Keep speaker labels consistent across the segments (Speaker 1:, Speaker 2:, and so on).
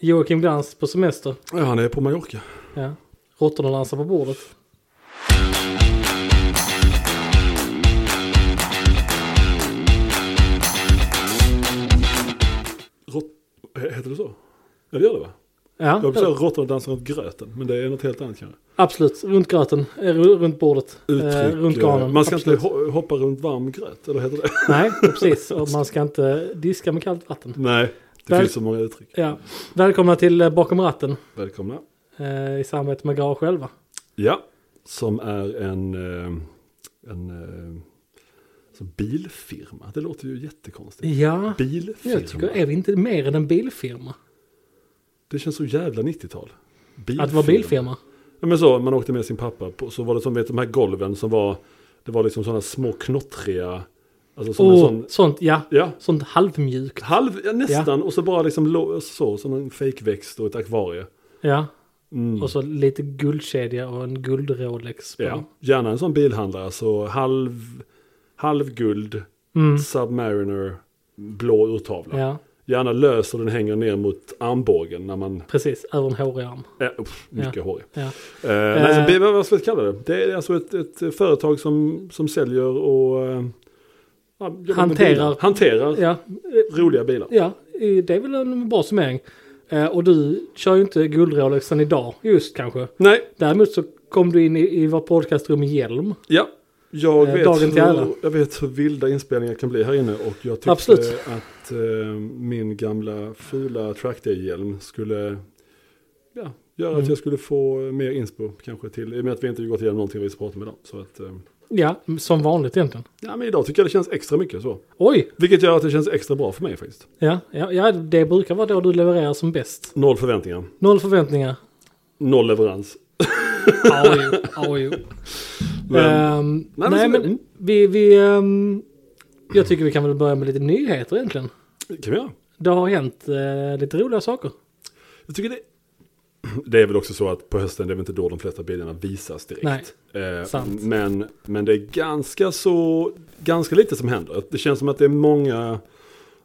Speaker 1: Joakim Glans på semester.
Speaker 2: Ja, han är på Mallorca.
Speaker 1: Ja. Råttorna dansar på bordet.
Speaker 2: Rott... Heter det så? Ja, det gör det va?
Speaker 1: Ja,
Speaker 2: Jag vill säga råttorna dansar runt gröten, men det är något helt annat kanske.
Speaker 1: absolut. Runt gröten, eh, ru- runt bordet, eh,
Speaker 2: Uttryck.
Speaker 1: runt
Speaker 2: eh,
Speaker 1: granen.
Speaker 2: man ska
Speaker 1: absolut.
Speaker 2: inte ho- hoppa runt varm gröt, eller heter det?
Speaker 1: Nej, precis. Och man ska inte diska med kallt vatten.
Speaker 2: Nej, det
Speaker 1: Väl-
Speaker 2: finns så många uttryck.
Speaker 1: Ja. Välkomna till eh, Bakom ratten
Speaker 2: Välkomna.
Speaker 1: eh, i samarbete med Garage själva.
Speaker 2: Ja, som är en, eh, en eh, så bilfirma. Det låter ju jättekonstigt.
Speaker 1: Ja, jag tycker,
Speaker 2: Bilfirma.
Speaker 1: är vi inte mer än en bilfirma?
Speaker 2: Det känns så jävla 90-tal. Bilfirma.
Speaker 1: Att vara bilfirma?
Speaker 2: Ja, men så, man åkte med sin pappa, på, så var det som vet, de här golven som var, det var liksom sådana små knottriga, alltså som en
Speaker 1: Åh,
Speaker 2: sån,
Speaker 1: sånt, ja.
Speaker 2: ja,
Speaker 1: Sånt halvmjukt.
Speaker 2: halv, ja, nästan, och så bara liksom lå- så, som en fejkväxt och ett akvarie.
Speaker 1: Ja.
Speaker 2: Mm.
Speaker 1: Och så lite guldkedja och en guldrolex. på
Speaker 2: Ja,
Speaker 1: den.
Speaker 2: gärna en sån bilhandlare, så halv, halv guld,
Speaker 1: Mm.
Speaker 2: Submariner, blå urtavla.
Speaker 1: ja,
Speaker 2: Gärna lös och den hänger ner mot armbågen när man,
Speaker 1: precis. Över en hårig arm.
Speaker 2: äh, uff, mycket
Speaker 1: Ja.
Speaker 2: hårig.
Speaker 1: Ja.
Speaker 2: Eh, nej, så, B- vad vad ska vi kalla det? Det är alltså ett, ett företag som, som säljer och eh, ja, jobbar med
Speaker 1: Hanterar.
Speaker 2: bilar. hanterar
Speaker 1: Ja,
Speaker 2: roliga bilar.
Speaker 1: ja, eh, det är väl en bra summering. Eh, Och du kör ju inte guldrolexen idag, just kanske.
Speaker 2: Nej,
Speaker 1: Däremot så kom du in i, i vår podcastrum i hjälm.
Speaker 2: ja. Jag,
Speaker 1: Eh,
Speaker 2: vet
Speaker 1: dagen till ära.
Speaker 2: hur, jag vet hur vilda inspelningar kan bli här inne och jag tyckte
Speaker 1: Absolut.
Speaker 2: att eh, min gamla fula trackday-hjälm skulle ja, göra
Speaker 1: Mm.
Speaker 2: att jag skulle få mer inspo kanske till, i och med att vi inte gått igenom någonting vi ska prata om idag. Så att, eh,
Speaker 1: Ja, som vanligt egentligen.
Speaker 2: ja, men idag tycker jag det känns extra mycket så.
Speaker 1: Oj!
Speaker 2: Vilket gör att det känns extra bra för mig faktiskt.
Speaker 1: Ja, ja, ja, det brukar vara då du levererar som bäst.
Speaker 2: Noll förväntningar.
Speaker 1: Noll förväntningar.
Speaker 2: Noll leverans.
Speaker 1: Ja, jo, ja, jo.
Speaker 2: Men,
Speaker 1: Ehm,
Speaker 2: men
Speaker 1: nej,
Speaker 2: så-
Speaker 1: men vi... vi ehm, jag tycker vi kan väl börja med lite nyheter egentligen.
Speaker 2: det kan vi göra.
Speaker 1: Det har hänt eh, lite roliga saker.
Speaker 2: Jag tycker det... Det är väl också så att på hösten det är väl inte då de flesta bilderna visas direkt. Eh,
Speaker 1: sant.
Speaker 2: Men, men det är ganska så, ganska lite som händer. Det känns som att det är många,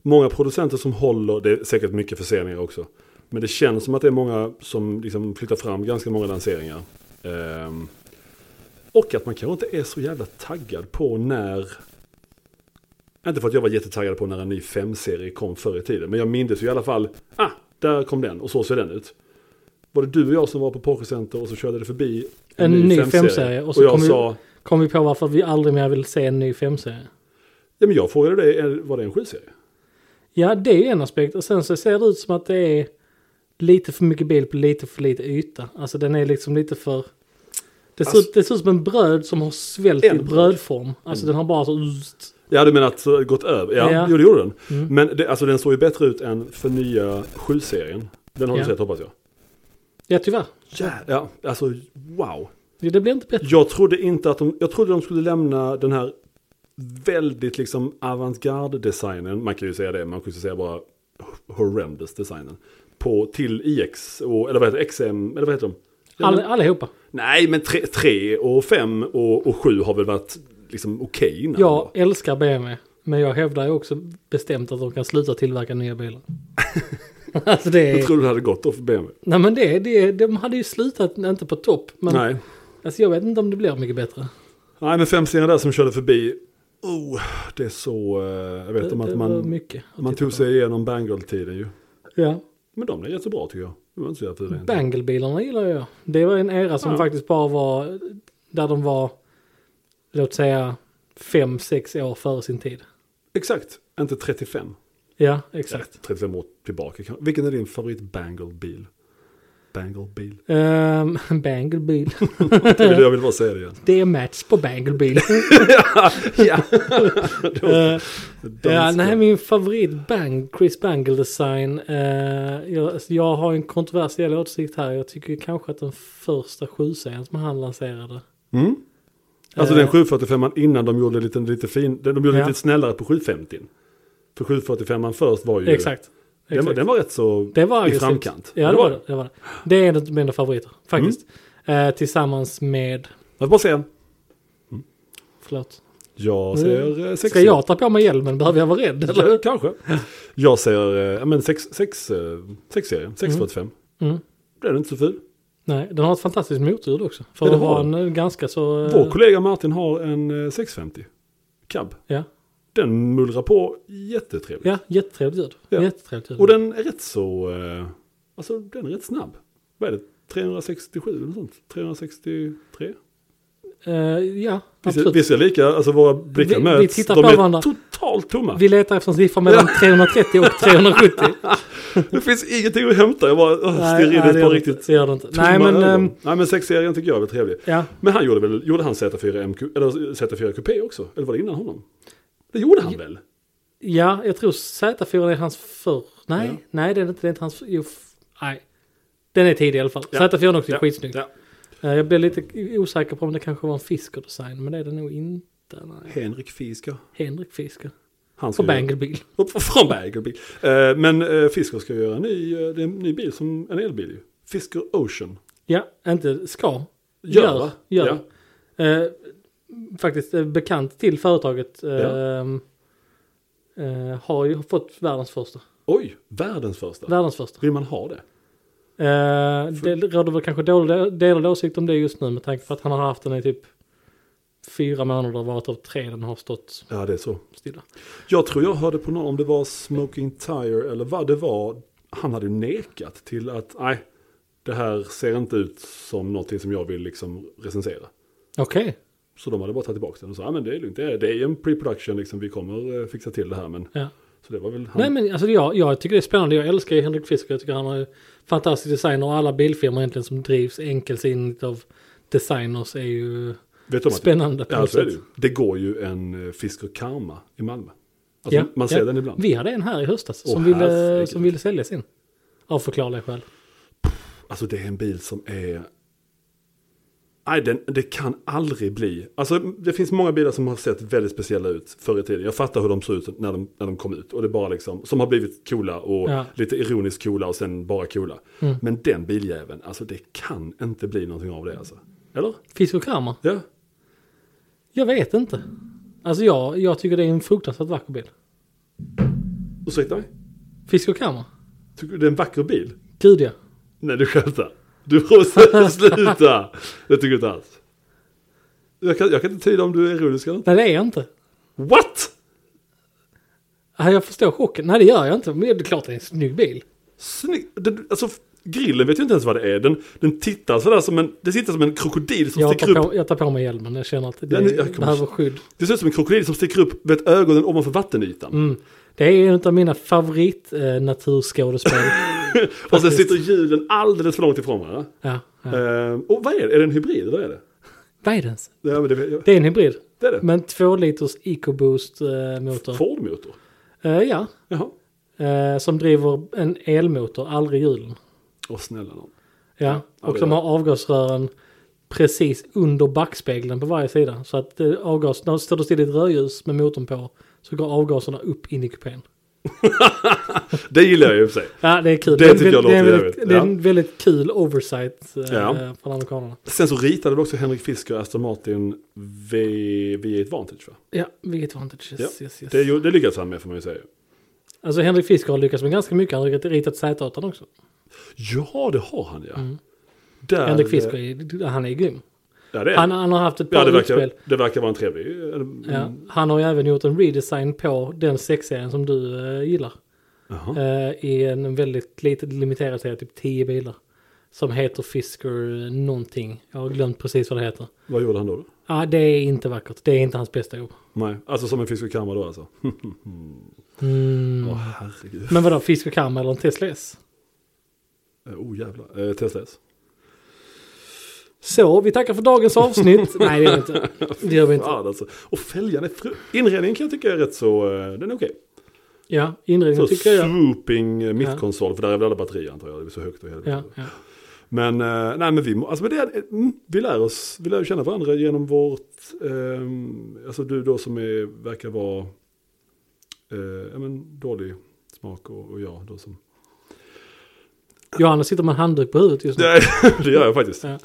Speaker 2: många producenter som håller, det är säkert mycket förseningar också. Men det känns som att det är många som liksom flyttar fram ganska många lanseringar. Ehm, och att man kanske inte är så jävla taggad på när inte för att jag var jättetaggad på när en ny 5-serie kom förr i tiden. Men jag mindes ju i alla fall. Ah, där kom den och så ser den ut. Var det du och jag som var på Pokercenter och så körde det förbi
Speaker 1: En ny
Speaker 2: femserie?
Speaker 1: 5-serie, och
Speaker 2: Och,
Speaker 1: så
Speaker 2: jag
Speaker 1: kom ju-
Speaker 2: sa.
Speaker 1: Kom vi på varför vi aldrig mer vill se en ny 5-serie?
Speaker 2: Ja men jag frågade dig, är- var det en 7-serie?
Speaker 1: Ja, det är ju en aspekt. Och sen så ser det ut som att det är lite för mycket bil på lite för lite yta. Alltså den är liksom lite för... Det ser,
Speaker 2: Alltså-
Speaker 1: det ser ut som en bröd som har svällt
Speaker 2: En
Speaker 1: i
Speaker 2: bröd. Mm.
Speaker 1: brödform. Alltså den har bara så...
Speaker 2: Ja du menar att så eh, gått över? Ja,
Speaker 1: Ja.
Speaker 2: Jo, det gjorde den.
Speaker 1: Mm.
Speaker 2: Men det, alltså den såg ju bättre ut än för nya 7-serien. Den har
Speaker 1: Ja.
Speaker 2: du sett hoppas jag.
Speaker 1: Ja, tyvärr.
Speaker 2: Ja, ja, alltså wow.
Speaker 1: Det det blir inte bättre.
Speaker 2: Jag trodde inte att de, jag trodde de skulle lämna den här väldigt liksom avantgarde-designen, man kan ju säga det, man kan ju säga bara horrendous designen, på till IX, och, eller vad heter det, XM, eller vad heter de?
Speaker 1: All, allihopa.
Speaker 2: Nej, men 3 och 5 och 7 har väl varit liksom okej innan.
Speaker 1: Jag älskar BMW. Men jag hävdar ju också bestämt att de kan sluta tillverka nya bilar. alltså det
Speaker 2: Jag
Speaker 1: är...
Speaker 2: trodde det hade gått då för BMW.
Speaker 1: Nej men det, är- det, är- de hade ju slutat, inte på topp. Men
Speaker 2: Nej.
Speaker 1: Alltså jag vet inte om det blir mycket bättre.
Speaker 2: Nej, men 5 där som körde förbi, oh, det är så, eh, jag vet om
Speaker 1: det
Speaker 2: att
Speaker 1: var
Speaker 2: man,
Speaker 1: mycket att
Speaker 2: man
Speaker 1: titta
Speaker 2: tog
Speaker 1: på.
Speaker 2: sig igenom Bangle-tiden ju.
Speaker 1: Ja.
Speaker 2: Men de är jättebra tycker jag. De var inte så jävla fula egentligen.
Speaker 1: Bangle-bilarna gillar jag. Det var en era som
Speaker 2: Ja.
Speaker 1: faktiskt bara var där de var, låt säga, fem sex år före sin tid.
Speaker 2: Exakt, inte 35.
Speaker 1: Ja, exakt.
Speaker 2: Eller 35 år tillbaka. kan- Vilken är din favorit Bangle-bil? Bangle-bil.
Speaker 1: Ehm, Bangle-bil.
Speaker 2: Jag vill bara säga det igen.
Speaker 1: Det är match på Bangle-bil.
Speaker 2: ja.
Speaker 1: Ehm, ja,
Speaker 2: Danska.
Speaker 1: nej, min favorit bang, Chris Bangle design. eh, jag, alltså, jag har en kontroversiell åsikt här. Jag tycker ju kanske att den första 7 som han lanserade.
Speaker 2: Mm. Alltså den
Speaker 1: Eh.
Speaker 2: 745 innan de gjorde lite, lite fin, de gjorde
Speaker 1: Ja.
Speaker 2: lite snällare på 750. För 745 först var ju,
Speaker 1: Exakt.
Speaker 2: Den, var,
Speaker 1: exakt.
Speaker 2: den var rätt så
Speaker 1: Det var
Speaker 2: i
Speaker 1: aggressivt.
Speaker 2: framkant.
Speaker 1: Ja, det var det. det, var det. det är en av mina favoriter,
Speaker 2: Mm.
Speaker 1: faktiskt. Eh, tillsammans med,
Speaker 2: Jag vill bara säga,
Speaker 1: förlåt,
Speaker 2: Jag säger eh, sex.
Speaker 1: Mm. Ska jag ta på mig hjälmen? Behöver jag vara rädd eller?
Speaker 2: Ja, Kanske. Jag säger eh, ja, men sex, sex, eh, sexserien, 645.
Speaker 1: Mm.
Speaker 2: Den är inte så ful.
Speaker 1: Nej, den har ett fantastiskt motljud också. För
Speaker 2: Ja, det
Speaker 1: det var
Speaker 2: har
Speaker 1: en eh, ganska så... eh,
Speaker 2: Vår kollega Martin har en eh, 650 cab.
Speaker 1: Ja,
Speaker 2: Den mullrar på jättetrevligt.
Speaker 1: ja jättetrevligt ljud.
Speaker 2: Ja.
Speaker 1: Jättetrevligt ljud.
Speaker 2: Och den är rätt så, eh, alltså den är rätt snabb. Vad är det, 367 eller något sånt? 363?
Speaker 1: Eh, ja,
Speaker 2: Vi
Speaker 1: absolut.
Speaker 2: ser, vi ser lika, alltså våra blickar
Speaker 1: Vi- vi
Speaker 2: möts.
Speaker 1: tittar
Speaker 2: de
Speaker 1: på
Speaker 2: är
Speaker 1: varandra.
Speaker 2: totalt tomma.
Speaker 1: Vi letar efter en siffra mellan 330 och 370.
Speaker 2: Det finns ingenting att hämta. Jag bara öh,
Speaker 1: Nej,
Speaker 2: stirrar in
Speaker 1: nej, det
Speaker 2: ett
Speaker 1: gör
Speaker 2: par
Speaker 1: det inte.
Speaker 2: riktigt
Speaker 1: Det gör det inte.
Speaker 2: tomma
Speaker 1: Nej, men...
Speaker 2: ögon.
Speaker 1: ehm,
Speaker 2: Nej men sexserien tycker jag är väl trevlig.
Speaker 1: ja.
Speaker 2: Men han gjorde väl, gjorde han Z4 MQ, eller Z4 Coupé också? Eller var det innan honom? Det gjorde han väl?
Speaker 1: ja, jag tror Z4 är hans förr. Nej,
Speaker 2: Ja.
Speaker 1: nej det är inte, det är inte hans förr. Jo, f- nej. Den är tidig i alla fall.
Speaker 2: Ja.
Speaker 1: Z4 också är
Speaker 2: Ja.
Speaker 1: skitsnygg.
Speaker 2: Ja.
Speaker 1: Eh, Jag blev lite osäker på om det kanske var en Fisker-design, men det är det nog inte. Nej.
Speaker 2: Henrik Fisker.
Speaker 1: Henrik Fisker.
Speaker 2: Han ska
Speaker 1: På
Speaker 2: göra-
Speaker 1: Bangelbil.
Speaker 2: Upp Från Bangerbil. Eh, men eh, Fisker ska göra en ny, eh, det är en ny bil, som en elbil ju. Fisker Ocean.
Speaker 1: Ja, inte ska.
Speaker 2: Gör,
Speaker 1: Gör.
Speaker 2: va?
Speaker 1: gör. Eh, faktiskt eh, bekant till företaget. Eh, eh, har ju fått världens första.
Speaker 2: Oj, världens första.
Speaker 1: Världens första.
Speaker 2: Vill man ha det?
Speaker 1: Eh, det råder väl kanske dåliga- delade åsikt om det just nu med tanke på att han har haft den i typ fyra månader varav tre den har stått
Speaker 2: Ja, det är så.
Speaker 1: stilla.
Speaker 2: Jag tror jag hörde på någon, om det var Smoking Tire eller vad det var. Han hade ju nekat till att, nej, det här ser inte ut som någonting som jag vill liksom recensera.
Speaker 1: Okej.
Speaker 2: Så de hade bara tagit tillbaka den och sa, ja men det är lugnt, det är, det är en pre-production liksom, vi kommer eh, fixa till det här. Men,
Speaker 1: Ja.
Speaker 2: så det var väl han.
Speaker 1: Nej men alltså jag, jag tycker det är spännande. Jag älskar ju Henrik Fisker. Jag tycker han har ju fantastisk design och alla bilfirmor egentligen som drivs enkelsinnigt av designers är ju
Speaker 2: vet du om att-
Speaker 1: spännande på
Speaker 2: Ja,
Speaker 1: något
Speaker 2: så är det,
Speaker 1: sätt.
Speaker 2: ju. det går ju en eh, Fisker Karma i Malmö. Alltså,
Speaker 1: Ja,
Speaker 2: man ser
Speaker 1: ja.
Speaker 2: den ibland.
Speaker 1: Vi hade en här i höstas
Speaker 2: Åh,
Speaker 1: som, ville,
Speaker 2: herregud.
Speaker 1: som ville sälja sin. Av förklarliga skäl.
Speaker 2: Alltså det är en bil som är... Nej, den, det kan aldrig bli. Alltså det finns många bilar som har sett väldigt speciella ut förr i tiden. Jag fattar hur de såg ut när de, när de kom ut. Och det är bara liksom, som har blivit coola och
Speaker 1: Ja. Mm.
Speaker 2: lite ironiskt coola och sen bara coola. Men den biljäveln, alltså det kan inte bli någonting av det alltså. Eller?
Speaker 1: Fisker Kramer?
Speaker 2: Ja.
Speaker 1: Jag vet inte. Alltså jag, jag tycker det är en fruktansvärt vacker bil.
Speaker 2: Ursäkta mig?
Speaker 1: Fisker Kramer?
Speaker 2: Tycker du det är en vacker bil?
Speaker 1: Gud ja.
Speaker 2: Nej, du skämtar. Du måste sluta. Det tycker du inte alls. Jag kan, jag kan inte tyda om du är ironisk eller inte.
Speaker 1: Nej det är jag inte.
Speaker 2: What?
Speaker 1: Ah, Jag förstår chocken. Nej det gör jag inte. Men det är klart det är en snygg bil.
Speaker 2: Snygg. Den, alltså, grillen vet ju inte ens vad det är. Den, den tittar sådär som en, det sitter som en krokodil som
Speaker 1: Jag
Speaker 2: sticker
Speaker 1: tar,
Speaker 2: upp.
Speaker 1: på, jag tar på mig hjälmen. Jag känner att det
Speaker 2: Ja, nu- jag kommer-
Speaker 1: behöver skydd.
Speaker 2: Det ser ut som en krokodil som sticker upp vet, ögonen ovanför vattenytan.
Speaker 1: Mm. Det är en av mina favorit eh, naturskådespel.
Speaker 2: och sen
Speaker 1: faktiskt.
Speaker 2: sitter hjulen alldeles för långt ifrån varandra.
Speaker 1: ja, ja.
Speaker 2: Eh, och vad är det? Är det en hybrid? Vad är det?
Speaker 1: Vad är det ens?
Speaker 2: Ja, men det, ja,
Speaker 1: Det är en hybrid.
Speaker 2: det är det.
Speaker 1: Men 2 liters EcoBoost eh, motor.
Speaker 2: Ford-motor.
Speaker 1: Eh, ja.
Speaker 2: Jaha.
Speaker 1: Eh, som driver en elmotor, aldrig hjulen.
Speaker 2: Åh snälla nån.
Speaker 1: Ja.
Speaker 2: ja,
Speaker 1: Och
Speaker 2: det
Speaker 1: som
Speaker 2: är-
Speaker 1: har avgasrören precis under backspegeln på varje sida. Så att eh, avgas, när du står still i ett rödljus med motorn på så går avgaserna upp in i kupén.
Speaker 2: Det gillar jag ju i och för sig.
Speaker 1: Ja, det är kul.
Speaker 2: Det
Speaker 1: är en
Speaker 2: tycker jag
Speaker 1: väldigt- det är en
Speaker 2: låter
Speaker 1: väldigt-
Speaker 2: jävligt.
Speaker 1: Det är
Speaker 2: Ja.
Speaker 1: en väldigt kul oversight eh,
Speaker 2: Ja.
Speaker 1: från amerikanerna.
Speaker 2: Sen så ritade väl också Henrik Fisker Aston Martin V, V8 Vantage va?
Speaker 1: Ja, vilket vantage. Yes,
Speaker 2: Ja,
Speaker 1: yes, yes.
Speaker 2: Det, gjorde- det lyckades han med får man ju säga.
Speaker 1: Alltså Henrik Fisker har lyckats med ganska mycket. Han har ritat- ritat Z8 också.
Speaker 2: Ja, det har han ja. Där,
Speaker 1: Mm. Henrik Fisker, är- han är grym.
Speaker 2: Ja, det är
Speaker 1: Han, han har haft ett par
Speaker 2: Ja, det verkar, Mm.
Speaker 1: utspel.
Speaker 2: det verkar vara en trevlig... en-
Speaker 1: Ja, han har ju även gjort en redesign på den sexserien som du eh, gillar.
Speaker 2: Jaha.
Speaker 1: Eh, I en väldigt liten limiterad serie, typ 10 bilar. Som heter Fisker någonting. Jag har glömt precis vad det heter.
Speaker 2: Vad gjorde han då? då?
Speaker 1: Ja, det är inte vackert. Det är inte hans bästa jobb.
Speaker 2: Nej, alltså som en fisk i kammare då alltså. Åh
Speaker 1: Mm.
Speaker 2: herregud.
Speaker 1: Men vadå, Fisker Karma eller en Tesla S?
Speaker 2: Eh, Oh jävlar. Eh, Tesla S.
Speaker 1: Så, vi tackar för dagens avsnitt. Nej, det är inte. Det gör vi inte.
Speaker 2: Fan, alltså. Och fälgarna är fru- Inredningen kan jag tycka är rätt så... eh, Den är okej.
Speaker 1: Ja, inredningen
Speaker 2: Så
Speaker 1: tycker jag.
Speaker 2: swooping eh, mittkonsol. För där är väl alla batterier antar jag. Det är så högt och hela
Speaker 1: Ja,
Speaker 2: tiden.
Speaker 1: ja.
Speaker 2: Men eh, nej men vi, må- alltså, men det, är- mm, vi lär oss. Vi lär ju känna varandra genom vårt... ehm, alltså du då som är, verkar vara... Eh, ja men dålig smak och, och jag då som...
Speaker 1: Johannes sitter med en handduk på huvudet just nu.
Speaker 2: Det, det gör jag faktiskt.
Speaker 1: Ja.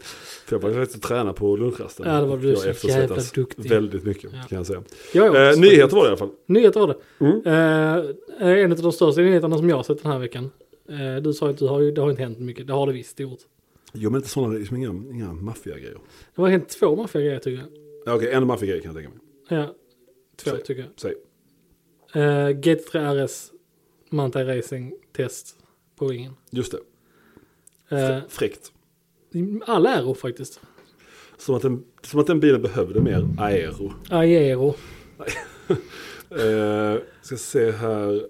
Speaker 2: För jag började faktiskt träna på lunchrasten.
Speaker 1: Ja, det var du
Speaker 2: jag
Speaker 1: så
Speaker 2: eftersättas
Speaker 1: jävla duktig.
Speaker 2: Väldigt mycket
Speaker 1: Ja.
Speaker 2: kan jag säga.
Speaker 1: Jag är också
Speaker 2: Eh,
Speaker 1: stolt.
Speaker 2: nyheter var det i alla fall.
Speaker 1: Nyheter var det.
Speaker 2: Mm.
Speaker 1: Eh, en av de största nyheterna som jag har sett den här veckan. Eh, du sa ju att du har, ju- det har inte hänt mycket. Det har det visst gjort.
Speaker 2: Jo men inte sådana, liksom inga, inga maffiagrejer.
Speaker 1: Det har hänt två maffiagrejer tycker jag.
Speaker 2: Ja, Okej, en maffiagrej kan jag tänka mig.
Speaker 1: Ja, två
Speaker 2: Säg.
Speaker 1: tycker jag.
Speaker 2: Säg.
Speaker 1: Eh, GT3 RS Manta Racing test på ringen.
Speaker 2: Just det,
Speaker 1: Eh,
Speaker 2: fräckt.
Speaker 1: all aero faktiskt.
Speaker 2: Som att, den, som att den bilen behövde mer aero.
Speaker 1: Aero.
Speaker 2: Eh, ska se här.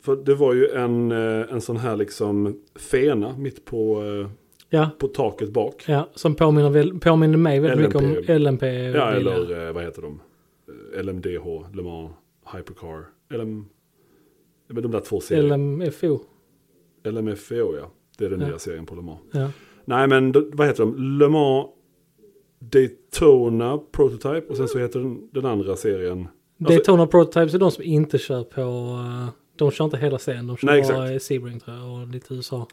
Speaker 2: För det var ju en, eh, en sån här liksom fena mitt på, eh,
Speaker 1: Ja,
Speaker 2: på taket bak.
Speaker 1: ja som påminner, väl- påminner mig väldigt
Speaker 2: LMP.
Speaker 1: mycket om LMP.
Speaker 2: Ja, eller eh, vad heter de? Eh, LMDH, Le Mans, Hypercar. LM... Ja, men de där två serierna.
Speaker 1: LMFO.
Speaker 2: LMFO, ja. Det är den
Speaker 1: Ja.
Speaker 2: nya serien på Le Mans.
Speaker 1: Ja.
Speaker 2: Nej, men d- vad heter de? Le Mans Daytona Prototype och sen så heter den, den andra serien... Alltså-
Speaker 1: Daytona Prototypes är de som inte kör på... eh, De kör inte hela serien, de kör
Speaker 2: Nej,
Speaker 1: bara eh, Sebring tror jag och lite USA.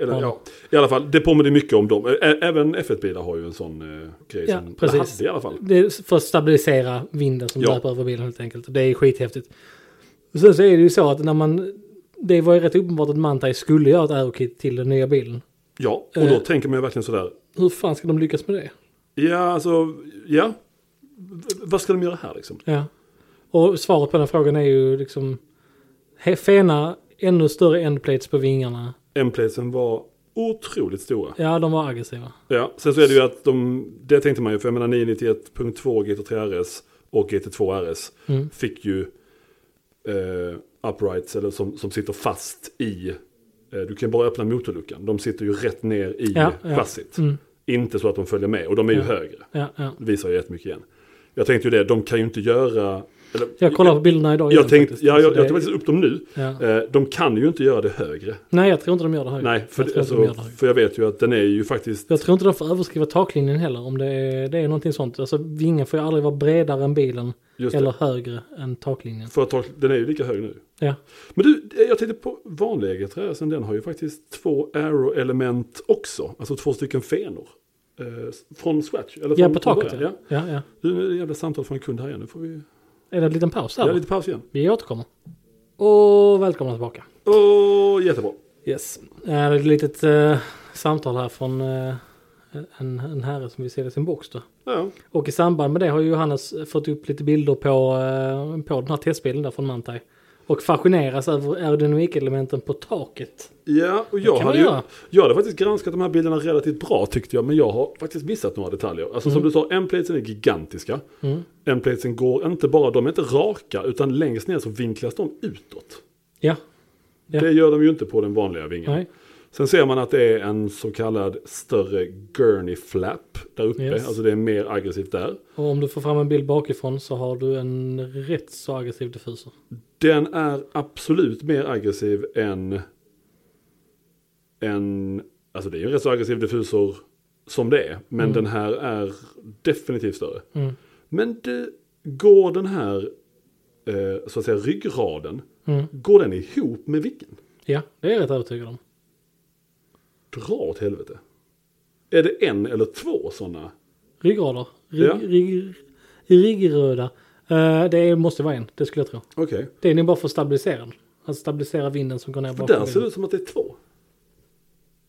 Speaker 2: Eller,
Speaker 1: Ja.
Speaker 2: ja. I alla fall, det påminner mycket om dem. Ä- ä- Även F1-bilar har ju en sån eh, grej
Speaker 1: Ja,
Speaker 2: som
Speaker 1: precis.
Speaker 2: precis. hade i alla fall.
Speaker 1: Det är för att stabilisera vinden som
Speaker 2: Ja.
Speaker 1: löper över bilen helt enkelt. Och Det är skithäftigt. Och Sen så är det ju så att när man... Det var ju rätt uppenbart att Mantai skulle göra ett aerokit till den nya bilen.
Speaker 2: Ja, och då
Speaker 1: Eh.
Speaker 2: tänker man ju verkligen sådär.
Speaker 1: Hur fan ska de lyckas med det?
Speaker 2: Ja, alltså, ja. V- vad ska de göra här liksom?
Speaker 1: Ja. Och svaret på den frågan är ju liksom... he- Fena ännu större endplates på vingarna.
Speaker 2: M-placen var otroligt stora.
Speaker 1: Ja, de var aggressiva.
Speaker 2: Ja, sen så är det ju att de, det tänkte man ju, för jag menar 991.2 GT3 RS och GT2 RS
Speaker 1: Mm.
Speaker 2: fick ju eh, uprights, eller som, som sitter fast i, eh, du kan bara öppna motorluckan, de sitter ju rätt ner i
Speaker 1: Ja, ja.
Speaker 2: chassit.
Speaker 1: Mm.
Speaker 2: Inte så att de följer med, och de är ju
Speaker 1: Ja.
Speaker 2: högre,
Speaker 1: Ja, ja.
Speaker 2: det visar ju jättemycket igen. Jag tänkte ju det, de kan ju inte göra, eller,
Speaker 1: Jag kollar på bilderna idag.
Speaker 2: jag,
Speaker 1: igen
Speaker 2: jag tänkte,
Speaker 1: faktiskt.
Speaker 2: ja,
Speaker 1: Så
Speaker 2: jag,
Speaker 1: det-
Speaker 2: jag tog faktiskt upp dem nu,
Speaker 1: ja.
Speaker 2: eh, de kan ju inte göra det högre.
Speaker 1: Nej, jag tror inte de gör det här.
Speaker 2: Nej, för,
Speaker 1: jag,
Speaker 2: det,
Speaker 1: tror inte de
Speaker 2: alltså,
Speaker 1: gör det här.
Speaker 2: för jag vet ju att den är ju faktiskt,
Speaker 1: jag tror inte de får överskriva taklinjen heller om det är, det är någonting sånt. Alltså vingen får ju aldrig vara bredare än bilen
Speaker 2: just det.
Speaker 1: eller högre än taklinjen.
Speaker 2: För att ta, den är ju lika hög nu.
Speaker 1: Ja.
Speaker 2: Men du, eh, jag tänkte på vanliga GTR-sen, den har ju faktiskt två aero-element också. Alltså två stycken fenor. Eh, från scratch. Eller från,
Speaker 1: Ja, på
Speaker 2: från
Speaker 1: taket.
Speaker 2: början,
Speaker 1: Ja.
Speaker 2: ja.
Speaker 1: Ja, ja.
Speaker 2: Du, nu är det jävla samtal från en kund här igen. Nu får vi...
Speaker 1: Är det en liten paus där?
Speaker 2: Ja,
Speaker 1: va?
Speaker 2: lite paus igen.
Speaker 1: Vi återkommer. Och välkomna tillbaka.
Speaker 2: Åh, jättebra.
Speaker 1: Yes. Det är ett litet eh, samtal här från eh, en, en herre som vill sälja sin box då.
Speaker 2: Ja,
Speaker 1: Och i samband med det har ju Johannes fått upp lite bilder på, eh, på den här testbilen där från Mantai. Och fascineras över aerodynamikelementen på taket.
Speaker 2: ja och
Speaker 1: Det
Speaker 2: jag
Speaker 1: kan
Speaker 2: hade
Speaker 1: man
Speaker 2: ju...
Speaker 1: göra.
Speaker 2: Jag hade faktiskt granskat de här bilderna relativt bra tyckte jag. Men jag har faktiskt missat några detaljer. Alltså som du sa, M-platesen är gigantiska.
Speaker 1: Mm.
Speaker 2: M-platesen går inte bara, de är inte raka. Utan längst ner så vinklas de utåt.
Speaker 1: Ja, Ja.
Speaker 2: Det gör de ju inte på den vanliga vingen.
Speaker 1: nej.
Speaker 2: Sen ser man att det är en så kallad större gurney flap där uppe.
Speaker 1: Yes.
Speaker 2: Alltså det är mer aggressivt där.
Speaker 1: Och om du får fram en bild bakifrån så har du en rätt så aggressiv diffuser.
Speaker 2: Den är absolut mer aggressiv än... än alltså det är ju en rätt så aggressiv diffusor som det är. Men
Speaker 1: Mm.
Speaker 2: den här är definitivt större.
Speaker 1: Mm.
Speaker 2: Men det, går den här eh, så att säga ryggraden,
Speaker 1: Mm.
Speaker 2: går den ihop med vingen?
Speaker 1: Ja, det är jag rätt övertygad om.
Speaker 2: Dra åt helvete. Är det en eller två sådana?
Speaker 1: Ryggrader. Rygg,
Speaker 2: Ja.
Speaker 1: rygg, ryggröda. Eh, det måste vara en, det skulle jag tro.
Speaker 2: Okej.
Speaker 1: Det är nog bara för att stabilisera den. Alltså stabilisera vinden som går ner
Speaker 2: För
Speaker 1: bakom
Speaker 2: där ser det
Speaker 1: bilen.
Speaker 2: ut som att det är två.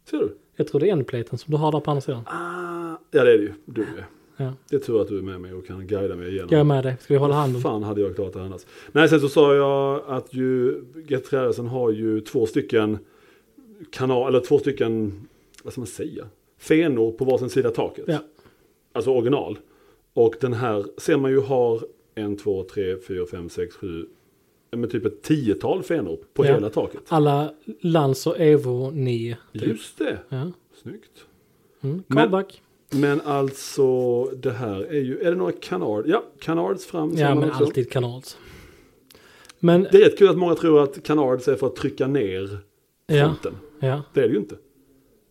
Speaker 2: Ser du?
Speaker 1: Jag tror det är en platen som du har där på andra sidan.
Speaker 2: Ah, ja det är det ju. Du är.
Speaker 1: Ja.
Speaker 2: Det är tur att du är med mig och kan guida mig igenom.
Speaker 1: Jag är med dig. Ska vi hålla handen?
Speaker 2: Fan hade jag klarat det annars. Nej, sen så sa jag att ju Getträrelsen har ju två stycken kanal, eller två stycken, vad ska man säga? Fenor på varsin sida taket.
Speaker 1: Ja.
Speaker 2: Alltså original. Och den här ser man ju har en, två, tre, fyra, fem, sex, sju, ja, men typ ett tiotal fenor på
Speaker 1: Ja.
Speaker 2: hela taket.
Speaker 1: Alla Lans och Evo 9. Typ.
Speaker 2: Just det,
Speaker 1: Ja.
Speaker 2: snyggt.
Speaker 1: Mm.
Speaker 2: Men-
Speaker 1: Comeback.
Speaker 2: Men alltså det här är ju, är det några Canard? Ja, Canards fram. ser
Speaker 1: Ja,
Speaker 2: man
Speaker 1: men
Speaker 2: också.
Speaker 1: alltid kanals. Men,
Speaker 2: Det är rätt kul att många tror att Canards är för att trycka ner
Speaker 1: ja,
Speaker 2: fronten.
Speaker 1: ja.
Speaker 2: Det är det ju inte.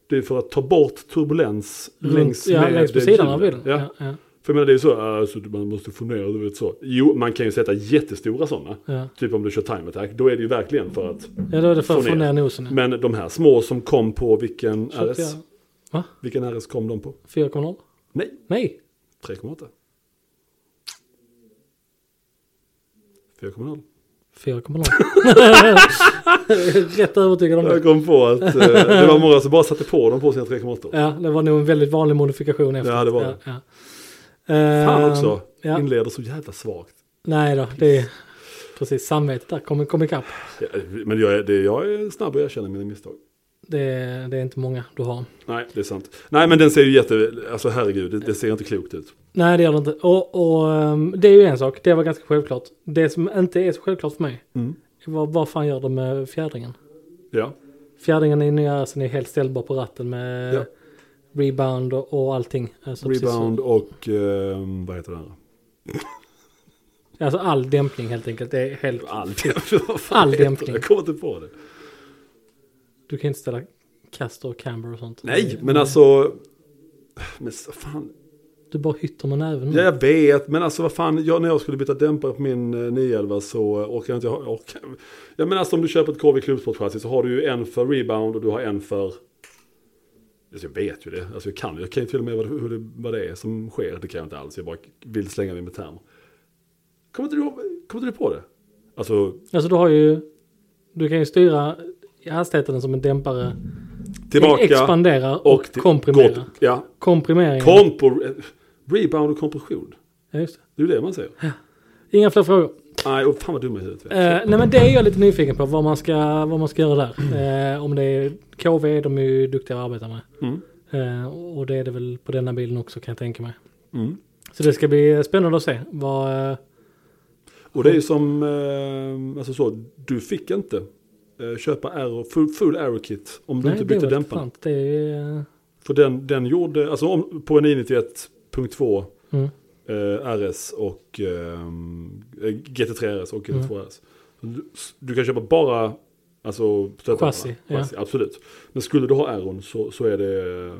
Speaker 2: Det är för att ta bort turbulens
Speaker 1: Runt-
Speaker 2: längs
Speaker 1: Mm. ja,
Speaker 2: med
Speaker 1: längs på
Speaker 2: det
Speaker 1: sidan av
Speaker 2: hjulet.
Speaker 1: bilen.
Speaker 2: Ja.
Speaker 1: Ja, ja.
Speaker 2: För jag menar det är ju så, alltså, man måste fundera, du vet så. Jo, man kan ju sätta jättestora sådana.
Speaker 1: Ja.
Speaker 2: Typ om du kör time attack, då är det ju verkligen för att.
Speaker 1: ja, då är det för att
Speaker 2: Få
Speaker 1: få
Speaker 2: ner.
Speaker 1: ner nosen. ja.
Speaker 2: Men de här små som kom på vilken
Speaker 1: Så att
Speaker 2: RS?
Speaker 1: jag- Va?
Speaker 2: Vilken RS kom de på?
Speaker 1: 4,0?
Speaker 2: Nej,
Speaker 1: Nej,
Speaker 2: 3,8. 4,0.
Speaker 1: 4,0. Rätt övertygad om det.
Speaker 2: Jag kom på att eh, det var många som bara satte på dem på sina 3,8.
Speaker 1: Ja, det var nog en väldigt vanlig modifikation efter.
Speaker 2: Ja, det var det.
Speaker 1: Ja, ja.
Speaker 2: Fan
Speaker 1: Ehm,
Speaker 2: också,
Speaker 1: ja.
Speaker 2: inleder så jävla svagt.
Speaker 1: Nej då, det är precis samvetet där. Kom, kom ikapp.
Speaker 2: Ja, Men jag är, det, jag är snabb och erkänner mina misstag.
Speaker 1: Det, är- det är inte många du har.
Speaker 2: Nej, det är sant. Nej, men den ser ju jätte... Alltså herregud, det, det ser inte klokt ut.
Speaker 1: Nej, det gör det inte. Och, och ehm, det är ju en sak. Det var ganska självklart. Det som inte är så självklart för mig.
Speaker 2: Mm.
Speaker 1: Vad, vad fan gör de med fjädringen?
Speaker 2: Ja,
Speaker 1: Fjädringen i nya racen är helt ställbar på ratten med
Speaker 2: Ja.
Speaker 1: rebound och, och allting. Alltså, precis så.
Speaker 2: rebound och... ehm, vad heter det andra?
Speaker 1: Alltså all dämpning helt enkelt. Det är helt...
Speaker 2: All,
Speaker 1: All dämpning.
Speaker 2: Jag kommer inte på det.
Speaker 1: Du kan inte ställa kast och camber och sånt.
Speaker 2: Nej, men alltså... Men så- fan,
Speaker 1: Du bara hytter med näven.
Speaker 2: ja, jag vet, men alltså vad fan, jag, när jag skulle byta dämpare på min eh, 911 så eh, orkar jag inte ha... jag Orkar, jag menar, alltså, om du köper ett KV klubbsportchassi så har du ju en för rebound och du har en för... Alltså, jag vet ju det, alltså, jag kan, jag kan ju till och med vad, hur det, vad det är som sker, det kan jag inte alls, jag bara vill slänga mig med termer. Kommer inte du, ihåg- kommer inte du på det? Alltså,
Speaker 1: Alltså du har ju, du kan ju styra hastigheten som en dämpare.
Speaker 2: tillbaka...
Speaker 1: Expanderar och,
Speaker 2: till-
Speaker 1: komprimerar.
Speaker 2: går- Ja,
Speaker 1: Komprimering.
Speaker 2: Kompo, eh, rebound och kompression.
Speaker 1: ja, just
Speaker 2: Det är ju det man säger.
Speaker 1: det. Inga fler frågor.
Speaker 2: Nej, och fan vad dum i huvudet.
Speaker 1: Eh, nej men det är jag lite nyfiken på, vad man ska, vad man ska göra där. Eh, om det är KV, de är ju duktiga att arbeta med.
Speaker 2: Mm.
Speaker 1: Eh, och det är det väl på denna bilen också kan jag tänka mig.
Speaker 2: Mm.
Speaker 1: Så det ska bli spännande att se. Vad, eh,
Speaker 2: Och det är ju som, eh, alltså så, du fick inte eh, köpa arrow, full, full arrow kit om du
Speaker 1: nej,
Speaker 2: inte
Speaker 1: det
Speaker 2: bytte
Speaker 1: var
Speaker 2: dämparen.
Speaker 1: sant. Det är, eh,
Speaker 2: För den, den gjorde, alltså om, på en 991.2
Speaker 1: mm.
Speaker 2: eh, RS och eh, GT3 RS och
Speaker 1: Mm.
Speaker 2: GT2 RS. Du, du kan köpa bara, alltså stötdämparna.
Speaker 1: Chassi, ja.
Speaker 2: Chassi, absolut. Men skulle du ha arrown så, så är det, eh,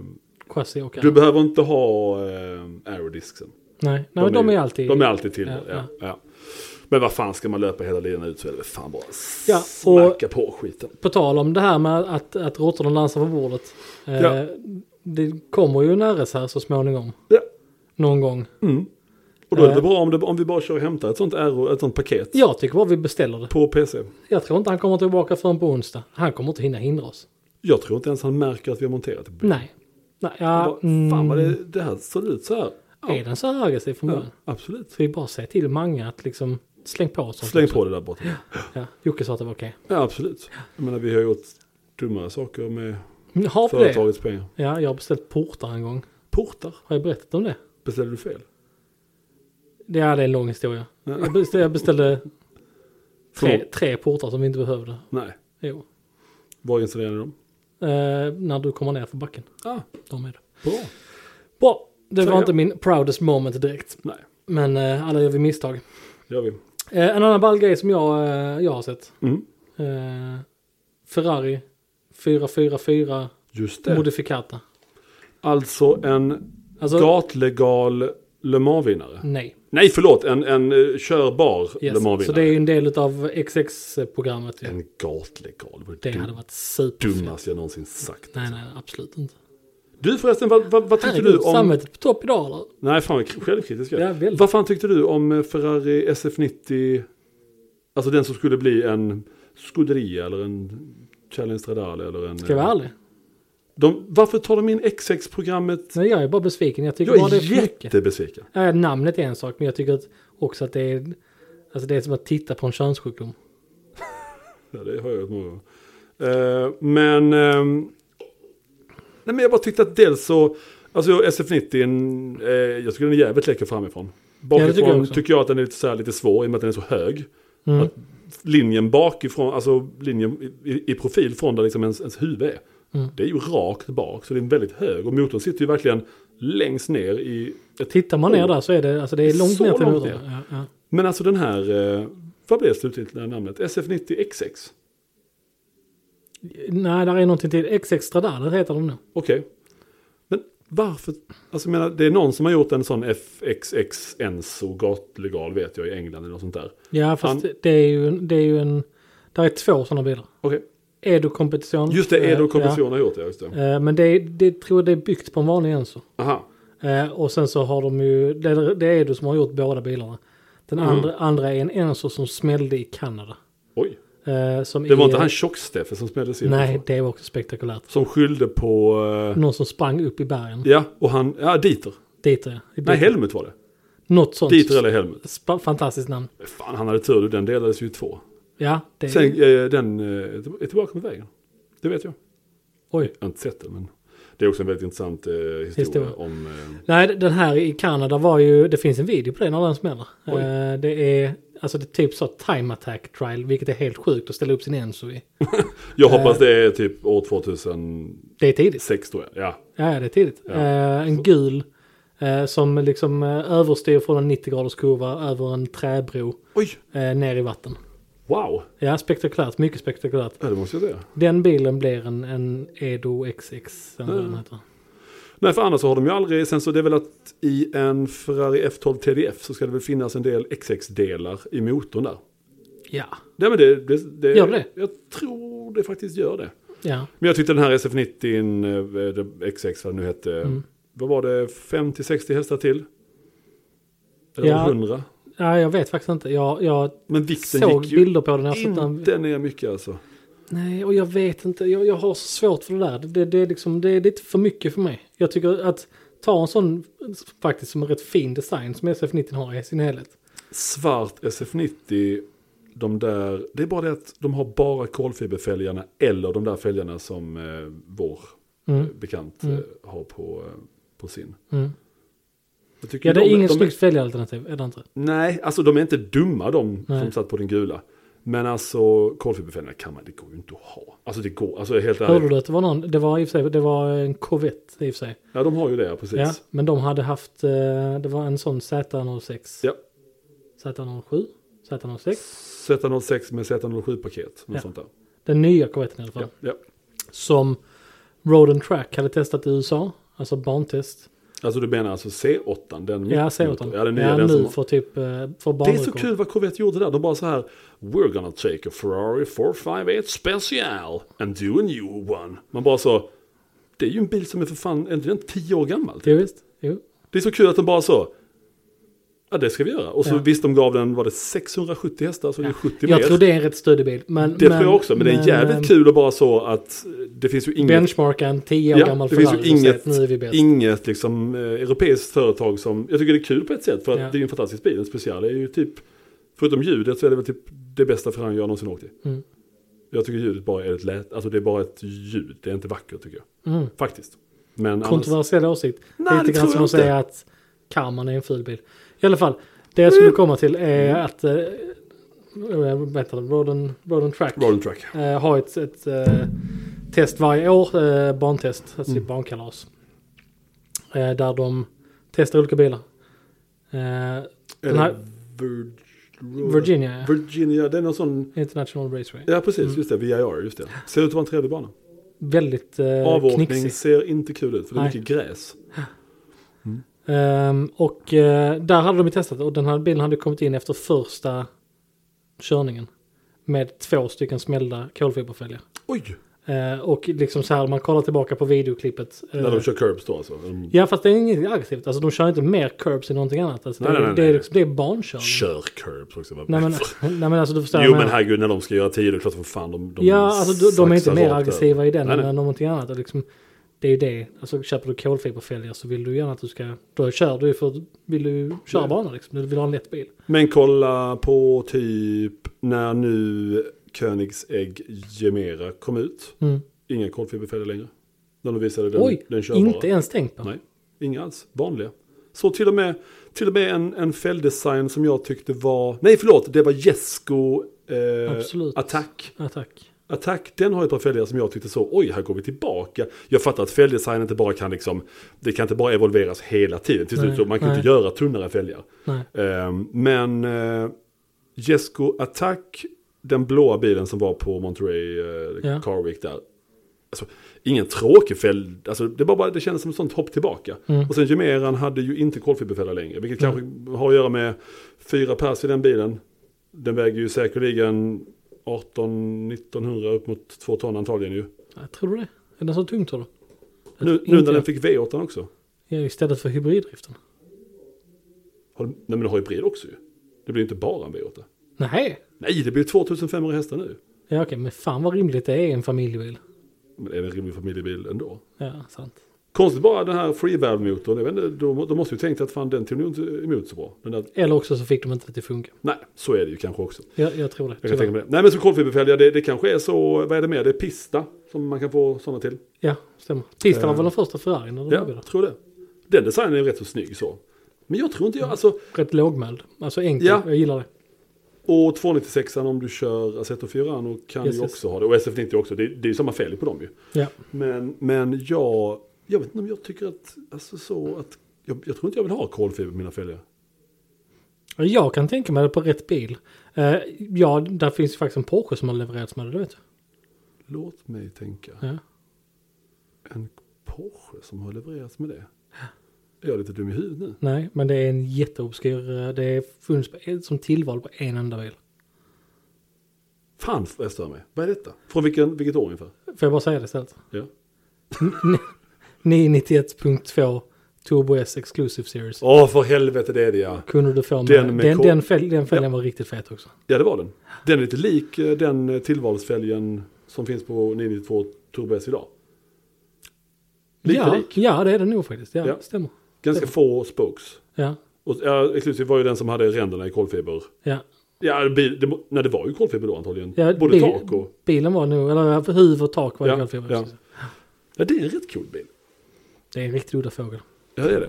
Speaker 1: Chassi och
Speaker 2: du behöver inte ha eh, arrowdisken.
Speaker 1: Nej, nej men de är alltid...
Speaker 2: De är alltid till. Ja,
Speaker 1: Ja,
Speaker 2: ja. Men vad fan ska man löpa hela linan ut så är det väl fan bara
Speaker 1: Ja,
Speaker 2: ja,
Speaker 1: och-
Speaker 2: smacka på skiten.
Speaker 1: På tal om det här med att, att råttorna dansar på bordet. Eh,
Speaker 2: Ja.
Speaker 1: Det kommer ju en RS här så småningom.
Speaker 2: Ja.
Speaker 1: Någon gång.
Speaker 2: Och då är det
Speaker 1: Eh.
Speaker 2: bra om, det, om vi bara kör och hämtar ett sånt, RO, ett sånt paket
Speaker 1: Jag tycker bara vi beställer det.
Speaker 2: på PC.
Speaker 1: Jag tror inte han kommer tillbaka förrän på onsdag. Han kommer inte hinna hindra oss.
Speaker 2: Jag tror inte ens han märker att vi har monterat det.
Speaker 1: Nej. Nej ja, mm,
Speaker 2: Bara, Fan vad det, det här ser ut så här.
Speaker 1: Är den så här aggressiv från
Speaker 2: Ja,
Speaker 1: början?
Speaker 2: absolut.
Speaker 1: Så vi bara säger till Mange att liksom släng på oss. sånt
Speaker 2: Släng
Speaker 1: också.
Speaker 2: på det där borta.
Speaker 1: Ja. Jocke sa att det var okej.
Speaker 2: Ja, absolut. Jag menar vi har gjort dummare saker med
Speaker 1: Okay. Har vi det?
Speaker 2: företagets pengar.
Speaker 1: Ja, jag har beställt portar en gång.
Speaker 2: Portar
Speaker 1: Har jag berättat om det?
Speaker 2: beställde du fel.
Speaker 1: Det är det är en lång historia.
Speaker 2: Ja.
Speaker 1: Jag beställde, jag beställde tre,
Speaker 2: Förlåt.
Speaker 1: tre portar som vi inte behövde.
Speaker 2: Nej,
Speaker 1: Jo.
Speaker 2: var installerade de?
Speaker 1: Eh, när du kommer ner för backen.
Speaker 2: Ah,
Speaker 1: De är det.
Speaker 2: bra.
Speaker 1: Bra, det
Speaker 2: Så
Speaker 1: var
Speaker 2: ja.
Speaker 1: inte min proudest moment direkt.
Speaker 2: Nej,
Speaker 1: Men eh, alla gör vi misstag.
Speaker 2: gör vi.
Speaker 1: Eh, en annan ball grej som jag, eh, jag har sett.
Speaker 2: Mm.
Speaker 1: Eh, Ferrari 444
Speaker 2: Just det.
Speaker 1: Modificata.
Speaker 2: Alltså en
Speaker 1: Alltså,
Speaker 2: gatlegal Le Mans-vinnare.
Speaker 1: nej.
Speaker 2: Nej, förlåt. En, en eh, körbar Le
Speaker 1: Yes. Så det
Speaker 2: Mans-vinnare.
Speaker 1: är ju en del av XX-programmet. ju.
Speaker 2: En gatlegal. Det var
Speaker 1: Det
Speaker 2: det
Speaker 1: hade varit superfett.
Speaker 2: dummaste jag någonsin sagt.
Speaker 1: Nej, nej, absolut inte.
Speaker 2: Du förresten, vad, vad, vad tyckte du
Speaker 1: Herregud,
Speaker 2: om...
Speaker 1: Samvetet på topp idag eller?
Speaker 2: Nej, fan vad självkritisk jag är.
Speaker 1: Ja, väldigt.
Speaker 2: Vad fan tyckte du om eh, Ferrari SF90? Alltså den som skulle bli en Scuderia eller en Challenge Stradale eller en...
Speaker 1: Ska jag vara
Speaker 2: eh,
Speaker 1: ärlig?
Speaker 2: de, varför tar de in XX-programmet?
Speaker 1: Nej, jag är bara besviken. Jag tycker
Speaker 2: Jag
Speaker 1: bara det är
Speaker 2: är
Speaker 1: för mycket.
Speaker 2: jättebesviken.
Speaker 1: Ja, namnet är en sak, men jag tycker att också att det är, alltså det är som att titta på en könssjukdom.
Speaker 2: Ja, det har jag gjort många gånger. Eh, men, ehm, nej, men jag bara tyckte att dels så, alltså SF90, är en, eh, jag tycker den är jävligt läcker framifrån. Bakifrån
Speaker 1: det tycker
Speaker 2: tycker,
Speaker 1: jag också.
Speaker 2: jag att den är lite, så här, lite svår i och med att den är så hög.
Speaker 1: Mm.
Speaker 2: Att linjen bakifrån, alltså linjen i, i- i profil från där liksom ens, ens huvud är.
Speaker 1: Mm.
Speaker 2: Det är ju rakt bak, så det är väldigt hög. Och motorn sitter ju verkligen längst ner i ett
Speaker 1: Tittar man ner där så är det, alltså det är långt
Speaker 2: Oh. Så
Speaker 1: ner till
Speaker 2: långt
Speaker 1: motorn. Ja, ja.
Speaker 2: Men alltså den här, eh, vad blev slutgiltiga namnet? SF90XX?
Speaker 1: Nej, där är någonting till. XX Stradalen heter de nu.
Speaker 2: Okej. Men Varför? Alltså jag menar, det är någon som har gjort en sån FXX Enzo gatlegal vet jag i England eller något sånt där.
Speaker 1: Ja, fast
Speaker 2: Han-
Speaker 1: det, är ju, det är ju en... Där är två sådana bilar.
Speaker 2: Okej,
Speaker 1: Edo-kompetition.
Speaker 2: just det, Edo
Speaker 1: eh,
Speaker 2: Competition har gjort det, just det.
Speaker 1: ja. Eh, Men det, det tror jag det är byggt på en vanlig Enzo.
Speaker 2: Aha,
Speaker 1: Eh, Och sen så har de ju... Det, det är Edo som har gjort båda bilarna. Den
Speaker 2: Mm.
Speaker 1: andra, andra är en Enzo som smällde i Kanada.
Speaker 2: oj.
Speaker 1: Eh, Som
Speaker 2: Det
Speaker 1: i,
Speaker 2: var inte
Speaker 1: eh,
Speaker 2: han Tjock-Steffe som smälldes in?
Speaker 1: Nej, det var också spektakulärt.
Speaker 2: Som skyllde på... eh,
Speaker 1: Någon som sprang upp i bergen.
Speaker 2: ja, och han... Ja, Dieter.
Speaker 1: Dit är jag.
Speaker 2: Nej, Helmut var det.
Speaker 1: Något sånt.
Speaker 2: Dieter eller Helmut.
Speaker 1: Sp- fantastiskt namn.
Speaker 2: Fan, han hade tur. Den delades ju i två.
Speaker 1: Ja, det
Speaker 2: Sen eh, den eh, är tillbaka med vägen. Det vet jag.
Speaker 1: Oj.
Speaker 2: Jag har inte sett den, men det är också en väldigt intressant eh, historia,
Speaker 1: Historia.
Speaker 2: om... Eh,
Speaker 1: Nej, den här i Kanada var ju... Det finns en video på det när den smäller.
Speaker 2: Oj.
Speaker 1: Eh, det är... Alltså det är typ så time attack trial, vilket är helt sjukt att ställa upp sin Enzo i.
Speaker 2: jag
Speaker 1: Eh.
Speaker 2: hoppas det är typ år 2006
Speaker 1: Det är tidigt.
Speaker 2: tror jag. Ja,
Speaker 1: Ja, ja, det är tidigt.
Speaker 2: Ja.
Speaker 1: Eh, en gul eh, som liksom eh, överstyr från en 90 graders kurva över en träbro
Speaker 2: Oj!
Speaker 1: eh, ner i vatten.
Speaker 2: Wow!
Speaker 1: Ja, spektakulärt. Mycket spektakulärt.
Speaker 2: Ja, det måste jag säga.
Speaker 1: Den bilen blir en, en Edo XX. eller vad den
Speaker 2: Ja.
Speaker 1: heter.
Speaker 2: Nej, för annars så har de ju aldrig... Sen så det är väl att i en Ferrari F12 TDF så ska det väl finnas en del XX-delar i motorn där.
Speaker 1: Ja,
Speaker 2: Nej, men det, det, det...
Speaker 1: Gör det?
Speaker 2: Jag tror det faktiskt gör det.
Speaker 1: ja.
Speaker 2: Men jag tyckte den här SF90, eh, XX vad den nu hette,
Speaker 1: Mm.
Speaker 2: vad var det, 50-60 hästar till? Eller
Speaker 1: Ja.
Speaker 2: var det 100?
Speaker 1: Nej, jag vet faktiskt inte. Jag, jag
Speaker 2: Men vikten
Speaker 1: såg
Speaker 2: gick ju
Speaker 1: bilder på den. Jag har sett den.
Speaker 2: inte ner mycket alltså.
Speaker 1: Nej, och jag vet inte. Jag, jag har så svårt för det där. Det, det, är liksom, det är lite för mycket för mig. Jag tycker att ta en sån faktiskt som en rätt fin design som SF90 har i sin helhet.
Speaker 2: Svart SF90, de där, det är bara det att de har bara kolfiberfälgarna eller de där fälgarna som eh, vår eh,
Speaker 1: Mm.
Speaker 2: bekant
Speaker 1: Mm.
Speaker 2: eh, har på, eh, på sin.
Speaker 1: Mm.
Speaker 2: Jag tycker
Speaker 1: Ja, det är
Speaker 2: de-
Speaker 1: inget
Speaker 2: de-
Speaker 1: snyggt fälgalternativ, är det inte?
Speaker 2: Nej, alltså de är inte dumma de
Speaker 1: Nej.
Speaker 2: som satt på den gula. Men alltså kolfiberfälgarna kan man, det går ju inte att ha. Alltså det går, alltså helt
Speaker 1: Hörde
Speaker 2: ärligt.
Speaker 1: du att det var någon, det var i och för sig, det var en Corvette i och för sig.
Speaker 2: Ja, de har ju det, ja, precis.
Speaker 1: Ja, men de hade haft, eh, det var en sån Z06.
Speaker 2: Ja.
Speaker 1: Z07? Z06?
Speaker 2: Z06 med Z07-paket, något
Speaker 1: Ja.
Speaker 2: sånt där.
Speaker 1: Den nya Corvetten i alla fall.
Speaker 2: Ja, ja.
Speaker 1: Som Road and Track hade testat i USA. Alltså bantest.
Speaker 2: Alltså du menar alltså C8, den
Speaker 1: Ja, säger åt
Speaker 2: Ja, den
Speaker 1: honom.
Speaker 2: nya,
Speaker 1: Ja,
Speaker 2: den
Speaker 1: nu
Speaker 2: som...
Speaker 1: för typ eh, för
Speaker 2: Det är så
Speaker 1: barnrekord.
Speaker 2: kul vad Corvette gjorde där. De bara så här, We're gonna take a Ferrari 458 special and do a new one. Man bara så, det är ju en bil som är för fan, är inte den tio år gammal?
Speaker 1: Jo, visst. Jo.
Speaker 2: Det är så kul att de bara så. Ja det ska vi göra. Och så
Speaker 1: Ja.
Speaker 2: visst de gav den, var det 670 hästar så det är 70 mer.
Speaker 1: Jag tror det är en rätt stödig bil. Men, men,
Speaker 2: Det tror jag också, men, det är jävligt
Speaker 1: eh,
Speaker 2: kul att bara så att eh, det finns ju inget,
Speaker 1: Benchmarka en 10 år
Speaker 2: Ja,
Speaker 1: gammal
Speaker 2: det finns ju
Speaker 1: Ferrari och säga
Speaker 2: inget-
Speaker 1: att nu är vi bäst.
Speaker 2: inget liksom, eh, europeiskt företag som, jag tycker det är kul på ett sätt för att
Speaker 1: Ja.
Speaker 2: det är ju en fantastisk bil, en speciell. Det är ju typ, förutom ljudet så är det väl typ det bästa Ferrari jag någonsin åkt i.
Speaker 1: Mm.
Speaker 2: Jag tycker ljudet bara är ett lät, alltså det är bara ett ljud, det är inte vackert tycker jag.
Speaker 1: Mm.
Speaker 2: Faktiskt. Men annars,
Speaker 1: Kontroversiell åsikt.
Speaker 2: Nej, det
Speaker 1: Lite grann
Speaker 2: tror
Speaker 1: som
Speaker 2: jag
Speaker 1: att säga att Karman är en ful bil. I alla fall, det jag
Speaker 2: Mm.
Speaker 1: skulle komma till är att... eh, eh, Vänta, Road and, road and Track.
Speaker 2: roll and track.
Speaker 1: eh, ha ett, ett eh, test varje år, eh, barntest, alltså
Speaker 2: Mm.
Speaker 1: barnkalas. Eh, där de testar olika bilar. Eh, Den här-
Speaker 2: Eller Virg-
Speaker 1: Virginia, ja.
Speaker 2: Virginia, det är någon sån...
Speaker 1: International Raceway.
Speaker 2: Ja precis,
Speaker 1: Mm.
Speaker 2: just det. VIR, just det. Ser ut att vara en trevlig bana.
Speaker 1: Väldigt eh,
Speaker 2: Avåkning
Speaker 1: knixig.
Speaker 2: ser inte kul ut för det är
Speaker 1: Nej.
Speaker 2: mycket gräs.
Speaker 1: Ehm, och eh, där hade de ju testat och den här bilen hade kommit in efter första körningen. Med två stycken smällda kolfiberfälgar.
Speaker 2: Oj!
Speaker 1: Eh, och liksom så här, man kollar tillbaka på videoklippet. eh,
Speaker 2: När de kör curbs då alltså. De
Speaker 1: Ja fast det är inget aggressivt. Alltså de kör inte mer curbs i någonting annat. Alltså,
Speaker 2: Nej,
Speaker 1: det, är-
Speaker 2: nej, nej,
Speaker 1: det är
Speaker 2: nej.
Speaker 1: liksom, det är barnkörning.
Speaker 2: kör curbs också. vad-
Speaker 1: Nej men, nej men alltså du förstår.
Speaker 2: jo
Speaker 1: jag
Speaker 2: men
Speaker 1: menar.
Speaker 2: herregud när de ska göra tio det är klart som fan de, de
Speaker 1: ja alltså de, de är inte
Speaker 2: saxar
Speaker 1: mer
Speaker 2: rakt över.
Speaker 1: aggressiva i den
Speaker 2: Nej,
Speaker 1: än
Speaker 2: nej.
Speaker 1: någonting annat. Och Liksom, det är ju det. Alltså köper du kolfiberfälgar så vill du gärna att du ska. Då kör du ju för vill du köra
Speaker 2: Ja.
Speaker 1: bana liksom. Du vill ha en lätt bil.
Speaker 2: Men kolla på typ när nu Königsegg Gemera kom ut.
Speaker 1: Mm.
Speaker 2: Inga kolfiberfälgar längre. När de visade den,
Speaker 1: Oj,
Speaker 2: den körbara.
Speaker 1: inte ens tänkt på.
Speaker 2: Nej, inga alls. Vanliga. Så till och med, till och med en, en fälldesign som jag tyckte var... Nej, förlåt. Det var Jesko eh,
Speaker 1: Absolut.
Speaker 2: Attack.
Speaker 1: Ja, tack.
Speaker 2: Attack, den har ett par fälgar som jag tyckte så, oj, här går vi tillbaka. Jag fattar att fälgdesign inte bara kan liksom, det kan inte bara evolveras hela tiden. Till slut,
Speaker 1: Nej,
Speaker 2: så man kan
Speaker 1: nej.
Speaker 2: inte göra tunnare fälgar.
Speaker 1: Nej.
Speaker 2: Ehm, men eh, Jesko Attack, den blåa bilen som var på Monterey eh,
Speaker 1: Ja.
Speaker 2: Car Week där. Alltså, ingen tråkig fäll, alltså det, var bara, det kändes som ett sånt hopp tillbaka.
Speaker 1: Mm.
Speaker 2: Och sen Jimeran hade ju inte kolfiberfälla längre, vilket kanske har att göra med fyra pers i den bilen. Den väger ju säkerligen 18-1900 upp mot två ton antagligen ju.
Speaker 1: Jag tror du det? Är den så tungt tror du? Jag
Speaker 2: Nu,
Speaker 1: tror
Speaker 2: nu
Speaker 1: Alltså, inte
Speaker 2: när den
Speaker 1: jag.
Speaker 2: fick V8 också.
Speaker 1: Ja, istället för hybriddriften.
Speaker 2: Har, nej men den har ju bred också ju. Det blir ju inte bara en V8.
Speaker 1: Nej.
Speaker 2: Nej, det blir 2500 hästar nu.
Speaker 1: Ja okej, men fan vad rimligt det är i en familjebil.
Speaker 2: Men det är väl en rimlig familjebil ändå.
Speaker 1: Ja, sant.
Speaker 2: Konstigt bara den här freevalve-motorn, jag vet inte, de, de måste ju tänkt att fan den tog nog inte emot så bra. Den där,
Speaker 1: Eller också så fick de inte det att funka.
Speaker 2: nej, så är det ju kanske också.
Speaker 1: Jag, jag tror det.
Speaker 2: Jag
Speaker 1: tyvärr.
Speaker 2: kan tänka mig det. Nej men så kolfiberfälgar, det, det kanske är så, vad är det mer, det är pista som man kan få sådana till.
Speaker 1: Ja, stämmer. Tisdagen var
Speaker 2: Eh.
Speaker 1: väl den första Ferrarin när de
Speaker 2: Ja,
Speaker 1: gjorde det.
Speaker 2: tror det. Den designen är rätt så snygg så. Men jag tror inte jag, alltså,
Speaker 1: Rätt lågmäld. Alltså enkel.
Speaker 2: Ja.
Speaker 1: Jag gillar det.
Speaker 2: och 296 om du kör Assetto Fiorano kan
Speaker 1: Yes,
Speaker 2: ju
Speaker 1: yes.
Speaker 2: också ha det. Och SF90 också, det, det är ju samma fel på dem ju.
Speaker 1: Ja.
Speaker 2: Men, men jag, jag vet inte om jag tycker att, alltså så att, jag, jag tror inte jag vill ha kolfiber på mina fälgar.
Speaker 1: Jag kan tänka mig det på rätt bil. Eh, ja, där finns ju faktiskt en Porsche som har levererats med det, det vet du.
Speaker 2: Låt mig tänka.
Speaker 1: Ja.
Speaker 2: En Porsche som har levererats med det. Är jag lite dum i huvudet nu?
Speaker 1: Nej, men det är en jätteobskyr. eh, Det är funnits på- som tillval på en enda bil.
Speaker 2: Fan vad jag stör mig. Vad är detta? Från vilken, vilket år ungefär?
Speaker 1: Får jag bara säga det istället?
Speaker 2: Ja.
Speaker 1: 991.2 Turbo S Exclusive Series.
Speaker 2: Åh för helvete det är det ja.
Speaker 1: Kunde du få med.
Speaker 2: Den
Speaker 1: Den,
Speaker 2: med
Speaker 1: den,
Speaker 2: kol-
Speaker 1: den, fäll, den fälgen var riktigt fet också.
Speaker 2: Ja det var den. Den är lite lik eh, den eh, tillvalsfälgen som finns på 992 Turbo S idag. Lite
Speaker 1: ja,
Speaker 2: lik.
Speaker 1: ja, det är den nog faktiskt. Ja,
Speaker 2: Ja.
Speaker 1: det stämmer.
Speaker 2: Ganska få spokes.
Speaker 1: Ja,
Speaker 2: Och ja, Exclusive var ju den som hade ränderna i kolfiber.
Speaker 1: ja.
Speaker 2: Ja, bil, det, må- nej, det var ju kolfiber då antagligen.
Speaker 1: ja
Speaker 2: Både
Speaker 1: bil-
Speaker 2: tak och...
Speaker 1: Bilen var nog, eller huvud och tak var
Speaker 2: Ja,
Speaker 1: det kolfiber.
Speaker 2: ja. Ja, det är en rätt cool bil.
Speaker 1: Det är en riktigt udda fågel.
Speaker 2: Ja, det är det.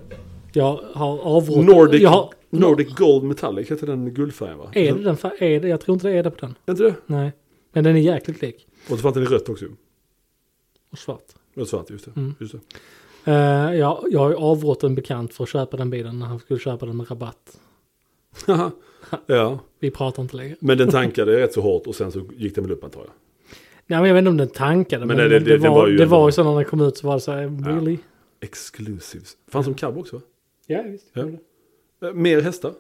Speaker 1: Jag har avrått.
Speaker 2: Nordic,
Speaker 1: Jag har,
Speaker 2: Nordic Gold Metallic heter den guldfärgen va?
Speaker 1: är det den? fa- Är det, jag tror inte det är det på den.
Speaker 2: Är inte det?
Speaker 1: Nej. Men den är jäkligt lik.
Speaker 2: Och så fanns den i rött också.
Speaker 1: Och svart.
Speaker 2: Rött svart, just det.
Speaker 1: Mm.
Speaker 2: Just det.
Speaker 1: Eh, jag, jag har ju avrått en bekant för att köpa den bilen när han skulle köpa den med rabatt.
Speaker 2: Haha. ja,
Speaker 1: Vi pratar inte längre.
Speaker 2: men den tankade rätt så hårt och sen så gick den väl upp antar jag.
Speaker 1: Nej men jag vet inte om den tankade. Men,
Speaker 2: nej,
Speaker 1: det,
Speaker 2: det-
Speaker 1: det,
Speaker 2: det- den
Speaker 1: var,
Speaker 2: var ju
Speaker 1: det
Speaker 2: ändå-
Speaker 1: var ju så när den kom ut så var det så här, really?
Speaker 2: Exclusives. Fanns som cab också va?
Speaker 1: Ja, visst.
Speaker 2: Ja. Eh, Mer hästar?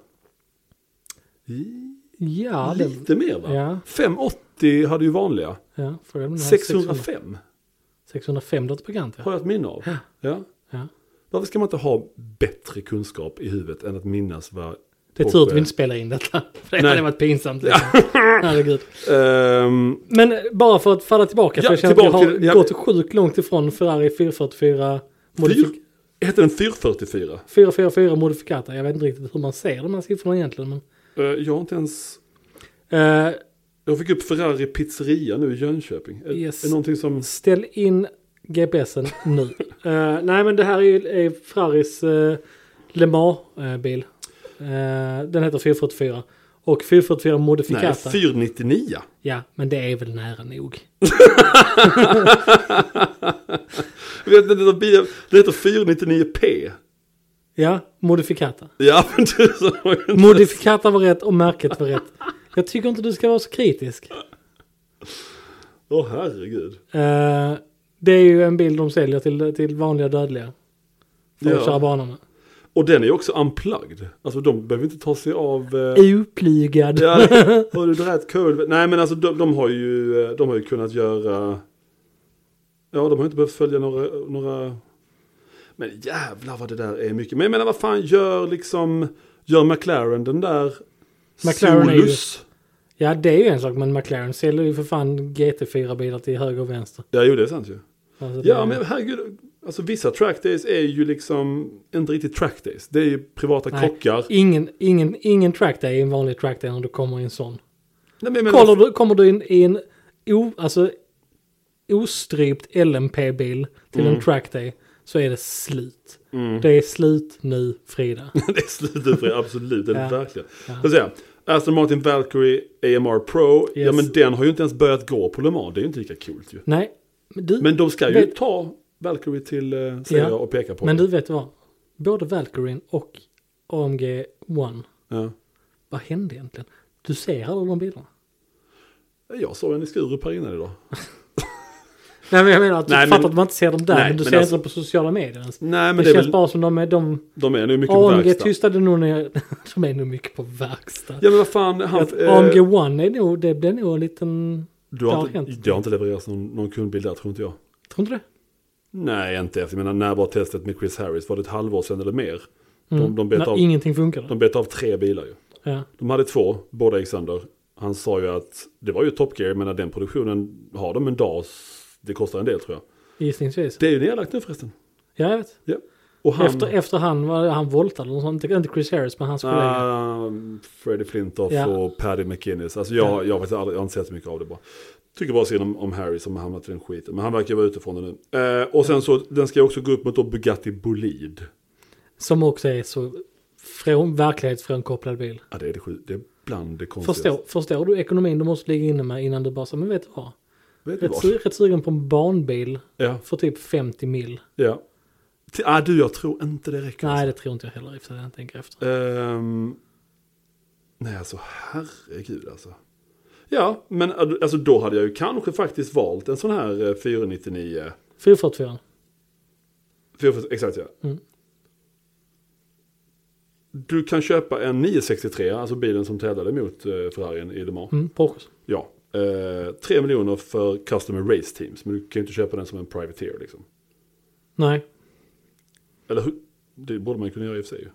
Speaker 2: I-
Speaker 1: Ja, det,
Speaker 2: Lite mer va?
Speaker 1: ja.
Speaker 2: 580 hade ju vanliga.
Speaker 1: ja frågan om den här 600.
Speaker 2: 605
Speaker 1: 605 låter bekant ja.
Speaker 2: har jag ett minne av. Ja.
Speaker 1: ja.
Speaker 2: Varför ska man inte ha bättre kunskap i huvudet än att minnas vad...
Speaker 1: Det är tur att vi inte spelar in detta. För det
Speaker 2: eh, Nej.
Speaker 1: hade varit pinsamt. Liksom. Herregud.
Speaker 2: Ehm,
Speaker 1: Men bara för att falla tillbaka. För
Speaker 2: Ja,
Speaker 1: jag känner att
Speaker 2: tillbaka
Speaker 1: jag har
Speaker 2: till- ja.
Speaker 1: gått sjukt långt ifrån Ferrari 444 modifik-
Speaker 2: fyr- Hette den 444?
Speaker 1: 444 modifikata. Jag vet inte riktigt hur man ser de här siffrorna egentligen. Men,
Speaker 2: Eh, Jag har inte ens...
Speaker 1: eh,
Speaker 2: Jag fick upp Ferrari Pizzeria nu i Jönköping. Är,
Speaker 1: Yes.
Speaker 2: är någonting som...
Speaker 1: ställ in GPSen nu. Eh, nej men det här är ju är Ferraris eh, Le Mans-bil. Eh, den heter 444. Och 444
Speaker 2: Nej,
Speaker 1: modifikata.
Speaker 2: 499.
Speaker 1: ja, men det är väl nära nog.
Speaker 2: Jag vet inte, det heter bil- det heter 499P.
Speaker 1: Ja, modifikata.
Speaker 2: Ja, men du sa ju inte-
Speaker 1: Modifikata var rätt och märket var rätt. Jag tycker inte du ska vara så kritisk.
Speaker 2: Åh herregud.
Speaker 1: Eh, det är ju en bil de säljer till, till vanliga dödliga. För att
Speaker 2: Ja.
Speaker 1: köra banan med.
Speaker 2: Och den är ju också unplugged. Alltså de behöver inte ta sig av... Eh...
Speaker 1: Uplygad.
Speaker 2: Ja, har du dragit kul? Nej men alltså de, de, har ju, eh, de har ju kunnat göra... Ja, de har inte behövt följa några... några... Men jävlar vad det där är mycket. Men jag menar vad fan gör liksom... Gör McLaren den där...
Speaker 1: McLaren är ju-
Speaker 2: Solus?
Speaker 1: Ja, det är ju en sak, men McLaren säljer ju för fan GT4-bilar till höger och vänster.
Speaker 2: Ja, jo det är sant ju.
Speaker 1: Alltså, det-
Speaker 2: Ja, men herregud. Alltså vissa trackdays är ju liksom inte riktigt trackdays. Det är ju privata
Speaker 1: Nej.
Speaker 2: krockar.
Speaker 1: Ingen, ingen, ingen trackday är en vanlig trackday när du kommer i en sån.
Speaker 2: Nej, men, men,
Speaker 1: Kollar du, kommer du in i en o, alltså, ostrypt LMP-bil till
Speaker 2: Mm.
Speaker 1: en trackday så är det slut. Det är slut nu, Frida.
Speaker 2: det är slutet för er, absolut. Det är
Speaker 1: Ja.
Speaker 2: det verkligen. Så att säga, Aston Martin Valkyrie AMR Pro. Ja,
Speaker 1: Yes.
Speaker 2: men den har ju inte ens börjat gå på Le Mans. Det är ju inte lika kul ju.
Speaker 1: Nej, men du,
Speaker 2: Men de ska ju
Speaker 1: Vet-
Speaker 2: ta Valkyrie till eh, seger
Speaker 1: Ja.
Speaker 2: och peka på.
Speaker 1: men
Speaker 2: det.
Speaker 1: du vet vad? Både Valkyrien och AMG One,
Speaker 2: Ja.
Speaker 1: vad hände egentligen? Du ser alla de bilarna.
Speaker 2: Jag såg en i Skurup här innan idag.
Speaker 1: Nej men jag menar att
Speaker 2: Nej,
Speaker 1: du
Speaker 2: men-
Speaker 1: fattar att man inte ser dem där.
Speaker 2: Nej,
Speaker 1: men du
Speaker 2: men
Speaker 1: ser
Speaker 2: alltså-
Speaker 1: inte dem på sociala medier ens.
Speaker 2: Nej men
Speaker 1: det,
Speaker 2: det, är
Speaker 1: känns
Speaker 2: väl,
Speaker 1: bara som de är... De,
Speaker 2: de är nu mycket på
Speaker 1: AMG
Speaker 2: verkstad.
Speaker 1: tystade nog när jag... De är nog mycket på verkstad.
Speaker 2: Ja men vad fan, han,
Speaker 1: Att
Speaker 2: eh,
Speaker 1: AMG One är nog... Det blir nog en liten...
Speaker 2: du har
Speaker 1: det har
Speaker 2: inte,
Speaker 1: hänt.
Speaker 2: det har inte levererats någon, någon kundbild där tror inte jag.
Speaker 1: Tror inte det?
Speaker 2: Nej inte efter, jag menar när var testet med Chris Harris? Var det ett halvår sedan eller mer? De, de,
Speaker 1: Mm.
Speaker 2: bet
Speaker 1: När
Speaker 2: av,
Speaker 1: ingenting funkade.
Speaker 2: de bet av tre bilar ju.
Speaker 1: Ja.
Speaker 2: De hade två, båda gick sönder. Han sa ju att det var ju Top Gear, men den produktionen har de en dag, det kostar en del tror jag.
Speaker 1: Gissningsvis.
Speaker 2: Det är ju nedlagt nu förresten.
Speaker 1: Ja, jag vet.
Speaker 2: Ja. Och han,
Speaker 1: Efter, efter han, var, han voltade eller sånt. Inte- Inte Chris Harris, men hans kollega.
Speaker 2: Ah, Freddie Flintoff
Speaker 1: Ja.
Speaker 2: och Paddy McInnes. Alltså jag, jag, har faktiskt aldrig, jag har inte sett så mycket av det bara. Tycker bara synd om, om Harry som har hamnat i den skiten. Men han verkar vara utifrån det nu. Eh, och sen så, den ska ju också gå upp mot då Bugatti Bolid.
Speaker 1: Som också är så från, verklighetsfrånkopplad bil.
Speaker 2: Ja, det är det, sju- det är bland det konstigaste.
Speaker 1: Förstår, förstår du ekonomin du måste ligga inne med innan du bara så, men vet du vad?
Speaker 2: Vet du
Speaker 1: Rätt,
Speaker 2: vad?
Speaker 1: su- rätt sugen på en barnbil
Speaker 2: Ja,
Speaker 1: för typ 50 mil.
Speaker 2: ja. T- ah, du, jag tror inte det räcker.
Speaker 1: Nej, det tror inte jag heller i och för sig när jag tänker efter.
Speaker 2: Ehm, nej, alltså herregud alltså. Ja, men alltså då hade jag ju kanske faktiskt valt en sån här eh, 499.
Speaker 1: 444.
Speaker 2: För- Exakt ja.
Speaker 1: Mm.
Speaker 2: Du kan köpa en 963, alltså bilen som tävlade mot eh, Ferrarin i Le Mans.
Speaker 1: Mm, Porsche.
Speaker 2: Ja. Eh, 3 miljoner för Customer Race Teams, men du kan ju inte köpa den som en Privateer liksom.
Speaker 1: Nej.
Speaker 2: Eller hur? Det borde man kunna göra i och för sig ju.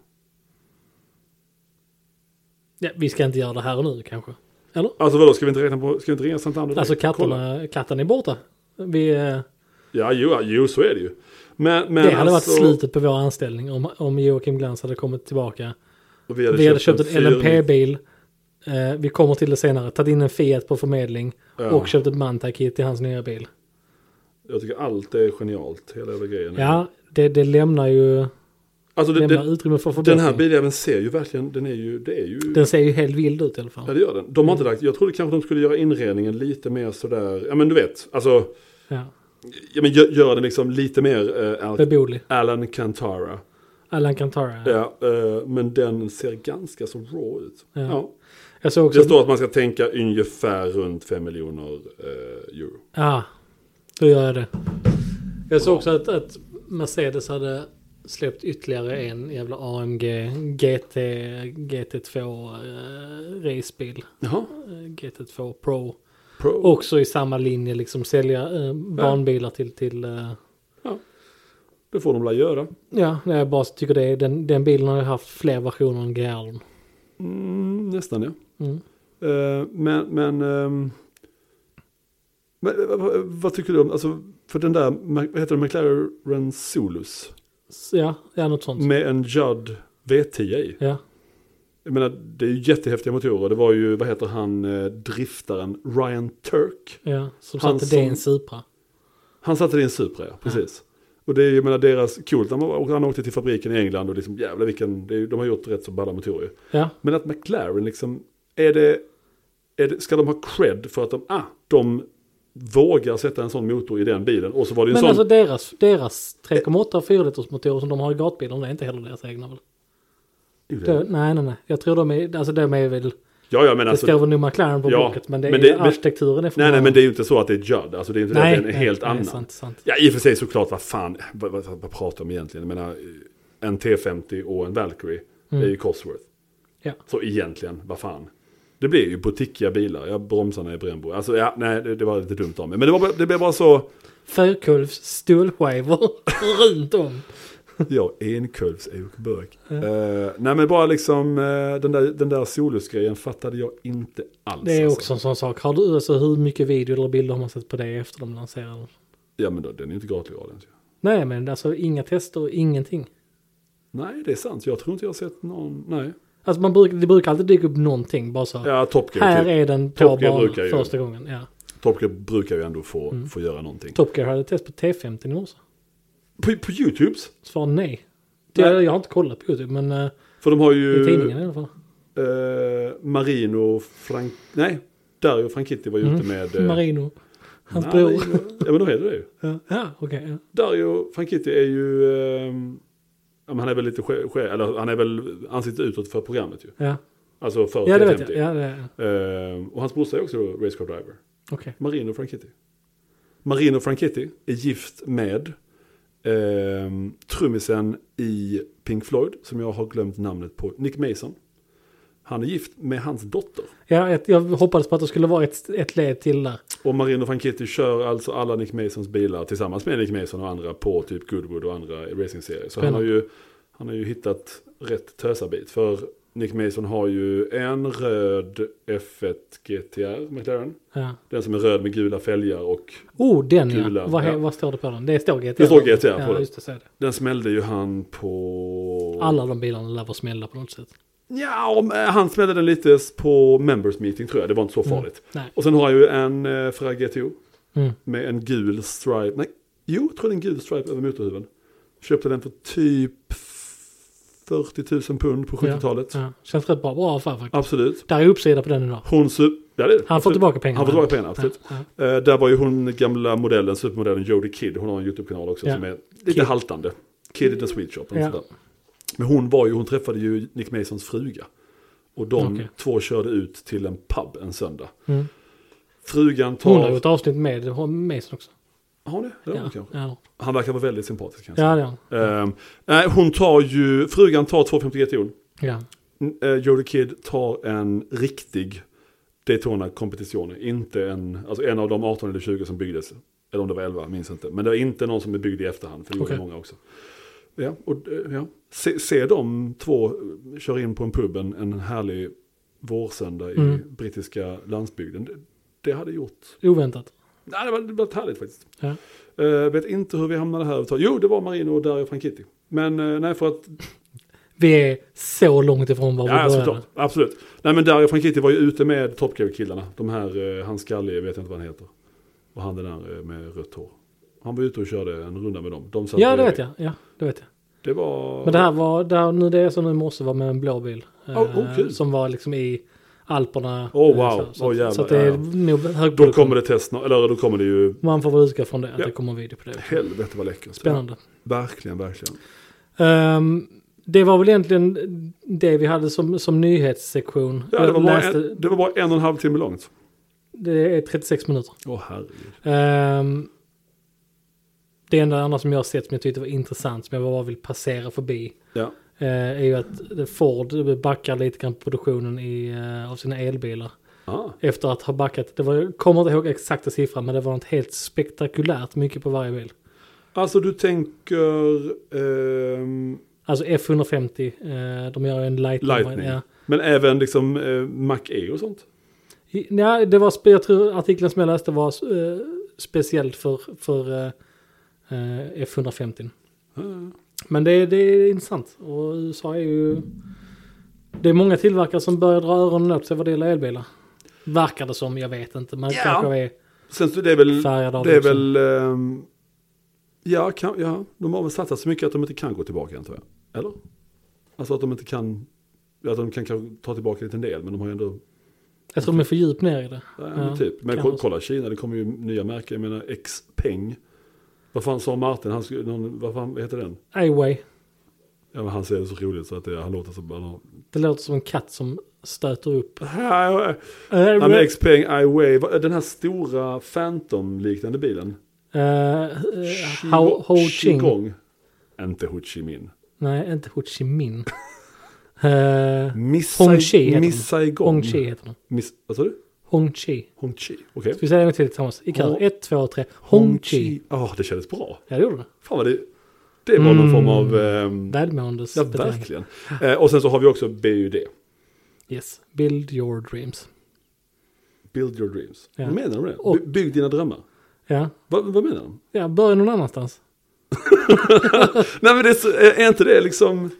Speaker 1: Ja, vi ska inte göra det här och nu kanske. Eller?
Speaker 2: Alltså vadå, ska vi inte räkna på, ska vi inte ringa Santander?
Speaker 1: Alltså
Speaker 2: Kolla.
Speaker 1: katterna, katten är borta. Vi, eh,
Speaker 2: Ja, jo, jo, så är det ju. Men, men
Speaker 1: det hade
Speaker 2: alltså,
Speaker 1: varit slutet på vår anställning om, om Joakim Glans hade kommit tillbaka.
Speaker 2: och Vi hade,
Speaker 1: Vi hade köpt en
Speaker 2: LMP
Speaker 1: LMP-bil. Eh, vi kommer till det senare. Tagit in en Fiat på förmedling.
Speaker 2: Ja.
Speaker 1: Och köpt ett Manta-kit till hans nya bil.
Speaker 2: Jag tycker allt är genialt, hela jävla grejen.
Speaker 1: Ja, det, det lämnar ju
Speaker 2: Alltså Mm. det,
Speaker 1: lämnar
Speaker 2: det,
Speaker 1: utrymme för
Speaker 2: den
Speaker 1: förbättring.
Speaker 2: här biljäveln ser ju verkligen, den är ju, det är ju...
Speaker 1: Den ser ju helt vild ut i alla
Speaker 2: Ja
Speaker 1: fall.
Speaker 2: det gör den. De har inte lagt, jag trodde kanske de skulle göra inredningen lite mer sådär, ja men du vet, alltså,
Speaker 1: Ja.
Speaker 2: ja, men gö- göra den liksom lite mer eh, Al-
Speaker 1: Beboelig.
Speaker 2: Alan Cantara.
Speaker 1: Alan Cantara.
Speaker 2: Ja, eh, men den ser ganska så raw ut.
Speaker 1: Ja.
Speaker 2: Ja.
Speaker 1: Jag såg också...
Speaker 2: Det står att man ska tänka ungefär runt 5 miljoner eh, euro.
Speaker 1: Ja, då gör jag det. Jag såg också att, att Mercedes hade släppt ytterligare en jävla AMG GT, GT2 eh, racebil.
Speaker 2: Jaha,
Speaker 1: Eh, GT2 Pro.
Speaker 2: pro.
Speaker 1: Också i samma linje liksom sälja eh, barnbilar till... till eh,
Speaker 2: Det får de väl göra.
Speaker 1: ja, nej, jag bara tycker det är, den, den bilen har ju haft fler versioner än GR.
Speaker 2: Mm, nästan ja.
Speaker 1: Mm.
Speaker 2: Eh, men, men, ehm, men eh, vad, vad tycker du om, alltså, för den där, vad heter den, McLaren Solus?
Speaker 1: Så, ja, ja, något sånt.
Speaker 2: Med en Judd V10 i.
Speaker 1: Ja,
Speaker 2: Jag menar, det är ju jättehäftiga motorer. Det var ju, vad heter han, eh, driftaren Ryan Turk.
Speaker 1: ja. Som
Speaker 2: Han
Speaker 1: satte det i en
Speaker 2: som-
Speaker 1: Supra.
Speaker 2: Han satte det i en Supra, ja, precis. Och det är ju, jag menar, deras, coolt, han, var- och han åkte till fabriken i England och liksom, jävlar vilken, det är, ju- de har gjort rätt så balla motorer ju.
Speaker 1: Ja,
Speaker 2: Men att McLaren liksom, är det, är det, ska de ha cred för att de, ah, de vågar sätta en sån motor i den bilen. Och så var det ju en
Speaker 1: Men
Speaker 2: sån,
Speaker 1: alltså deras, deras 3,8 fyrlitersmotorer som de har i gatbilen, det är inte heller deras egna väl? Det, nej, nej, nej. Jag tror de är, alltså de är väl,
Speaker 2: ja, ja, men
Speaker 1: det
Speaker 2: alltså,
Speaker 1: står väl nu McLaren på
Speaker 2: ja,
Speaker 1: blocket, men, det,
Speaker 2: men
Speaker 1: är-
Speaker 2: det- men-
Speaker 1: arkitekturen är från
Speaker 2: nej, nej, men det är ju inte så att det är Judd, alltså det är inte det
Speaker 1: Nej,
Speaker 2: att det är en
Speaker 1: nej,
Speaker 2: helt
Speaker 1: nej,
Speaker 2: annan.
Speaker 1: Sant, sant.
Speaker 2: Ja, i och för sig såklart, vad fan, vad, vad, vad pratar de om egentligen? Jag menar, eh, en T50 och en Valkyrie är ju Cosworth.
Speaker 1: Mm. Ja.
Speaker 2: Så egentligen, vad fan. Det blir ju boutiquiga bilar, ja, bromsarna är Brembo. Alltså, ja, nej, det, det var lite dumt av mig. Men det, var, bara- det blev bara så,
Speaker 1: Fyrkulvs stålskivor runt om.
Speaker 2: ja, enkulvs bök. nej, men bara liksom, eh, den där, den där Solus-grejen fattade jag inte alls.
Speaker 1: Det är
Speaker 2: alltså.
Speaker 1: också en sån sak. Har du, alltså hur mycket video eller bilder har man sett på det efter de lanserade? den?
Speaker 2: Ja, men då, den är ju inte gratis ens. ju.
Speaker 1: Nej, men alltså inga tester, ingenting.
Speaker 2: Nej, det är sant. Jag tror inte jag har sett någon, nej.
Speaker 1: Alltså man brukar, det brukar alltid dyka upp någonting, bara så.
Speaker 2: Ja, Top Gear,
Speaker 1: här
Speaker 2: typ.
Speaker 1: är den på
Speaker 2: Top Gear
Speaker 1: banan
Speaker 2: brukar ju-
Speaker 1: första gången. Ja.
Speaker 2: Top Gear brukar ju ändå få,
Speaker 1: Mm.
Speaker 2: få göra någonting.
Speaker 1: Top Gear hade test på T50 i morse.
Speaker 2: På, på YouTubes?
Speaker 1: Svar nej. Det,
Speaker 2: Nej.
Speaker 1: Jag har inte kollat på YouTube, men eh,
Speaker 2: För de har
Speaker 1: i
Speaker 2: ju
Speaker 1: tidningen i alla fall.
Speaker 2: eh, Marino Frank... Nej, Dario Franchitti var ju ute med... Eh,
Speaker 1: Mm. Marino. Hans
Speaker 2: Marino.
Speaker 1: bror.
Speaker 2: Ja men då heter det ju.
Speaker 1: Ja, ja okej. ja.
Speaker 2: Dario Franchitti är ju... Eh, ja, men han är väl lite chef, eller han är väl ansiktet utåt för programmet ju.
Speaker 1: ja.
Speaker 2: Alltså för Ehm,
Speaker 1: ja, det vet jag.
Speaker 2: 350.
Speaker 1: Ja, det,
Speaker 2: Eh, och hans brorsa är också racecar driver.
Speaker 1: okay.
Speaker 2: Marino Franchitti. Marino Franchitti är gift med ehm, trummisen i Pink Floyd, som jag har glömt namnet på, Nick Mason. Han är gift med hans dotter.
Speaker 1: Ja, ett, jag hoppades på att det skulle vara ett, ett led till där.
Speaker 2: Och Marino Franchitti kör alltså alla Nick Masons bilar tillsammans med Nick Mason och andra på typ Goodwood och andra racingserier. Så han
Speaker 1: Spännande.
Speaker 2: har, ju, han har ju hittat rätt tösarbit. För Nick Mason har ju en röd F1 GTR McLaren.
Speaker 1: Ja.
Speaker 2: Den som är röd med gula fälgar och
Speaker 1: Oh, den
Speaker 2: Gula,
Speaker 1: ja. Vad, he-
Speaker 2: ja.
Speaker 1: vad står det på den? Det står GTR.
Speaker 2: Det står GTR på
Speaker 1: ja,
Speaker 2: den.
Speaker 1: just det, så är det.
Speaker 2: den smällde ju han på...
Speaker 1: Alla de bilarna lär vara smällda på något sätt.
Speaker 2: Ja, om, eh, han smällde den lite på members meeting tror jag. Det var
Speaker 1: Mm.
Speaker 2: inte så farligt.
Speaker 1: Nej.
Speaker 2: Och sen har jag ju en eh, Ferrari GTO.
Speaker 1: Mm.
Speaker 2: Med en gul stripe. Nej, jo, jag tror det är en gul stripe över motorhuven. Köpte den för typ 40 000 pund på 70-talet.
Speaker 1: Ja. Känns rätt bra, bra affär faktiskt.
Speaker 2: Absolut.
Speaker 1: Där är uppsida på den idag.
Speaker 2: Hon su- ja, det är det.
Speaker 1: Han får
Speaker 2: Absolut.
Speaker 1: tillbaka pengarna.
Speaker 2: Han får tillbaka pengarna,
Speaker 1: Ja,
Speaker 2: absolut.
Speaker 1: ja.
Speaker 2: Eh, där var ju hon gamla modellen, supermodellen Jodie Kidd. Hon har en YouTube-kanal också
Speaker 1: Ja.
Speaker 2: som är lite
Speaker 1: Kidd.
Speaker 2: haltande. Kidd in the Sweet Shop.
Speaker 1: Ja.
Speaker 2: Ja. Men hon var ju, hon träffade ju Nick Masons fruga. Och de
Speaker 1: Okej.
Speaker 2: två körde ut till en pub en söndag.
Speaker 1: Mm.
Speaker 2: Frugan tar...
Speaker 1: Hon har gjort avsnitt med har Mason också.
Speaker 2: Har hon det? det har hon
Speaker 1: ja,
Speaker 2: kanske.
Speaker 1: ja.
Speaker 2: Han verkar vara väldigt sympatisk kanske.
Speaker 1: ja det har hon.
Speaker 2: Ehm, nej, hon tar ju, frugan tar 250 GTO.
Speaker 1: Ja.
Speaker 2: Uh, Jodie Kidd tar en riktig Daytona Competizione. Inte en, alltså en av de 18 eller 20 som byggdes. Eller om det var 11, minns inte. Men det var inte någon som är byggd i efterhand, för det gjorde
Speaker 1: Okej.
Speaker 2: många också. Ja, och, eh, ja. Se, se de två eh, köra in på en pub en, en härlig vårsöndag i
Speaker 1: Mm.
Speaker 2: brittiska landsbygden. Det, det hade gjort
Speaker 1: Oväntat.
Speaker 2: Nej, det var, det var härligt faktiskt.
Speaker 1: Ja.
Speaker 2: Eh, vet inte hur vi hamnade här. överhuvudtaget. Jo, det var Marino och Dario Franchitti. Men eh, nej, för att...
Speaker 1: Vi är så långt ifrån var vi
Speaker 2: Ja,
Speaker 1: började.
Speaker 2: såklart. Absolut. Nej, men Dario Franchitti var ju ute med Top Gear-killarna. De här, eh, han skallige, vet jag inte vad han heter. Och han den där eh, med rött hår. Han var ute och körde en runda med dem. De satt
Speaker 1: ja, det
Speaker 2: bredvid.
Speaker 1: vet jag. Ja, det vet jag.
Speaker 2: Det var...
Speaker 1: Men det här var, det här, nu det är som nu i morse var med en blå bil. eh,
Speaker 2: Oh, oh, kul.
Speaker 1: som var liksom i Alperna.
Speaker 2: Oh,
Speaker 1: eh,
Speaker 2: wow.
Speaker 1: Så, så,
Speaker 2: Oh, jävlar,
Speaker 1: så att det är
Speaker 2: ja, ja.
Speaker 1: nog hög
Speaker 2: Då kommer det test, eller då kommer det ju...
Speaker 1: Man får väl utgå från det, att
Speaker 2: Ja.
Speaker 1: det kommer en video på det.
Speaker 2: Helvete vad läckert.
Speaker 1: Spännande.
Speaker 2: Verkligen, verkligen.
Speaker 1: Ehm, det var väl egentligen det vi hade som, som nyhetssektion.
Speaker 2: Ja, det, var
Speaker 1: Jag
Speaker 2: bara
Speaker 1: läste-
Speaker 2: en, det var bara en och en halv timme långt.
Speaker 1: det är 36 minuter.
Speaker 2: Åh, herregud.
Speaker 1: Ehm, det enda andra som jag har sett som jag tyckte var intressant, som jag bara vill passera förbi,
Speaker 2: Ja.
Speaker 1: eh, är ju att Ford backar lite grann på produktionen i, eh, av sina elbilar.
Speaker 2: Ah.
Speaker 1: Efter att ha backat, det var, jag kommer inte ihåg exakta siffran, men det var något helt spektakulärt mycket på varje bil.
Speaker 2: Alltså du tänker... ehm,
Speaker 1: Alltså F150, eh, de gör ju en lightning.
Speaker 2: Lightning.
Speaker 1: Ja.
Speaker 2: men även liksom eh, Mac E och sånt?
Speaker 1: I- Nej, det var, spe- jag tror artikeln som jag läste var eh, speciellt för, för eh, eh, F150.
Speaker 2: Ja,
Speaker 1: Men det, det är intressant. Och USA är ju... Det är många tillverkare som börjar dra öronen åt sig vad det gäller elbilar. Verkar det som, jag vet inte. Man
Speaker 2: Ja.
Speaker 1: kanske är
Speaker 2: Sen så det är väl...
Speaker 1: färgad av
Speaker 2: Det är
Speaker 1: också.
Speaker 2: väl... ehm, ja, kan, ja, de har väl satsat så mycket att de inte kan gå tillbaka antar jag. Eller? Alltså att de inte kan... ja, Att de kan kanske ta tillbaka en liten del men de har ju ändå...
Speaker 1: Jag tror de är för djupt ner i det.
Speaker 2: Ja, men
Speaker 1: Ja,
Speaker 2: typ. Men
Speaker 1: kan
Speaker 2: ko-
Speaker 1: vara så.
Speaker 2: kolla Kina, det kommer ju nya märken. Jag menar Xpeng. Vad fan sa Martin? Han skulle, någon, vad fan heter den?
Speaker 1: Away.
Speaker 2: Ja, men han säger det så roligt så att det, han låter som... Han har,
Speaker 1: Det låter som en katt som stöter upp. Eh,
Speaker 2: Ja, men Xpeng iWay, vad- den här stora Phantom-liknande bilen.
Speaker 1: Eh, eh, Ho, Ho Ching.
Speaker 2: Qigong. Inte Ho Chi Minh.
Speaker 1: Nej, inte Ho Chi Minh. Eh,
Speaker 2: Miss
Speaker 1: Hong
Speaker 2: Sai-
Speaker 1: Chi heter den.
Speaker 2: Miss Saigon.
Speaker 1: Hong Chi heter den.
Speaker 2: Miss, vad sa du?
Speaker 1: Hong Chi.
Speaker 2: Hong Chi. Okej.
Speaker 1: Ska vi säga det en gång till tillsammans? I kör.
Speaker 2: Hong-
Speaker 1: Ett, två, tre. Hong Chi.
Speaker 2: Ja, det kändes bra.
Speaker 1: Ja, det gjorde det.
Speaker 2: Fan vad det... Det var någon
Speaker 1: Mm.
Speaker 2: form av... ehm,
Speaker 1: Välmåendes.
Speaker 2: ja,
Speaker 1: beteende.
Speaker 2: verkligen. Eh, och sen så har vi också BUD.
Speaker 1: Yes. Build your dreams.
Speaker 2: Build your dreams.
Speaker 1: Ja.
Speaker 2: Vad menar de med det?
Speaker 1: Och-
Speaker 2: By- Bygg dina drömmar.
Speaker 1: Ja.
Speaker 2: Vad, vad menar de?
Speaker 1: Ja, börja någon annanstans.
Speaker 2: Nej men det är, så- är inte det liksom...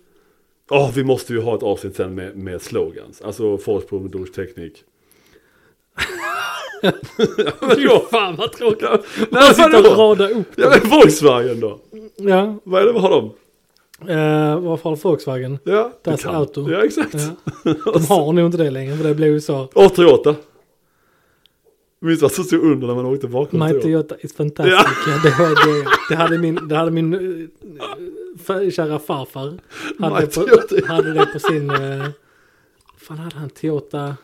Speaker 2: Ja, vi måste ju ha ett avsnitt sen med, med slogans. Alltså Forsprung, Dors Teknik.
Speaker 1: Fy fan vad tråkigt.
Speaker 2: Ja,
Speaker 1: Bara
Speaker 2: nej, vad
Speaker 1: sitta
Speaker 2: är
Speaker 1: och
Speaker 2: det?
Speaker 1: rada upp.
Speaker 2: Ja, men Volkswagen då?
Speaker 1: Ja,
Speaker 2: Vad är det, vad har de?
Speaker 1: eh, varför har Volkswagen?
Speaker 2: Ja, du
Speaker 1: Das
Speaker 2: kan.
Speaker 1: Auto.
Speaker 2: Ja, exakt.
Speaker 1: Ja. De har nog inte det längre för det blev ju så.
Speaker 2: Och Toyota. Minns du vad som stod under när man åkte bakom
Speaker 1: My
Speaker 2: Toyota?
Speaker 1: Toyota is fantastic.
Speaker 2: Ja.
Speaker 1: Ja. Det, var- det, det hade min, det hade min eh, fa- kära farfar. Hade,
Speaker 2: My
Speaker 1: det på,
Speaker 2: Toyota.
Speaker 1: hade det på sin... eh, fan hade han Toyota...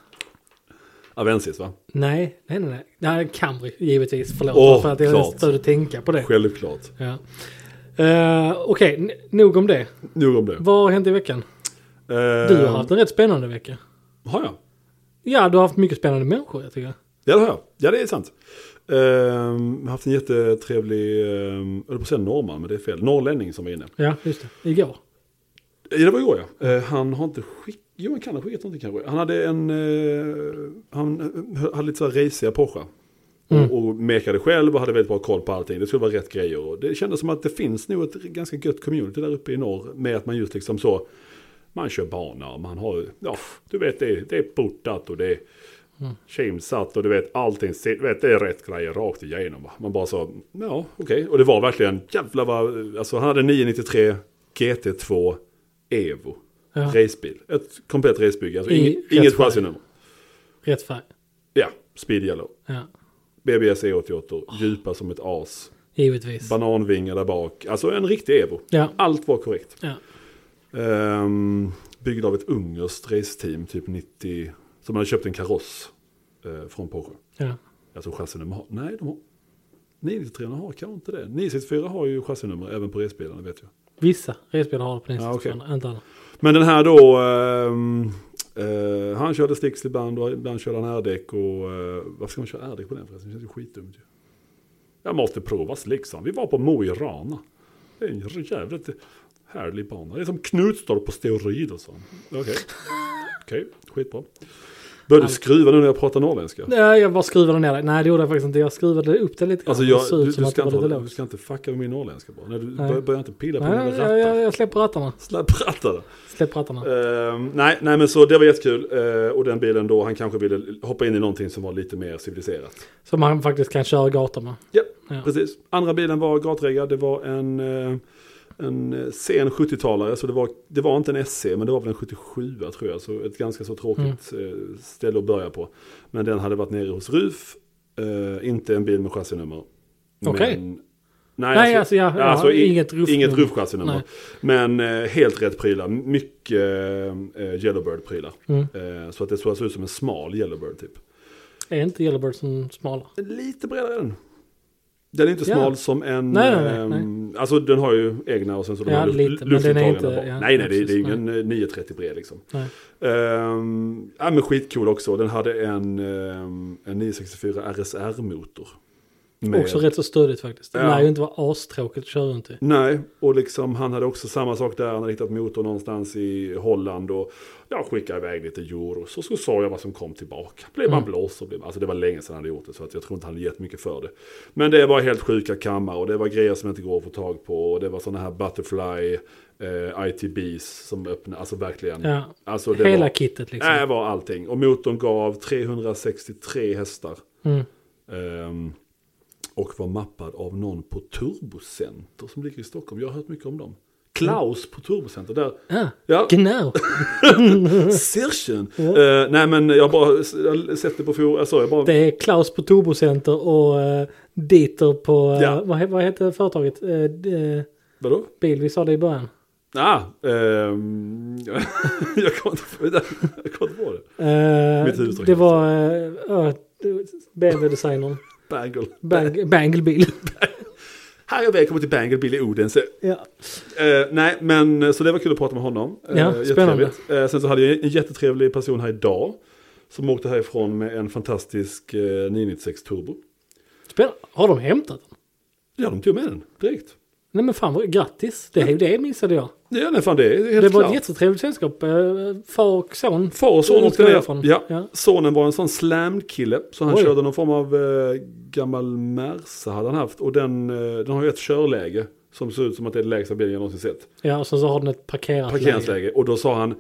Speaker 2: Avensis va?
Speaker 1: Nej, nej, nej. nej. nej Camry givetvis. Förlåt
Speaker 2: Åh,
Speaker 1: för att jag
Speaker 2: klart.
Speaker 1: stod och tänka på det.
Speaker 2: Självklart.
Speaker 1: Ja. Eh, Okej, n- nog om det.
Speaker 2: Nog om det.
Speaker 1: Vad har hänt i veckan?
Speaker 2: Eh,
Speaker 1: Du har haft en rätt spännande vecka.
Speaker 2: Har jag?
Speaker 1: Ja, du har haft mycket spännande människor jag tycker.
Speaker 2: Ja det har jag. Ja det är sant. Eh, Jag har haft en jättetrevlig, eh, jag höll på att säga norrman men det är fel, norrlänning som var inne.
Speaker 1: Ja, just det. Igår.
Speaker 2: Ja, det var igår ja. Eh, Han har inte skickat, jo han kan ha skickat någonting kanske. Han hade en, eh, han eh, hade lite så här racea Porsche.
Speaker 1: Mm.
Speaker 2: Och, och mekade själv och hade väldigt bra koll på allting. Det skulle vara rätt grejer. Och det kändes som att det finns nog ett ganska gött community där uppe i norr. Med att man just liksom så, man kör bana och man har, ja du vet det, är- det är portat och det är
Speaker 1: Mm.
Speaker 2: kimsat och du vet allting, sit- du vet, det är rätt grejer rakt igenom. va. Man bara så, ja okej. Och det var verkligen, jävlar vad, alltså han hade 993 GT2 Evo.
Speaker 1: Ja.
Speaker 2: Racebil, ett komplett racebygge, alltså
Speaker 1: I
Speaker 2: inget,
Speaker 1: rätt
Speaker 2: inget
Speaker 1: färg.
Speaker 2: chassinummer.
Speaker 1: Rätt färg.
Speaker 2: Ja, speed yellow.
Speaker 1: Ja,
Speaker 2: BBS E88, djupa som ett as.
Speaker 1: givetvis.
Speaker 2: Bananvingar där bak, alltså en riktig Evo.
Speaker 1: Ja.
Speaker 2: Allt var korrekt.
Speaker 1: Ja.
Speaker 2: Ehm, byggd av ett ungerskt raceteam, typ 90, som hade köpt en kaross eh, från Porsche.
Speaker 1: Ja.
Speaker 2: Alltså chassinummer har, nej de har, 993 har kanske inte det. 964 har ju chassinummer även på racebilarna vet jag.
Speaker 1: Vissa resbilar har det på
Speaker 2: Ja, Ah, okej.
Speaker 1: nästa ja, Inte alla.
Speaker 2: Men den här då, ehm, eh, han körde sticks ibland och ibland körde han R-däck och eh, varför ska man köra R-däck på den förresten? Det känns ju skitdumt ju. Jag måste prova slicksan. Vi var på Mo i Rana. Det är en jävligt härlig bana. Det är som Knutstorp på steroider sa han. Okej, okej, skitbra. Började du skruva nu när jag pratar norrländska?
Speaker 1: Nej, jag bara skruvade ner det. Nej, det gjorde jag faktiskt inte. Jag skruvade upp det lite grann.
Speaker 2: Alltså
Speaker 1: Det
Speaker 2: jag,
Speaker 1: såg
Speaker 2: du,
Speaker 1: ut
Speaker 2: du,
Speaker 1: som att det
Speaker 2: ska
Speaker 1: var
Speaker 2: inte,
Speaker 1: lite
Speaker 2: hålla- du
Speaker 1: lågt.
Speaker 2: ska inte fucka med min norrländska bara. Nej, du
Speaker 1: Nej.
Speaker 2: bör- börjar inte pila på
Speaker 1: Nej,
Speaker 2: mina
Speaker 1: jag,
Speaker 2: rattar.
Speaker 1: jag, jag, jag släpper rattarna.
Speaker 2: Släpp rattarna.
Speaker 1: Släpp rattarna.
Speaker 2: Ehm, nej, nej, men så det var jättekul. Eh, och den bilen då, han kanske ville hoppa in i någonting som var lite mer civiliserat.
Speaker 1: Som man faktiskt kan köra gator med.
Speaker 2: Ja,
Speaker 1: Ja.
Speaker 2: precis. Andra bilen var gatreggad. Det var en, eh, en eh, sen 70-talare. Så det var, det var inte en SC, men det var väl en 77 tror jag. Så ett ganska så tråkigt
Speaker 1: Mm.
Speaker 2: eh, ställe att börja på. Men den hade varit nere hos RUF. Eh, inte en bil med chassinummer.
Speaker 1: Okej.
Speaker 2: Men-
Speaker 1: Nej, alltså, ja, ja, inget RUF-nummer.
Speaker 2: Inget RUF-chassinummer. Men eh, helt rätt prylar. Mycket eh, Yellowbird-prylar.
Speaker 1: Mm.
Speaker 2: Eh, så att det såg ut som en smal Yellowbird typ.
Speaker 1: Är inte Yellowbird som smalare?
Speaker 2: Lite bredare än. Den är inte
Speaker 1: Ja.
Speaker 2: smal som en...
Speaker 1: Nej, nej, nej,
Speaker 2: ehm, Alltså den har ju egna och sen så de
Speaker 1: Ja,
Speaker 2: har
Speaker 1: lite,
Speaker 2: luft,
Speaker 1: men den är
Speaker 2: luftuttagen
Speaker 1: inte-
Speaker 2: där bak.
Speaker 1: ja,
Speaker 2: nej, nej, det, det är
Speaker 1: precis,
Speaker 2: ingen eh, 930 bred liksom.
Speaker 1: Nej.
Speaker 2: Um, ja men skitcool också. Den hade en, ehm, en 964 RSR-motor. Med-
Speaker 1: Också rätt så stödigt faktiskt. Det
Speaker 2: Ja. Mm.
Speaker 1: lär ju inte vara astråkigt att köra runt i.
Speaker 2: Nej, och liksom han hade också samma sak där. Han hade hittat motor någonstans i Holland och jag skickade iväg lite euro. Så, så sa jag vad som kom tillbaka. Blev
Speaker 1: Mm.
Speaker 2: man blåst så blev man... Alltså det var länge sedan han hade gjort det så att jag tror inte han hade gett mycket för det. Men det var helt sjuka kammar och det var grejer som inte går att få tag på. Och det var sådana här butterfly eh, ITBs som öppnade. Alltså verkligen.
Speaker 1: Ja.
Speaker 2: Alltså det
Speaker 1: Hela
Speaker 2: var,
Speaker 1: kittet liksom.
Speaker 2: Nej, det Äh, var allting. Och motorn gav 363 hästar.
Speaker 1: Mm.
Speaker 2: Ehm, och var mappad av någon på Turbocenter som ligger i Stockholm. Jag har hört mycket om dem. Klaus på Turbocenter där.
Speaker 1: Ja,
Speaker 2: Ja,
Speaker 1: genau.
Speaker 2: Sirchen. Eh, nej men jag har bara jag har sett det på for, alltså, jag bara,
Speaker 1: Det är Klaus på Turbocenter och eh, Dieter på... eh,
Speaker 2: Ja.
Speaker 1: vad, he- vad heter företaget? Eh, d- eh,
Speaker 2: vadå?
Speaker 1: bil, vi sa det i början.
Speaker 2: Ah, ehm, jag kommer inte, jag kommer inte på det.
Speaker 1: Eh,
Speaker 2: Mitt huvud står
Speaker 1: det
Speaker 2: helt
Speaker 1: var uh, BMW-designern.
Speaker 2: Bangle.
Speaker 1: Bang, bangelbil.
Speaker 2: Här är jag välkommen till Bangle Billy Odense.
Speaker 1: ja.
Speaker 2: Eh, nej, men så det var kul att prata med honom. Eh,
Speaker 1: Ja,
Speaker 2: jättetrevligt.
Speaker 1: spännande.
Speaker 2: Eh, sen så hade jag en jättetrevlig person här idag. Som åkte härifrån med en fantastisk eh, 996 Turbo.
Speaker 1: Spel- Har de hämtat den?
Speaker 2: Ja, de tog med den direkt.
Speaker 1: Nej men fan, vad- grattis. Det, är ju det missade jag.
Speaker 2: Ja, nej, fan det är helt
Speaker 1: Det var ett
Speaker 2: klart.
Speaker 1: jättetrevligt sällskap. eh, Far och son.
Speaker 2: Far och son
Speaker 1: Det
Speaker 2: åkte
Speaker 1: utgår jag
Speaker 2: ner.
Speaker 1: ifrån.
Speaker 2: Ja.
Speaker 1: Ja.
Speaker 2: Sonen var en sån slammed kille. Så han
Speaker 1: Oj.
Speaker 2: körde någon form av eh, gammal Merca hade han haft. Och den, eh, den har ju ett körläge. Som ser ut som att det är det lägsta bilen jag någonsin sett.
Speaker 1: Ja, och sen så har den ett parkerat läge.
Speaker 2: Parkeringsläge. Och då sa han,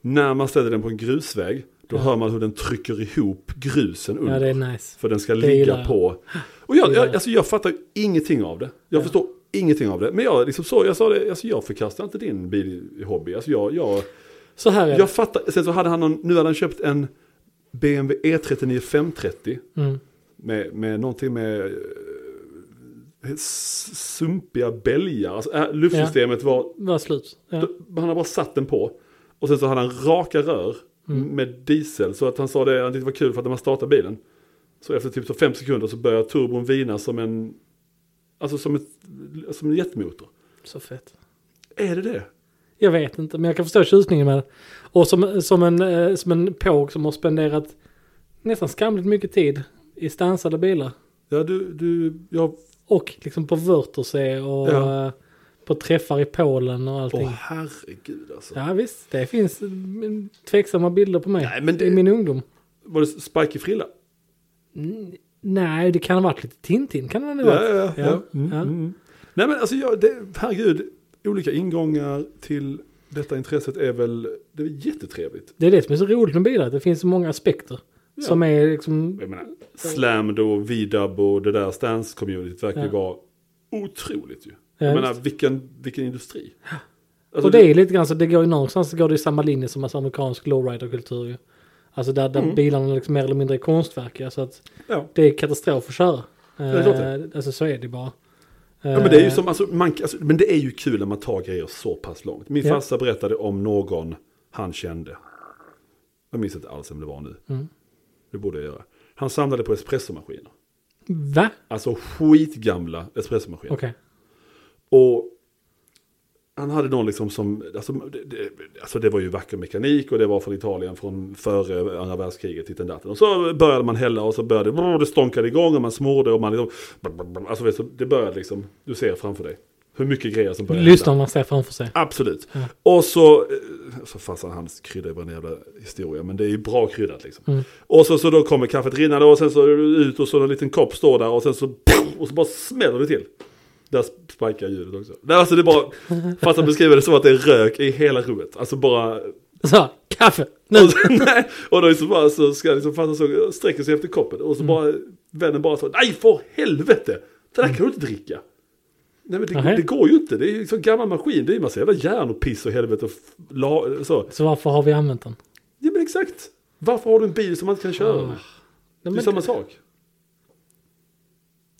Speaker 2: när man ställer den på en grusväg. Då hör man hur den trycker ihop grusen under.
Speaker 1: Ja, det är nice.
Speaker 2: För den ska
Speaker 1: Det
Speaker 2: ligga
Speaker 1: gillar jag.
Speaker 2: på. Och jag,
Speaker 1: Det gillar
Speaker 2: jag,
Speaker 1: jag.
Speaker 2: alltså jag fattar ju ingenting av det. Jag
Speaker 1: Ja.
Speaker 2: förstår ingenting av det. Men jag, liksom så, jag sa det, alltså jag förkastar inte din bilhobby. Alltså jag, jag,
Speaker 1: Så här är
Speaker 2: jag fattar, sen så hade han någon, nu hade han köpt en BMW E39 530.
Speaker 1: det. Mm.
Speaker 2: E Med, med någonting med eh, s- sumpiga bälgar. Alltså, äh, luftsystemet var,
Speaker 1: Var slut. Ja.
Speaker 2: han hade bara satt den på. Och sen så hade han raka rör med diesel. Så att han sa det, att det var kul för att när man startar bilen. Så efter typ så fem sekunder så börjar turbon vina som en, alltså som, ett, som en jetmotor.
Speaker 1: Så fett.
Speaker 2: Är det det?
Speaker 1: Jag vet inte, men jag kan förstå tjusningen med det. Och som, som, en, eh, som en påg som har spenderat nästan skamligt mycket tid i stansade bilar.
Speaker 2: Ja, du, du, jag,
Speaker 1: Och liksom på Wörthersee och
Speaker 2: Ja.
Speaker 1: eh, på träffar i Polen och allting.
Speaker 2: åh herregud alltså.
Speaker 1: Ja visst, det finns mm, tveksamma bilder på mig
Speaker 2: Nej, men det-
Speaker 1: i min ungdom.
Speaker 2: Var det spiky frilla?
Speaker 1: Nej, det kan ha varit lite Tintin kan det ha
Speaker 2: Ja,
Speaker 1: varit.
Speaker 2: ja, ja.
Speaker 1: Ja,
Speaker 2: Mm,
Speaker 1: ja.
Speaker 2: Mm. Nej men alltså, jag, det, herregud, olika ingångar till detta intresset är väl, det är jättetrevligt.
Speaker 1: Det är det som är så roligt med bilar, att det finns så många aspekter.
Speaker 2: Ja.
Speaker 1: Som är liksom,
Speaker 2: Jag menar, Slammed och V-dub och det där stance-communityt verkar ju
Speaker 1: Ja.
Speaker 2: vara otroligt ju.
Speaker 1: Ja,
Speaker 2: jag
Speaker 1: just.
Speaker 2: menar, vilken, vilken industri. Alltså,
Speaker 1: och det är lite grann så, det går ju någonstans så går det i samma linje som alltså amerikansk lowrider-kultur ju. Alltså där, där
Speaker 2: Mm.
Speaker 1: bilarna liksom mer eller mindre är konstverk ju, så att
Speaker 2: ja.
Speaker 1: det är katastrof att köra.
Speaker 2: det är klart det.
Speaker 1: Eh, alltså så är det bara.
Speaker 2: Ja, men det
Speaker 1: Eh.
Speaker 2: är ju som, alltså, man, alltså, men det är ju kul när man tar grejer så pass långt. Min
Speaker 1: Ja.
Speaker 2: farsa berättade om någon han kände. Jag minns inte alls vem det var nu.
Speaker 1: Mm.
Speaker 2: Det borde jag göra. Han samlade på espressomaskiner.
Speaker 1: Eh, Va?
Speaker 2: Alltså skitgamla espressomaskiner.
Speaker 1: Okej.
Speaker 2: Och han hade någon liksom som, alltså det, det, alltså det var ju vacker mekanik och det var från Italien från före andra världskriget. Hit datten. Och så började man hälla och så började brr, det stånkade igång och man smorde och man liksom, brr, brr, brr. alltså vet du, det började liksom, du ser framför dig hur mycket grejer som började
Speaker 1: Lyssna om man ser framför sig.
Speaker 2: Absolut. Och så, eh, så fastnar hans krydda var en jävla historia, men det är ju bra kryddat liksom. Och så, så då kommer kaffet rinnande och sen så är du ut och så en liten kopp står där och sen så, och så bara smäller det till. Där sparkar ljudet också. Nej, alltså det är bara, fast han beskriver det så att det är rök i hela rummet. Alltså bara...
Speaker 1: Så, kaffe! Nu!
Speaker 2: Och, så, nej, och då är det så bara så ska jag liksom, fast han så sträcker sig efter koppen och
Speaker 1: Mm.
Speaker 2: så bara, vännen bara så, nej för helvete! Det där kan du inte dricka. Nej men det,
Speaker 1: Nähä.
Speaker 2: det går ju inte, det är ju liksom en gammal maskin, det är ju massa jävla järn och piss och helvete och f- la, så.
Speaker 1: Så varför har vi använt den?
Speaker 2: Ja men exakt, varför har du en bil som man inte kan köra
Speaker 1: Ah.
Speaker 2: med?
Speaker 1: Nej,
Speaker 2: Det är
Speaker 1: men-
Speaker 2: samma sak.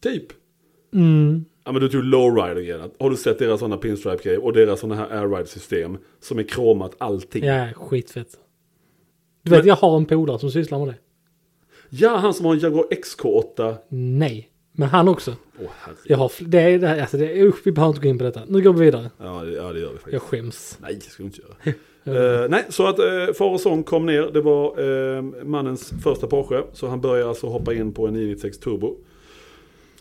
Speaker 2: Typ.
Speaker 1: Mm.
Speaker 2: Ja men du tog lowrider igen. Har du sett deras sådana pinstripe-grejer och deras sådana här airride-system som är kromat allting?
Speaker 1: Ja, skitfett. Du vet,
Speaker 2: Men-
Speaker 1: jag har en polare som sysslar med det.
Speaker 2: Ja, han som har en Jaguar XK8.
Speaker 1: Nej, men han också.
Speaker 2: Åh herregud.
Speaker 1: Jag har, fl- det är det här, alltså det är, usch, vi behöver inte gå in på detta. Nu går vi vidare.
Speaker 2: Ja, det, ja, det gör vi faktiskt.
Speaker 1: Jag skäms.
Speaker 2: Nej, det ska du inte göra. Eh, nej, så att uh, far och son kom ner. Det var eh, mannens första Porsche. Så han började alltså hoppa in på en 996 Turbo.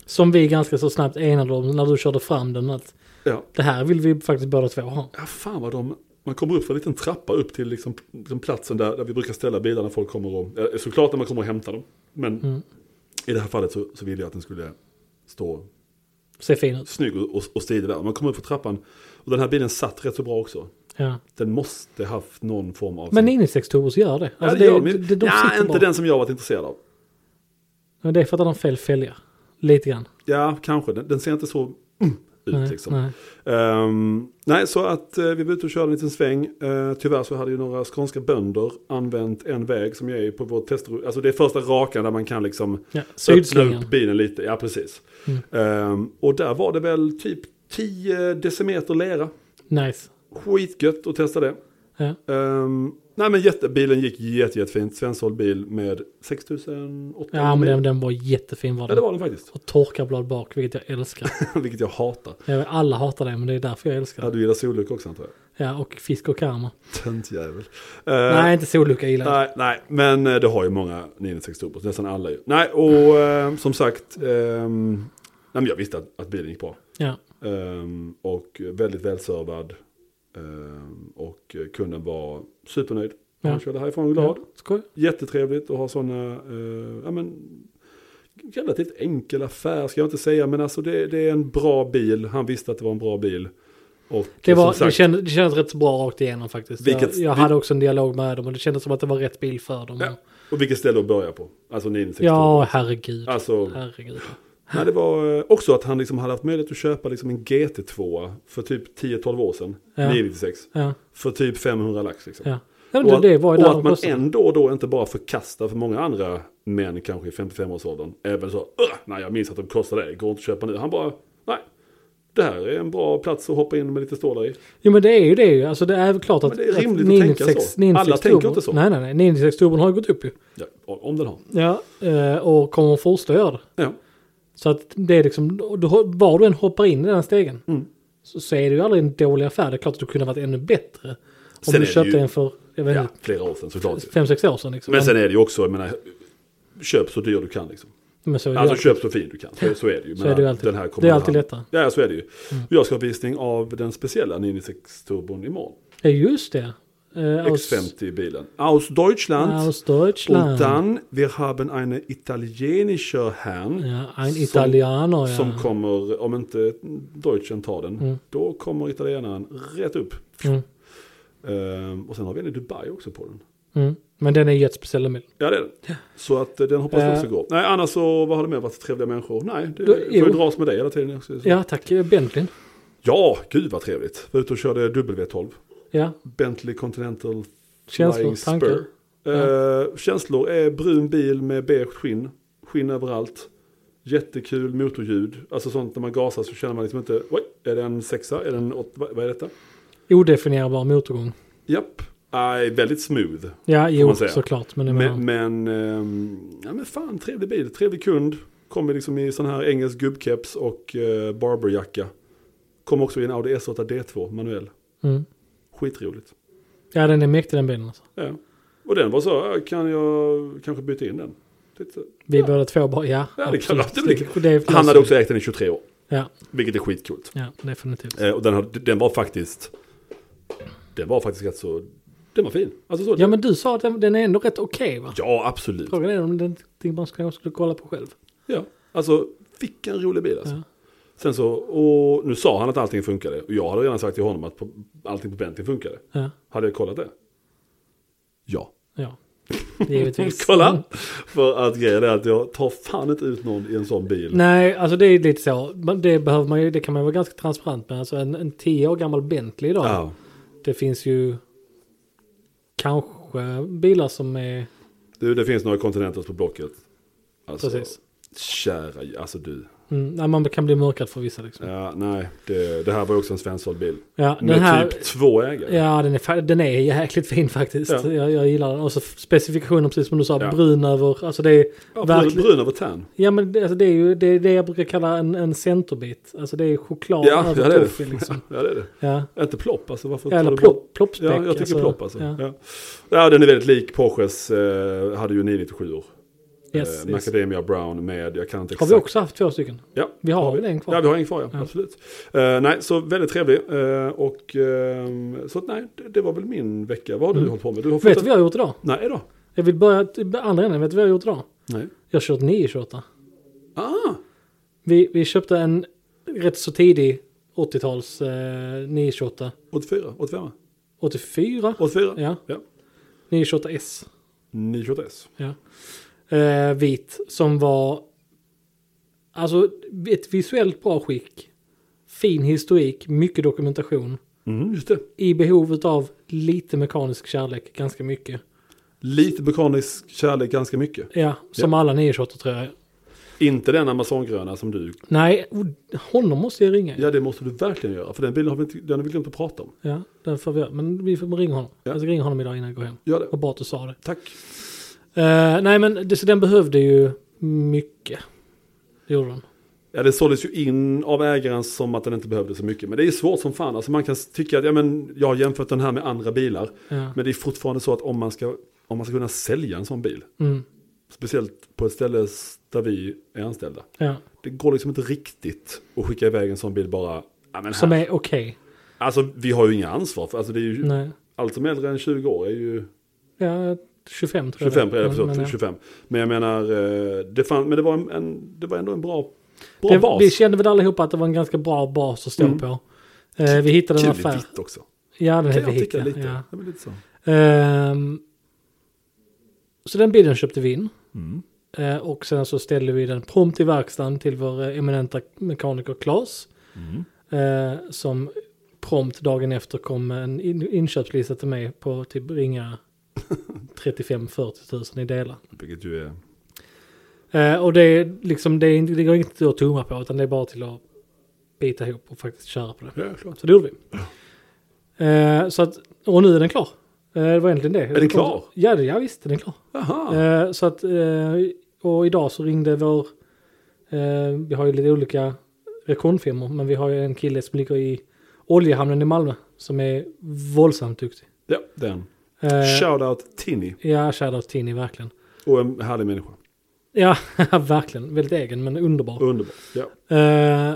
Speaker 1: Som vi ganska så snabbt enade om när du körde fram den att
Speaker 2: Ja,
Speaker 1: det här vill vi faktiskt båda två ha.
Speaker 2: ja fan vad de... Man kommer upp för en liten trappa upp till liksom, liksom platsen där, där vi brukar ställa bilarna folk kommer och... eh, Såklart när man kommer och hämtar dem. Men
Speaker 1: Mm.
Speaker 2: i det här fallet så, så ville jag att den skulle stå
Speaker 1: Ser fin ut.
Speaker 2: snygg och, och, och stilig där. Man kom upp för trappan och den här bilen satt rätt så bra också.
Speaker 1: Ja.
Speaker 2: Den måste haft någon form av...
Speaker 1: Men 96 turbos gör det.
Speaker 2: Ja,
Speaker 1: Alltså
Speaker 2: det,
Speaker 1: det,
Speaker 2: gör de
Speaker 1: det,
Speaker 2: ju.
Speaker 1: det, de
Speaker 2: ja,
Speaker 1: sitter
Speaker 2: inte
Speaker 1: bara.
Speaker 2: den som jag varit intresserad av.
Speaker 1: Men det är för att de har fel fälgar. Lite grann.
Speaker 2: Ja, kanske. Den, den ser inte så mm, ut
Speaker 1: Nej,
Speaker 2: liksom.
Speaker 1: nej.
Speaker 2: Ehm, nej, så att eh, vi var ute och körde en liten sväng. Eh, tyvärr så hade ju några skånska bönder använt en väg som jag är på vår testrutt. Alltså det är första rakan där man kan liksom
Speaker 1: Ja,
Speaker 2: öppna
Speaker 1: Sydslingan.
Speaker 2: upp bilen lite. Ja, precis.
Speaker 1: Mm.
Speaker 2: Ehm, och där var det väl typ 10 decimeter lera.
Speaker 1: Nice.
Speaker 2: Skitgött att testa det.
Speaker 1: Ja.
Speaker 2: Ehm, nej men jätte, bilen gick jätte, jättefint. Svensåld bil med 6800
Speaker 1: ja, men
Speaker 2: mil.
Speaker 1: den, den var jättefin var
Speaker 2: Ja,
Speaker 1: den.
Speaker 2: det var den faktiskt.
Speaker 1: Och torkarblad bak, vilket jag älskar.
Speaker 2: Vilket jag hatar.
Speaker 1: Jag vet, Alla hatar det, men det är därför jag älskar
Speaker 2: Ja,
Speaker 1: det.
Speaker 2: du gillar sollucka också antar jag.
Speaker 1: Ja, och fisk och karma.
Speaker 2: Töntjävel. Uh,
Speaker 1: Nej, inte sollucka gillar jag.
Speaker 2: nej, nej, men eh, det har ju många 996 turbos, nästan alla ju. Nej, och eh, som sagt, ehm, nej, men jag visste att, att bilen gick bra.
Speaker 1: Ja.
Speaker 2: Ehm, och väldigt välservad. Ehm, och kunden var supernöjd. Han
Speaker 1: Ja.
Speaker 2: körde härifrån glad.
Speaker 1: Ja, skoj.
Speaker 2: Jättetrevligt att ha sådana, eh, ja men, relativt enkel affär ska jag inte säga, men alltså det, det är en bra bil. Han visste att det var en bra bil. Och
Speaker 1: Det, var,
Speaker 2: som sagt-
Speaker 1: det, kändes, det kändes rätt så bra rakt igenom faktiskt.
Speaker 2: Vilket-
Speaker 1: jag jag
Speaker 2: vil-
Speaker 1: hade också en dialog med dem och det kändes som att det var rätt bil för dem.
Speaker 2: Ja. Och vilket ställe att börja på. Alltså 996
Speaker 1: Ja, herregud.
Speaker 2: Alltså,
Speaker 1: Herregud.
Speaker 2: nej, det var eh, också att han liksom hade haft möjlighet att köpa liksom en GT2 för typ 10-12 år sedan.
Speaker 1: Ja.
Speaker 2: 996.
Speaker 1: Ja,
Speaker 2: För typ 500 lax liksom.
Speaker 1: ja. ja men
Speaker 2: Och att,
Speaker 1: det, det var ju
Speaker 2: och
Speaker 1: där
Speaker 2: att
Speaker 1: de
Speaker 2: man
Speaker 1: kostade.
Speaker 2: ändå och då inte bara förkastar för många andra män kanske i 55-årsåldern. Även så, "Ugh, nej jag minns att de kostade det, går inte att köpa nu. Han bara, nej. det här är en bra plats att hoppa in med lite stålar i.
Speaker 1: Jo men det är ju det ju. Alltså det är väl klart
Speaker 2: Men
Speaker 1: att...
Speaker 2: det är
Speaker 1: att
Speaker 2: rimligt att tänka så. Alla
Speaker 1: 96
Speaker 2: tänker
Speaker 1: turbon-
Speaker 2: inte så.
Speaker 1: Nej nej nej. 96 turbon har ju gått upp ju.
Speaker 2: Ja, om den har.
Speaker 1: Ja. eh, Och kommer att fortsätta göra det.
Speaker 2: Ja.
Speaker 1: Så att det är liksom, du, har- var du än hoppar in i den här stegen
Speaker 2: Mm.
Speaker 1: så, så är det ju aldrig en dålig affär. Det är klart att du kunde ha varit ännu bättre. Om
Speaker 2: Sen är
Speaker 1: du
Speaker 2: det
Speaker 1: köpte
Speaker 2: ju-
Speaker 1: en för, jag vet
Speaker 2: ja,
Speaker 1: inte,
Speaker 2: flera år sedan såklart.
Speaker 1: fem, sex år sedan liksom.
Speaker 2: Men sen är det ju också, jag menar, köp så dyr du kan liksom.
Speaker 1: Men så är det ju
Speaker 2: Alltså
Speaker 1: alltid.
Speaker 2: köp så fin du kan. Så, så är det ju.
Speaker 1: Så är det ju alltid.
Speaker 2: Den här kommer
Speaker 1: Det är alltid
Speaker 2: hand-
Speaker 1: lättare. Mm.
Speaker 2: Ja, så är det ju. Jag ska ha visning av den speciella 96 turbon imorgon.
Speaker 1: Ja just det. Uh,
Speaker 2: X50-bilen. Aus Deutschland.
Speaker 1: Aus
Speaker 2: Und
Speaker 1: Deutschland.
Speaker 2: dann, wir haben eine italienische Herrn.
Speaker 1: ja, en
Speaker 2: som-
Speaker 1: italiano ja.
Speaker 2: Som kommer, om inte Deutschen tar den,
Speaker 1: Mm.
Speaker 2: då kommer italienaren rätt upp.
Speaker 1: Mm,
Speaker 2: Ehm, och sen har vi en i Dubai också på den.
Speaker 1: mm. Men den är ju jättespeciell. Emil.
Speaker 2: Ja det är den. Så att eh, den hoppas jag också
Speaker 1: Eh.
Speaker 2: går. Nej annars så, vad har det med varit trevliga människor? Nej, det
Speaker 1: Då-
Speaker 2: får
Speaker 1: jo.
Speaker 2: ju dras med dig hela tiden också. Så.
Speaker 1: Ja tack, eh, Bentleyn.
Speaker 2: ja, gud vad trevligt. Var ute och körde W12.
Speaker 1: Ja,
Speaker 2: Bentley Continental
Speaker 1: känslor,
Speaker 2: Flying
Speaker 1: tankar.
Speaker 2: Spur. Eh, känslor är brun bil med beige skinn. Skinn överallt. Jättekul motorljud. Alltså sånt när man gasar så känner man liksom inte. Oj, är det en sexa? Är det en åtta? Vad vad är detta?
Speaker 1: Odefinierbar motorgång.
Speaker 2: Japp. Nej, väldigt smooth.
Speaker 1: Ja, jo
Speaker 2: man säga.
Speaker 1: såklart. Men, jag menar-
Speaker 2: Men, men, ehm, ja, men fan, trevlig bil. Trevlig kund. Kommer liksom i sån här engelsk gubbkeps och eh, barberjacka. Kommer också i en Audi S8 D2 manuell.
Speaker 1: mm.
Speaker 2: Skitroligt.
Speaker 1: Ja den är mäktig den bilen alltså.
Speaker 2: Ja. Och den var så, ja, kan jag kanske byta in den? Titta.
Speaker 1: Vi båda två bara, ja.
Speaker 2: Ja, det kan-
Speaker 1: absolut.
Speaker 2: det
Speaker 1: Det är
Speaker 2: Han hade också ägt den i 23 år,
Speaker 1: Ja,
Speaker 2: vilket är skitcoolt.
Speaker 1: ja definitivt.
Speaker 2: Eh, och den, har, den var faktiskt, den var faktiskt rätt så, den var fin. Alltså så,
Speaker 1: Ja men du sa att den, den är ändå rätt okej va?
Speaker 2: ja absolut.
Speaker 1: Frågan är om den det man ska, skulle kolla på själv.
Speaker 2: Ja, alltså vilken rolig bil alltså.
Speaker 1: Ja.
Speaker 2: Sen så, och nu sa han att allting funkade. Och jag hade redan sagt till honom att på, allting på Bentley funkade.
Speaker 1: Ja,
Speaker 2: Hade jag kollat det? Ja.
Speaker 1: ja. Givetvis.
Speaker 2: Kolla! För att grejen är att jag tar fan inte ut någon i en sån bil.
Speaker 1: Nej, alltså det är lite så. Men Det, behöver man ju, det kan man vara ganska transparent med. Alltså en, en tio år gammal Bentley idag.
Speaker 2: Ja.
Speaker 1: Det finns ju kanske bilar som är...
Speaker 2: Du, det finns några Continentals på Blocket. Alltså,
Speaker 1: Precis.
Speaker 2: Kära, alltså du.
Speaker 1: Mm, nej, man kan bli mörkad för vissa liksom. Ja,
Speaker 2: Ja, nej, det, det här var ju också en svensksåld bil.
Speaker 1: den
Speaker 2: Med
Speaker 1: här...
Speaker 2: typ två ägare.
Speaker 1: Ja, den är, fa- den är jäkligt fin faktiskt.
Speaker 2: Ja.
Speaker 1: Jag, jag gillar den. Och så specifikationen, precis som du sa,
Speaker 2: Ja.
Speaker 1: brun över... Alltså det är
Speaker 2: Ja, brun,
Speaker 1: verkligen...
Speaker 2: brun över tan.
Speaker 1: Ja men det, alltså det är ju det, är det jag brukar kalla en, en centerbit. Alltså det är choklad
Speaker 2: Ja, ja, det är det.
Speaker 1: toffee liksom.
Speaker 2: Ja, det är det.
Speaker 1: Ja.
Speaker 2: Inte plopp alltså. Varför
Speaker 1: Ja,
Speaker 2: tar
Speaker 1: eller
Speaker 2: du bort-
Speaker 1: plopp, ploppspäck.
Speaker 2: Ja, jag tycker
Speaker 1: alltså.
Speaker 2: plopp alltså. Ja.
Speaker 1: Ja.
Speaker 2: Ja. den är väldigt lik Porsches, eh, hade ju 997 år.
Speaker 1: Yes,
Speaker 2: eh,
Speaker 1: yes.
Speaker 2: Macadamia Brown med, jag kan inte
Speaker 1: Har vi också haft två stycken?
Speaker 2: Ja,
Speaker 1: Vi har väl en kvar?
Speaker 2: Ja, vi har en kvar ja,
Speaker 1: Ja.
Speaker 2: absolut. Eh, nej, så väldigt trevlig. Eh, och eh, så att, nej, det, det var väl min vecka. Vad har du
Speaker 1: Mm.
Speaker 2: hållit på med? Du har
Speaker 1: Vet du
Speaker 2: fått-
Speaker 1: vad jag har gjort idag?
Speaker 2: Nej då.
Speaker 1: Jag vill börja till andra änden. Vet du vad jag har gjort idag?
Speaker 2: Nej.
Speaker 1: Jag har kört 928.
Speaker 2: Ah,
Speaker 1: Vi, vi köpte en rätt så tidig 80-tals eh, 928.
Speaker 2: 84, 85,
Speaker 1: 84?
Speaker 2: 84.
Speaker 1: Ja,
Speaker 2: Ja.
Speaker 1: 928 S.
Speaker 2: 928 S.
Speaker 1: Ja. Eh, vit som var alltså ett visuellt bra skick. Fin historik, mycket dokumentation.
Speaker 2: Mm, just det.
Speaker 1: I behov av lite mekanisk kärlek, ganska mycket.
Speaker 2: Lite mekanisk kärlek ganska mycket.
Speaker 1: Ja, som alla E 928 tror jag.
Speaker 2: Inte den amazongröna som du...
Speaker 1: Nej, oh, honom måste jag ringa. Ja.
Speaker 2: Ja, det måste du verkligen göra. För den bilen har vi, inte, den har vi glömt att prata om.
Speaker 1: den får vi göra. Men vi får ringa honom.
Speaker 2: Ja.
Speaker 1: Jag ska ringa honom idag innan jag går hem.
Speaker 2: Gör det.
Speaker 1: Vad bra att du sa det.
Speaker 2: Tack.
Speaker 1: Eh, nej, men det, så den behövde ju mycket. Det gjorde den.
Speaker 2: Ja, det såldes ju in av ägaren som att den inte behövde så mycket. Men det är svårt som fan. Alltså man kan tycka att ja, men jag har jämfört den här med andra bilar.
Speaker 1: Ja.
Speaker 2: Men det är fortfarande så att om man ska, om man ska kunna sälja en sån bil,
Speaker 1: Mm,
Speaker 2: speciellt på ett ställe där vi är anställda,
Speaker 1: ja.
Speaker 2: det går liksom inte riktigt att skicka iväg en sån bil bara. Ja, men
Speaker 1: Som
Speaker 2: här.
Speaker 1: är okej.
Speaker 2: Alltså vi har ju inga ansvar för, alltså det är ju,
Speaker 1: Nej.
Speaker 2: allt som är äldre än 20 år är ju
Speaker 1: Ja, 25 tror
Speaker 2: 25,
Speaker 1: jag. det var.
Speaker 2: eller förlåt,
Speaker 1: Men, men, ja.
Speaker 2: 25. Men jag menar, eh, det, fann, men det, var en, en, det var ändå en bra, bra
Speaker 1: det,
Speaker 2: bas.
Speaker 1: vi kände väl allihopa att det var en ganska bra bas att stå
Speaker 2: Mm.
Speaker 1: på. Eh, vi hittade en
Speaker 2: Kul i
Speaker 1: affär.
Speaker 2: vitt också.
Speaker 1: Ja, den
Speaker 2: Kan
Speaker 1: hette
Speaker 2: jag
Speaker 1: vi
Speaker 2: tycka
Speaker 1: hittade.
Speaker 2: lite.
Speaker 1: Ja.
Speaker 2: Det var lite så.
Speaker 1: Ehm, så den bilen köpte vi in.
Speaker 2: Mm.
Speaker 1: Eh, och sen så ställde vi den prompt i verkstaden till vår eh, eminenta mekaniker Claes.
Speaker 2: Mm.
Speaker 1: Eh, som prompt dagen efter kom med en in- inköpslista till mig på typ ringa 35-40 tusen i delar.
Speaker 2: Vilket ju är...
Speaker 1: Eh, och det, är liksom, det, är, inte- det går inte att tumma på utan det är bara till att bita ihop och faktiskt köra på det.
Speaker 2: Ja, klart.
Speaker 1: Så det gjorde vi. Eh, så att, och nu är den klar. Eh, det var egentligen det. Är
Speaker 2: den klar?
Speaker 1: Ja, det- ja visst, den är klar.
Speaker 2: Jaha.
Speaker 1: Eh, så att, eh, och idag så ringde vår, eh, vi har ju lite olika rekonfirmor, men vi har ju en kille som ligger i Oljehamnen i Malmö som är våldsamt duktig.
Speaker 2: Ja, den.
Speaker 1: Eh,
Speaker 2: Shoutout Tinny.
Speaker 1: ja, shoutout Tini verkligen.
Speaker 2: Och en härlig människa.
Speaker 1: Ja, verkligen. Väldigt egen men underbar.
Speaker 2: Underbar. Ja.
Speaker 1: Eh,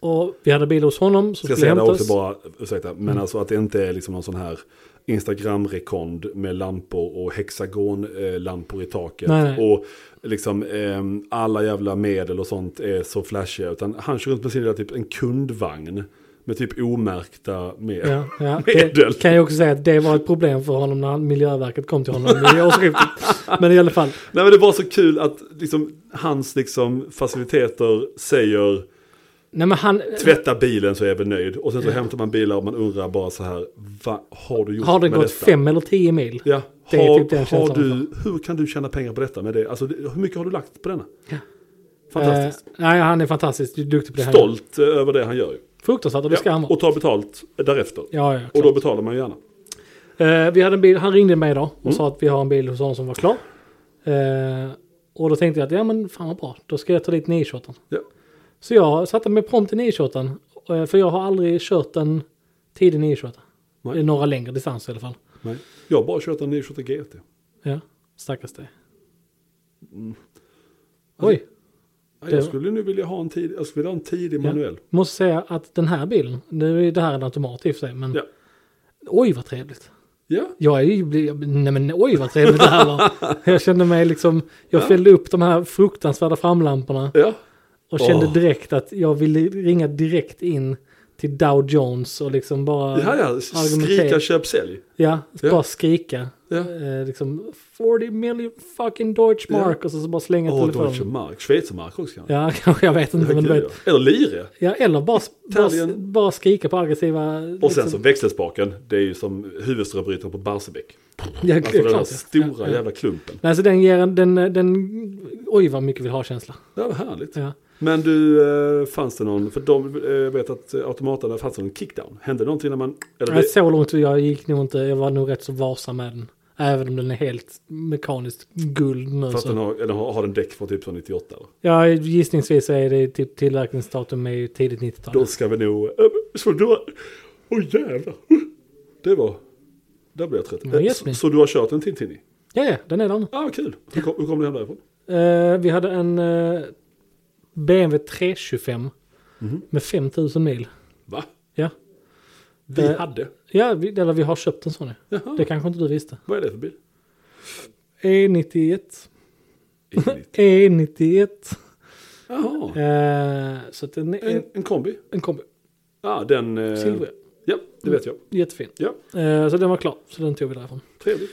Speaker 1: och vi hade bil hos honom som
Speaker 2: Ska
Speaker 1: skulle
Speaker 2: säga det
Speaker 1: hämtas.
Speaker 2: också bara, ursäkta, men
Speaker 1: Mm.
Speaker 2: alltså att det inte är liksom någon sån här Instagram-rekond med lampor och hexagonlampor i taket.
Speaker 1: Nej, nej.
Speaker 2: Och liksom ehm, alla jävla medel och sånt är så flashiga. Utan han kör runt med sin lilla typ en kundvagn med typ omärkta medel.
Speaker 1: Ja, ja.
Speaker 2: Medel.
Speaker 1: Det kan jag också säga att det var ett problem för honom när han- Miljöverket kom till honom i årsskiftet. Men i alla fall,
Speaker 2: Nej men det var så kul att liksom hans liksom faciliteter säger
Speaker 1: nej men han,
Speaker 2: tvätta bilen så är jag väl nöjd. Och sen så hämtar man bilar och man undrar bara så här, vad har du gjort
Speaker 1: har det
Speaker 2: med
Speaker 1: gått
Speaker 2: detta?
Speaker 1: fem eller tio mil?
Speaker 2: Ja,
Speaker 1: Det
Speaker 2: har,
Speaker 1: är typ den
Speaker 2: har
Speaker 1: känslan
Speaker 2: du, hur kan du tjäna pengar på detta? Med det? Alltså, det- hur mycket har du lagt på denna?
Speaker 1: Ja.
Speaker 2: Fantastiskt.
Speaker 1: Eh, nej, han är fantastiskt duktig på det. han gör.
Speaker 2: Stolt eh, över det han gör ju.
Speaker 1: Fruktansvärt, och det ska han
Speaker 2: Ja,
Speaker 1: vara.
Speaker 2: och tar betalt därefter.
Speaker 1: Ja, ja,
Speaker 2: och
Speaker 1: klart.
Speaker 2: då betalar man ju gärna.
Speaker 1: Eh, vi hade en bil, han ringde mig idag
Speaker 2: Mm.
Speaker 1: och sa att vi har en bil hos honom som var klar. Eh, och då tänkte jag att ja men fan vad bra, då ska jag ta dit 928.
Speaker 2: Ja.
Speaker 1: Så jag satte mig prompt i 928, eh, för jag har aldrig kört en tidig 928.
Speaker 2: Nej.
Speaker 1: Eh, Några längre distanser i alla fall.
Speaker 2: Nej. Jag har bara kört en 928 GT.
Speaker 1: Ja, stackars dig.
Speaker 2: Mm.
Speaker 1: Alltså- Oj,
Speaker 2: Ja,
Speaker 1: Det
Speaker 2: Jag
Speaker 1: var-
Speaker 2: skulle nu vilja ha en tid, jag skulle vilja ha en tidig manuell.
Speaker 1: måste säga att den här bilen, nu är det här en automat i och för sig, men
Speaker 2: Ja.
Speaker 1: oj vad trevligt.
Speaker 2: Ja.
Speaker 1: Jag är ju, jag- nej men oj vad trevligt det här var. Jag kände mig liksom, jag fällde upp de här fruktansvärda framlamporna
Speaker 2: ja.
Speaker 1: och kände
Speaker 2: Åh.
Speaker 1: direkt att jag ville ringa direkt in till Dow Jones och liksom bara
Speaker 2: Ja, ja. Skrika,
Speaker 1: argumentera.
Speaker 2: köp, sälj.
Speaker 1: Ja,
Speaker 2: Ja.
Speaker 1: bara skrika.
Speaker 2: Ja.
Speaker 1: Eh, liksom 40 million fucking Deutschmark och så, så bara slänga
Speaker 2: Åh,
Speaker 1: telefonen.
Speaker 2: Deutsche Mark. Schweizermark också kanske.
Speaker 1: Ja, kanske jag vet inte. Men du
Speaker 2: Herregud,
Speaker 1: vet,
Speaker 2: ja. Eller lire.
Speaker 1: ja, eller bara, bara,
Speaker 2: Italien.
Speaker 1: bara skrika på aggressiva...
Speaker 2: Och sen så växelspaken, det är ju som huvudströmbrytaren på Barsebäck.
Speaker 1: ja,
Speaker 2: Alltså den här
Speaker 1: klart, ja.
Speaker 2: stora
Speaker 1: ja.
Speaker 2: jävla klumpen.
Speaker 1: Nej, så den ger en, den, den, oj vad mycket vill ha-känsla.
Speaker 2: Det var härligt.
Speaker 1: Ja.
Speaker 2: Men du, eh, fanns det någon, för de eh, vet att eh, automaterna fanns det någon kickdown? Hände någonting när man, eller
Speaker 1: Nej,
Speaker 2: det,
Speaker 1: så långt jag gick nog inte, jag var nog rätt så varsam med den. Även om den är helt mekaniskt guld nu.
Speaker 2: fast
Speaker 1: Så.
Speaker 2: den har, eller har, har den däck från typ så 98? Eller?
Speaker 1: Ja, gissningsvis är det typ tillverkningsdatum är ju tidigt 90-tal.
Speaker 2: Då ska vi nog, eh, så du har, åh jävlar. Uh, Det var, där blev jag trött.
Speaker 1: Ja,
Speaker 2: Eh,
Speaker 1: yes,
Speaker 2: så,
Speaker 1: men.
Speaker 2: så du har kört en Tintini?
Speaker 1: Ja, ja, den är där nu.
Speaker 2: Ja, ah, kul. Hur kom, hur kom du hem därifrån?
Speaker 1: Eh, vi hade en eh, BMW 325
Speaker 2: Mhm.
Speaker 1: med 5000 mil.
Speaker 2: Va?
Speaker 1: Ja,
Speaker 2: Vi
Speaker 1: Eh,
Speaker 2: hade?
Speaker 1: ja vi, eller vi har köpt en sån. Ja.
Speaker 2: Jaha,
Speaker 1: Det kanske inte du visste. E
Speaker 2: vad är det för bil?
Speaker 1: E91.
Speaker 2: Ingen-
Speaker 1: E91.
Speaker 2: Jaha,
Speaker 1: E Eh, så att den är
Speaker 2: en, en kombi?
Speaker 1: en kombi.
Speaker 2: Ja, ah, den... Eh,
Speaker 1: Silvria.
Speaker 2: Ja, det vet jag.
Speaker 1: Jättefin.
Speaker 2: Ja,
Speaker 1: Eh, så den var klar, så den tog vi därifrån.
Speaker 2: trevligt.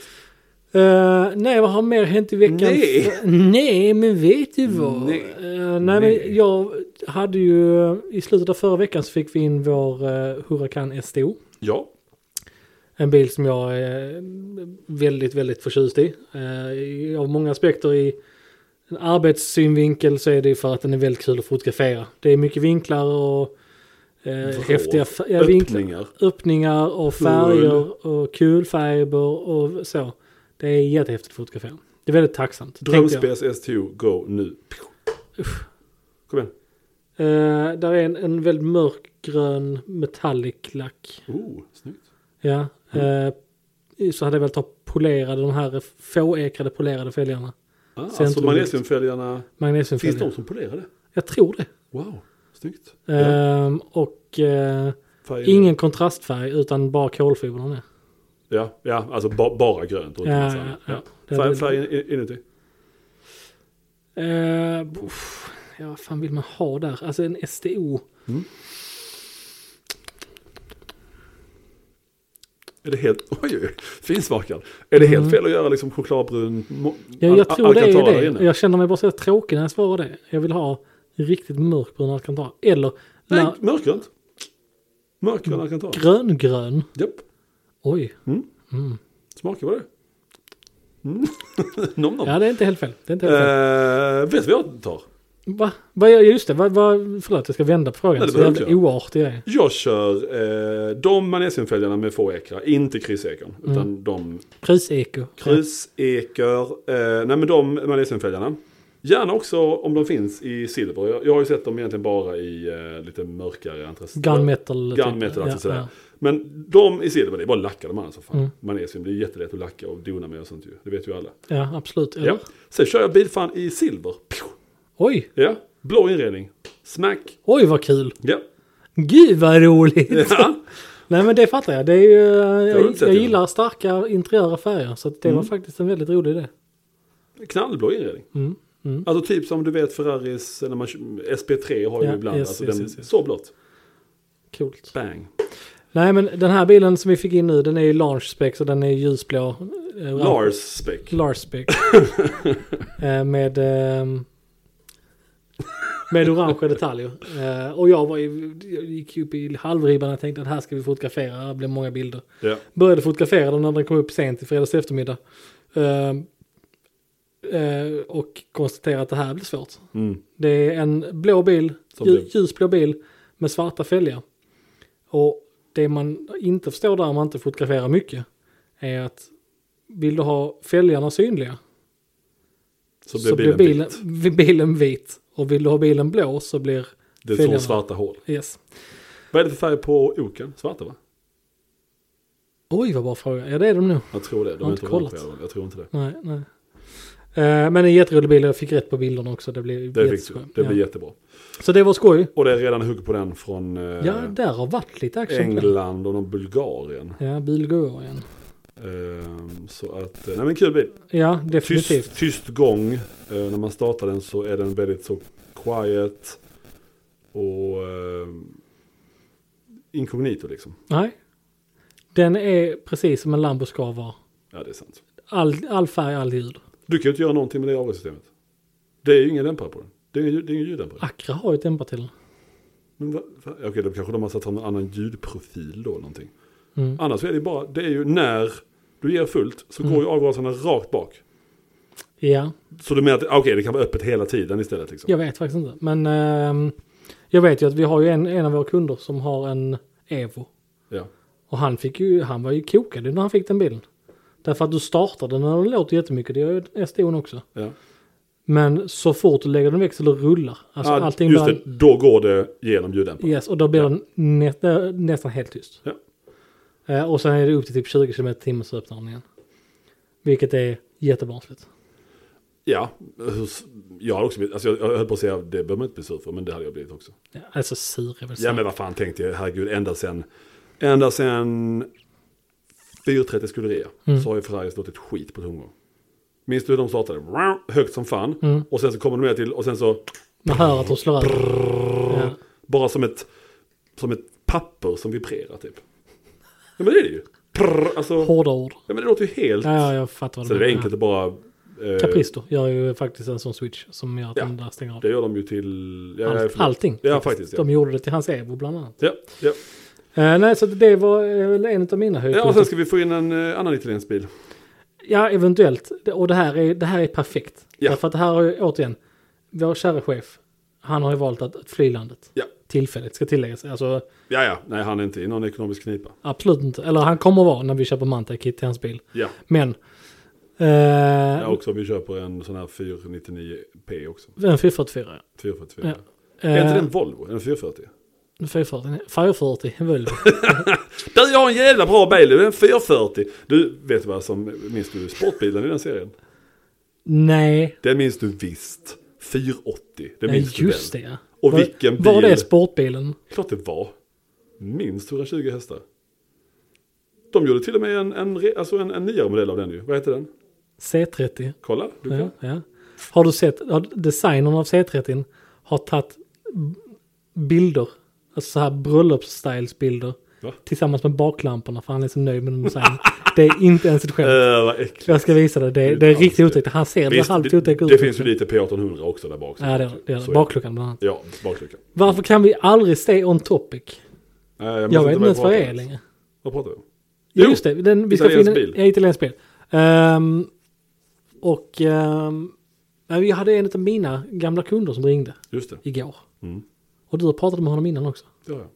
Speaker 1: Eh, nej, vad har mer hänt i veckan?
Speaker 2: Nej.
Speaker 1: nej men vet du vad?
Speaker 2: Nej.
Speaker 1: Eh, nej,
Speaker 2: Nej.
Speaker 1: men jag hade ju eh, i slutet av förra veckan så fick vi in vår uh, Huracan STO.
Speaker 2: Ja,
Speaker 1: En bil som jag är eh, väldigt, väldigt förtjust i. Eh, i- Av många aspekter i en arbetssynvinkel så är det ju för att den är väldigt kul att fotografera. Det är mycket vinklar och eh,
Speaker 2: Vrå.
Speaker 1: häftiga fa- ja, vinklar,
Speaker 2: öppningar.
Speaker 1: öppningar och färger och kulfärger och så. Det är jättehäftigt att fotografera. Det är väldigt tacksamt. tänkte jag.
Speaker 2: Drömspels STO, go nu. Kom igen.
Speaker 1: Eh, där är en, en väldigt mörkgrön metallic lack.
Speaker 2: Oh, snyggt.
Speaker 1: Ja.
Speaker 2: Mm.
Speaker 1: Eh, så hade jag velat ta polerade, de här fåekrade polerade fälgarna.
Speaker 2: Ah, alltså
Speaker 1: Centrum-
Speaker 2: magnesiumfälgarna, finns
Speaker 1: Magnesiumfälgar.
Speaker 2: de som polerade?
Speaker 1: Jag tror det.
Speaker 2: Wow, snyggt. Ja,
Speaker 1: Ehm, och eh,
Speaker 2: färgen-
Speaker 1: ingen kontrastfärg utan bara kolfibrerna. ner.
Speaker 2: Ja, ja alltså ba, bara grönt. Och
Speaker 1: Ja,
Speaker 2: ja,
Speaker 1: ja,
Speaker 2: ja.
Speaker 1: ja.
Speaker 2: Ja.
Speaker 1: Det
Speaker 2: Färg,
Speaker 1: är-
Speaker 2: färgen i- inuti.
Speaker 1: Eh, uff, ja, vad fan vill man ha där? Alltså en STO.
Speaker 2: Är det helt, oj, oj, oj, finsmakad. Är det helt fel att göra liksom chokladbrun mo-
Speaker 1: Mm. Ja,
Speaker 2: al-
Speaker 1: jag tror det
Speaker 2: alcantara
Speaker 1: är
Speaker 2: inne?
Speaker 1: det. Jag känner mig bara så tråkig när jag svarar det. Jag vill ha riktigt mörkbrun alcantara. Eller
Speaker 2: Nej,
Speaker 1: la-
Speaker 2: mörkgrönt.
Speaker 1: Mm.
Speaker 2: Mörkgrön alcantara.
Speaker 1: gröngrön.
Speaker 2: Japp,
Speaker 1: Oj.
Speaker 2: smakar vad det mm. nom, nom.
Speaker 1: Ja, det är inte helt fel. Det är inte helt fel.
Speaker 2: Eh, vet du vad jag tar?
Speaker 1: Va? Va? ja, Just det, va, va? förlåt jag ska vända på frågan.
Speaker 2: Nej, det
Speaker 1: så
Speaker 2: behöver
Speaker 1: jävla
Speaker 2: inte
Speaker 1: oartig jag är.
Speaker 2: Jag kör eh, de magnesiumfälgarna med få ekrar, inte kryssekern.
Speaker 1: Mm.
Speaker 2: Utan de
Speaker 1: Kruseko.
Speaker 2: Krusekör, eh, nej men de magnesiumfälgarna. Gärna också om de finns i silver. Jag, jag har ju sett dem egentligen bara i eh, lite mörkare antracit.
Speaker 1: Gunmetal. typ.
Speaker 2: Gunmetal, alltså sådär.
Speaker 1: ja.
Speaker 2: Men de i silver, det är bara att lacka de andra som fan.
Speaker 1: Mm.
Speaker 2: Magnesium, det är jättelätt att lacka och dona med och sånt ju. Det vet ju alla.
Speaker 1: ja, absolut. Eller?
Speaker 2: Ja. Sen kör jag bilfan i silver. Pju!
Speaker 1: Oj,
Speaker 2: Ja, blå inredning. Smack.
Speaker 1: oj vad kul.
Speaker 2: Ja.
Speaker 1: Gud vad roligt.
Speaker 2: ja.
Speaker 1: Nej men det fattar jag. Det är ju,
Speaker 2: har du
Speaker 1: jag,
Speaker 2: inte sett
Speaker 1: jag
Speaker 2: innan. Mm.
Speaker 1: gillar starka interiöra färger. Så att det var faktiskt en väldigt rolig idé.
Speaker 2: Knallblå inredning.
Speaker 1: Mm. Mm.
Speaker 2: Alltså typ som du vet Ferraris, när man, SP3 har ju
Speaker 1: Ja,
Speaker 2: ibland,
Speaker 1: yes,
Speaker 2: alltså
Speaker 1: yes,
Speaker 2: den,
Speaker 1: yes, yes.
Speaker 2: så blått.
Speaker 1: Coolt.
Speaker 2: Bang.
Speaker 1: Nej men den här bilen som vi fick in nu den är ju launch spec så den är ljusblå. eh,
Speaker 2: Lars spec.
Speaker 1: Lars spec. Eh, med, ehm, med orangea detaljer. Eh, och jag, var ju, jag gick ju upp i halvribban och tänkte att här ska vi fotografera, det blir många bilder.
Speaker 2: Ja.
Speaker 1: Började fotografera den när den kom upp sent i fredags eftermiddag. Eh, eh, och konstaterade att det här blir svårt.
Speaker 2: Mm.
Speaker 1: Det är en blå bil,
Speaker 2: Som
Speaker 1: lju-
Speaker 2: blev-
Speaker 1: ljusblå bil med svarta fälgar. Och det man inte förstår där om man inte fotograferar mycket är att vill du ha fälgarna synliga
Speaker 2: Så blir bilen
Speaker 1: bilen,
Speaker 2: vit.
Speaker 1: vi- bilen vit. Och vill du ha bilen blå så blir
Speaker 2: Det är
Speaker 1: fälgarna-
Speaker 2: som svarta hål.
Speaker 1: Yes.
Speaker 2: Vad är det för färg på oken? Svarta va?
Speaker 1: Oj vad bra fråga. Ja det är de nog.
Speaker 2: Jag tror det. De
Speaker 1: Jag har
Speaker 2: är
Speaker 1: inte
Speaker 2: inte orangea
Speaker 1: kollat.
Speaker 2: i alla fall. Jag tror inte det.
Speaker 1: Nej, nej. Eh, men en jätterolig bil och jag fick rätt på bilderna också. Det blev
Speaker 2: Det, fick du.
Speaker 1: jätteskönt.
Speaker 2: det blir
Speaker 1: ja.
Speaker 2: jättebra.
Speaker 1: Så det var skoj.
Speaker 2: Och det är redan hugg på den från eh,
Speaker 1: Ja, där har varit lite action. på den.
Speaker 2: England och någon Bulgarien.
Speaker 1: Ja, bil går igen.
Speaker 2: Ehm, så att, eh, nej men kul bil.
Speaker 1: Ja, definitivt.
Speaker 2: Tyst, tyst gång. Eh, när man startar den så är den väldigt så quiet. Och eh, inkognito liksom.
Speaker 1: Nej. Den är precis som en Lambo ska vara.
Speaker 2: Ja det är sant.
Speaker 1: All, all färg, all ljud.
Speaker 2: Du kan ju inte göra någonting med det avgassystemet. Det är ju ingen dämpare på den. Det är ju det är ingen ljuddämpare.
Speaker 1: Acra har ju dämpare till den.
Speaker 2: Men va, va, okej, då kanske de har satt fram en annan ljudprofil då någonting.
Speaker 1: Mm.
Speaker 2: Annars är det bara, det är ju när du ger fullt så går ju avgaserna rakt bak.
Speaker 1: Ja,
Speaker 2: Så du menar att okej, det kan vara öppet hela tiden istället liksom?
Speaker 1: jag vet faktiskt inte. Men ehm, jag vet ju att vi har ju en, en av våra kunder som har en Evo.
Speaker 2: Ja.
Speaker 1: Och han, fick ju, han var ju kokad när han fick den bilen. Därför att du startar den och den låter jättemycket. Det gör ju SDO'n också.
Speaker 2: ja.
Speaker 1: Men så fort du lägger den i växel och rullar. Alltså
Speaker 2: Ah,
Speaker 1: allting
Speaker 2: just
Speaker 1: bara-
Speaker 2: det, då går det genom ljuddämparen.
Speaker 1: Yes, och då blir den nä, nästan helt tyst.
Speaker 2: Ja.
Speaker 1: Eh, och sen är det upp till typ 20 km h så öppnar den igen. Vilket är jättebarnsligt.
Speaker 2: Ja, hur s- jag hade också blivit, alltså jag, jag höll på att säga det behöver man inte bli sur för, men det hade jag blivit också.
Speaker 1: Ja, Alltså sur är väl
Speaker 2: Ja
Speaker 1: så.
Speaker 2: men vad fan tänkte jag, herregud, ända sen, ända sen 430 skolerier
Speaker 1: Mm.
Speaker 2: så har ju Ferrari låtit skit på tomgång. Minns du hur de startade? Wow, Högt som fan.
Speaker 1: Mm.
Speaker 2: Och sen så kommer de ner till, och sen så
Speaker 1: Man hör att de slår över. Ja.
Speaker 2: bara som ett, som ett papper som vibrerar typ. Ja men det är det ju. Prr, alltså, ja
Speaker 1: Hårda ord.
Speaker 2: men det låter ju helt...
Speaker 1: Ja, ja, jag fattar vad
Speaker 2: så
Speaker 1: du
Speaker 2: det är
Speaker 1: menar.
Speaker 2: enkelt att bara... Eh,
Speaker 1: Ja. Capristo gör ju faktiskt en sån switch som gör att
Speaker 2: Ja.
Speaker 1: den där stänger av.
Speaker 2: Det gör de ju till... Ja,
Speaker 1: Allt,
Speaker 2: förlåt.
Speaker 1: allting.
Speaker 2: Ja faktiskt. Ja.
Speaker 1: De gjorde det till hans Evo bland annat.
Speaker 2: Ja, ja.
Speaker 1: Eh, nej, så det var eh, väl en av mina
Speaker 2: ja, och sen
Speaker 1: höjdpunkter.
Speaker 2: ska vi få in en eh, annan italiensk bil.
Speaker 1: Ja, eventuellt. Det- Och det här är, det här är perfekt.
Speaker 2: Ja.
Speaker 1: Därför att det här har ju, återigen, vår kära chef, han har ju valt att att fly landet.
Speaker 2: Ja.
Speaker 1: Tillfälligt, ska tilläggas. Alltså,
Speaker 2: Ja, ja. Nej, han är inte i någon ekonomisk knipa.
Speaker 1: absolut inte. Eller han kommer vara när vi köper Mantec till hans bil.
Speaker 2: Ja.
Speaker 1: Men... Eh,
Speaker 2: Ja, också om vi köper en sån här 499p också.
Speaker 1: En 444.
Speaker 2: 444.
Speaker 1: Ja.
Speaker 2: Är inte
Speaker 1: Eh,
Speaker 2: den Volvo? En 440?
Speaker 1: 440, 440 Volvo.
Speaker 2: Du, jag har en jävla bra bil. Det är en 440. Du, vet du vad som... Minns du sportbilen i den serien?
Speaker 1: Nej,
Speaker 2: Den minns du visst. 480. Det
Speaker 1: nej,
Speaker 2: minns
Speaker 1: just
Speaker 2: du väl?
Speaker 1: det. ja.
Speaker 2: Och
Speaker 1: Var-
Speaker 2: vilken
Speaker 1: Var
Speaker 2: bil?
Speaker 1: det sportbilen?
Speaker 2: Klart det var. Minst 120 hästar. De gjorde till och med en, en, re- alltså en, en nyare modell av den ju. Vad heter den?
Speaker 1: C30.
Speaker 2: Kolla, du kan.
Speaker 1: Ja, ja. Har du sett, har designern av C30 har tagit b- bilder, alltså så här bröllopsstylesbilder
Speaker 2: Va?
Speaker 1: tillsammans med baklamporna för han är så nöjd med den designen. det är inte ens ett skämt.
Speaker 2: Äh, vad äckligt.
Speaker 1: Jag ska visa dig, det,
Speaker 2: är
Speaker 1: det, det är
Speaker 2: inte
Speaker 1: riktigt
Speaker 2: alls det.
Speaker 1: otäckt. Han ser det
Speaker 2: Visst,
Speaker 1: halvt
Speaker 2: det,
Speaker 1: otäckt ut. typ.
Speaker 2: det finns ju lite P1800 också där bak.
Speaker 1: Ja, det gör det.
Speaker 2: Så
Speaker 1: det.
Speaker 2: är
Speaker 1: Bakluckan bland annat.
Speaker 2: Ja, bakluckan.
Speaker 1: Varför kan vi aldrig stay on topic?
Speaker 2: Äh,
Speaker 1: Jag vet inte ens vad det
Speaker 2: pratar
Speaker 1: är
Speaker 2: om.
Speaker 1: längre.
Speaker 2: Vad pratar vi om?
Speaker 1: Ja,
Speaker 2: Jo,
Speaker 1: just det. Den, vi ska få in
Speaker 2: italiensk
Speaker 1: en
Speaker 2: bil.
Speaker 1: ja, italiensk bil. Ehm, och ehm, Nej, Jag hade en av mina gamla kunder som ringde
Speaker 2: Just det.
Speaker 1: igår.
Speaker 2: Mm.
Speaker 1: Och du pratade med honom innan också.
Speaker 2: Det har jag.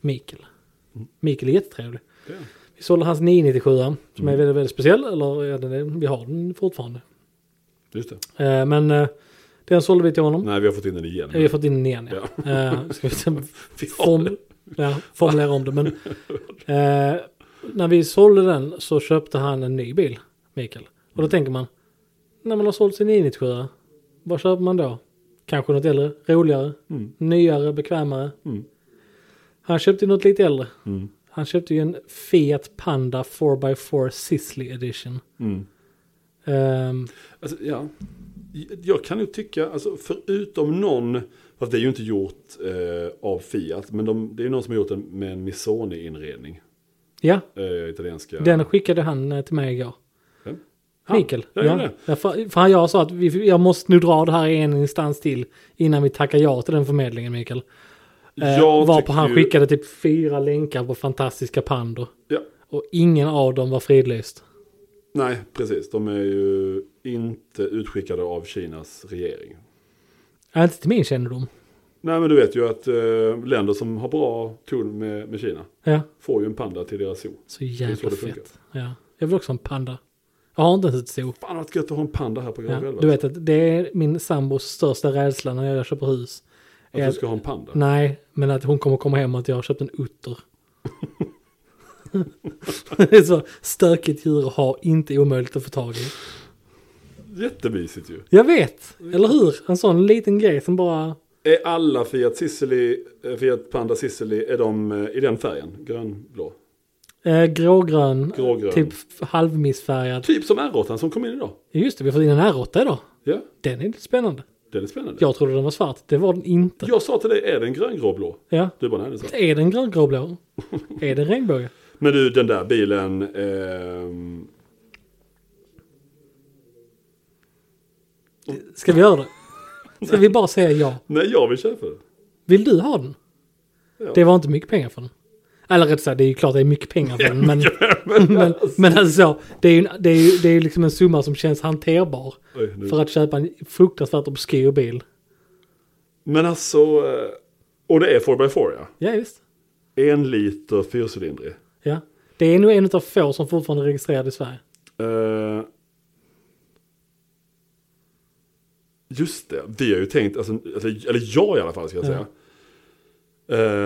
Speaker 1: Mikael.
Speaker 2: Mm.
Speaker 1: Mikael är jättetrevlig.
Speaker 2: Det är jag.
Speaker 1: Vi sålde hans 997 som
Speaker 2: Mm.
Speaker 1: är väldigt, väldigt speciell. Eller ja, den är, vi har den fortfarande.
Speaker 2: Just det.
Speaker 1: Eh, men eh, den sålde vi till honom.
Speaker 2: Nej, vi har fått in den igen.
Speaker 1: Vi har fått in den igen. Ja. Eh, ska vi se-
Speaker 2: Vi har
Speaker 1: form, ja, formulera om det. Men, eh, när vi sålde den så köpte han en ny bil, Mikael. Och då
Speaker 2: Mm.
Speaker 1: tänker man, när man har sålt sin 997, vad köper man då? Kanske något äldre, roligare,
Speaker 2: Mm.
Speaker 1: nyare, bekvämare.
Speaker 2: Mm.
Speaker 1: Han köpte ju något lite äldre.
Speaker 2: Mm.
Speaker 1: Han köpte ju en Fiat Panda 4x4 Sisley Edition.
Speaker 2: Mm.
Speaker 1: Ehm,
Speaker 2: Alltså, ja. Jag kan ju tycka, alltså, förutom någon, fast det är ju inte gjort eh, av Fiat, men de, det är ju någon som har gjort den med en Missoni-inredning.
Speaker 1: ja,
Speaker 2: Eh, italienska.
Speaker 1: den skickade han eh, till mig igår.
Speaker 2: Vem? Han?
Speaker 1: Mikael.
Speaker 2: Ja,
Speaker 1: Ja,
Speaker 2: ja.
Speaker 1: ja. För, för jag sa att vi, jag måste nu dra det här i en instans till innan vi tackar ja till den förmedlingen Mikael. Eh,
Speaker 2: Jag
Speaker 1: varpå
Speaker 2: tycker
Speaker 1: han
Speaker 2: ju-
Speaker 1: skickade typ fyra länkar på fantastiska pandor.
Speaker 2: Ja.
Speaker 1: Och ingen av dem var fridlyst.
Speaker 2: Nej, precis. De är ju inte utskickade av Kinas regering.
Speaker 1: Ja, inte till min kännedom.
Speaker 2: Nej, men du vet ju att eh, länder som har bra tull med, med Kina
Speaker 1: Ja,
Speaker 2: får ju en panda till deras zoo.
Speaker 1: så
Speaker 2: Det är så
Speaker 1: jävla
Speaker 2: det funkar.
Speaker 1: fett. Ja. Jag vill också ha en panda. Jag har inte ens ett zoo.
Speaker 2: Fan vad gött att ha en panda här på
Speaker 1: Ja.
Speaker 2: Granvälvet.
Speaker 1: Du vet att det är min sambos största rädsla när jag köper hus. Eh,
Speaker 2: Att du Alltså, ska ha en panda.
Speaker 1: Nej, men att hon kommer komma hem och att jag har köpt en utter. det är så stökigt djur att ha, inte omöjligt att få tag i.
Speaker 2: Jättemysigt ju.
Speaker 1: Jag vet, eller hur? En sån liten grej som bara...
Speaker 2: Är alla Fiat Sicily, eh, Fiat Panda Sicily, är de eh, i den färgen? Grönblå?
Speaker 1: Eh, grågrön,
Speaker 2: Grågrön.
Speaker 1: typ f- halvmissfärgad.
Speaker 2: Typ som r som kom in idag.
Speaker 1: Just det, vi har fått in en R8 idag.
Speaker 2: Ja,
Speaker 1: Den är lite spännande.
Speaker 2: den är spännande.
Speaker 1: Jag trodde den var svart, det var den inte.
Speaker 2: Jag sa till dig, är den gröngråblå?
Speaker 1: Ja.
Speaker 2: Du bara, nej den är svart.
Speaker 1: Är den gröngråblå? är den regnbåge?
Speaker 2: Men du, den där bilen. ehm,
Speaker 1: Ska vi göra det? Ska vi bara säga ja?
Speaker 2: nej, jag vill köpa den.
Speaker 1: Vill du ha den?
Speaker 2: Ja.
Speaker 1: Det var inte mycket pengar för den. Eller rätt sagt, det är ju klart det är mycket pengar för den. Men,
Speaker 2: men
Speaker 1: men, men alltså, det är ju det är, ju- det är ju liksom en summa som känns hanterbar.
Speaker 2: Oj, nu.
Speaker 1: För att köpa en fruktansvärt obskyr bil.
Speaker 2: Men alltså, eh, och det är 4x4 ja.
Speaker 1: Ja, visst.
Speaker 2: En liter fyrcylindrig.
Speaker 1: Ja. Det är nog en av få som fortfarande är registrerad i Sverige.
Speaker 2: Eh, just det, vi har ju tänkt, alltså, alltså, eller jag i alla fall ska jag säga.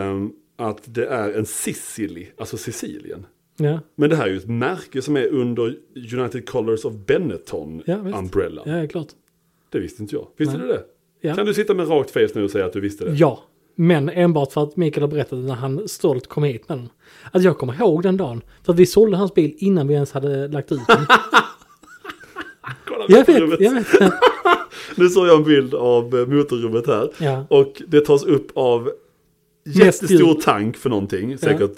Speaker 2: ehm, att det är en Sicily, alltså Sicilien.
Speaker 1: Ja,
Speaker 2: Men det här är ju ett märke som är under United Colors of Benetton
Speaker 1: Ja, visst.
Speaker 2: Umbrella.
Speaker 1: ja det är klart.
Speaker 2: Det visste inte jag. Visste
Speaker 1: Nej.
Speaker 2: du det?
Speaker 1: Ja. Mm.
Speaker 2: Kan du sitta med rakt face nu och säga att du visste det?
Speaker 1: Ja, men enbart för att Mikael har berättat när han stolt kom hit med den. Att jag kommer ihåg den dagen. För att vi sålde hans bil innan vi ens hade lagt ut den.
Speaker 2: Kolla
Speaker 1: Jag
Speaker 2: motorrummet.
Speaker 1: vet, jag vet.
Speaker 2: Nu såg jag en bild av eh, motorrummet här.
Speaker 1: Ja.
Speaker 2: Och det tas upp av jättestor
Speaker 1: djur.
Speaker 2: tank för någonting. Säkert,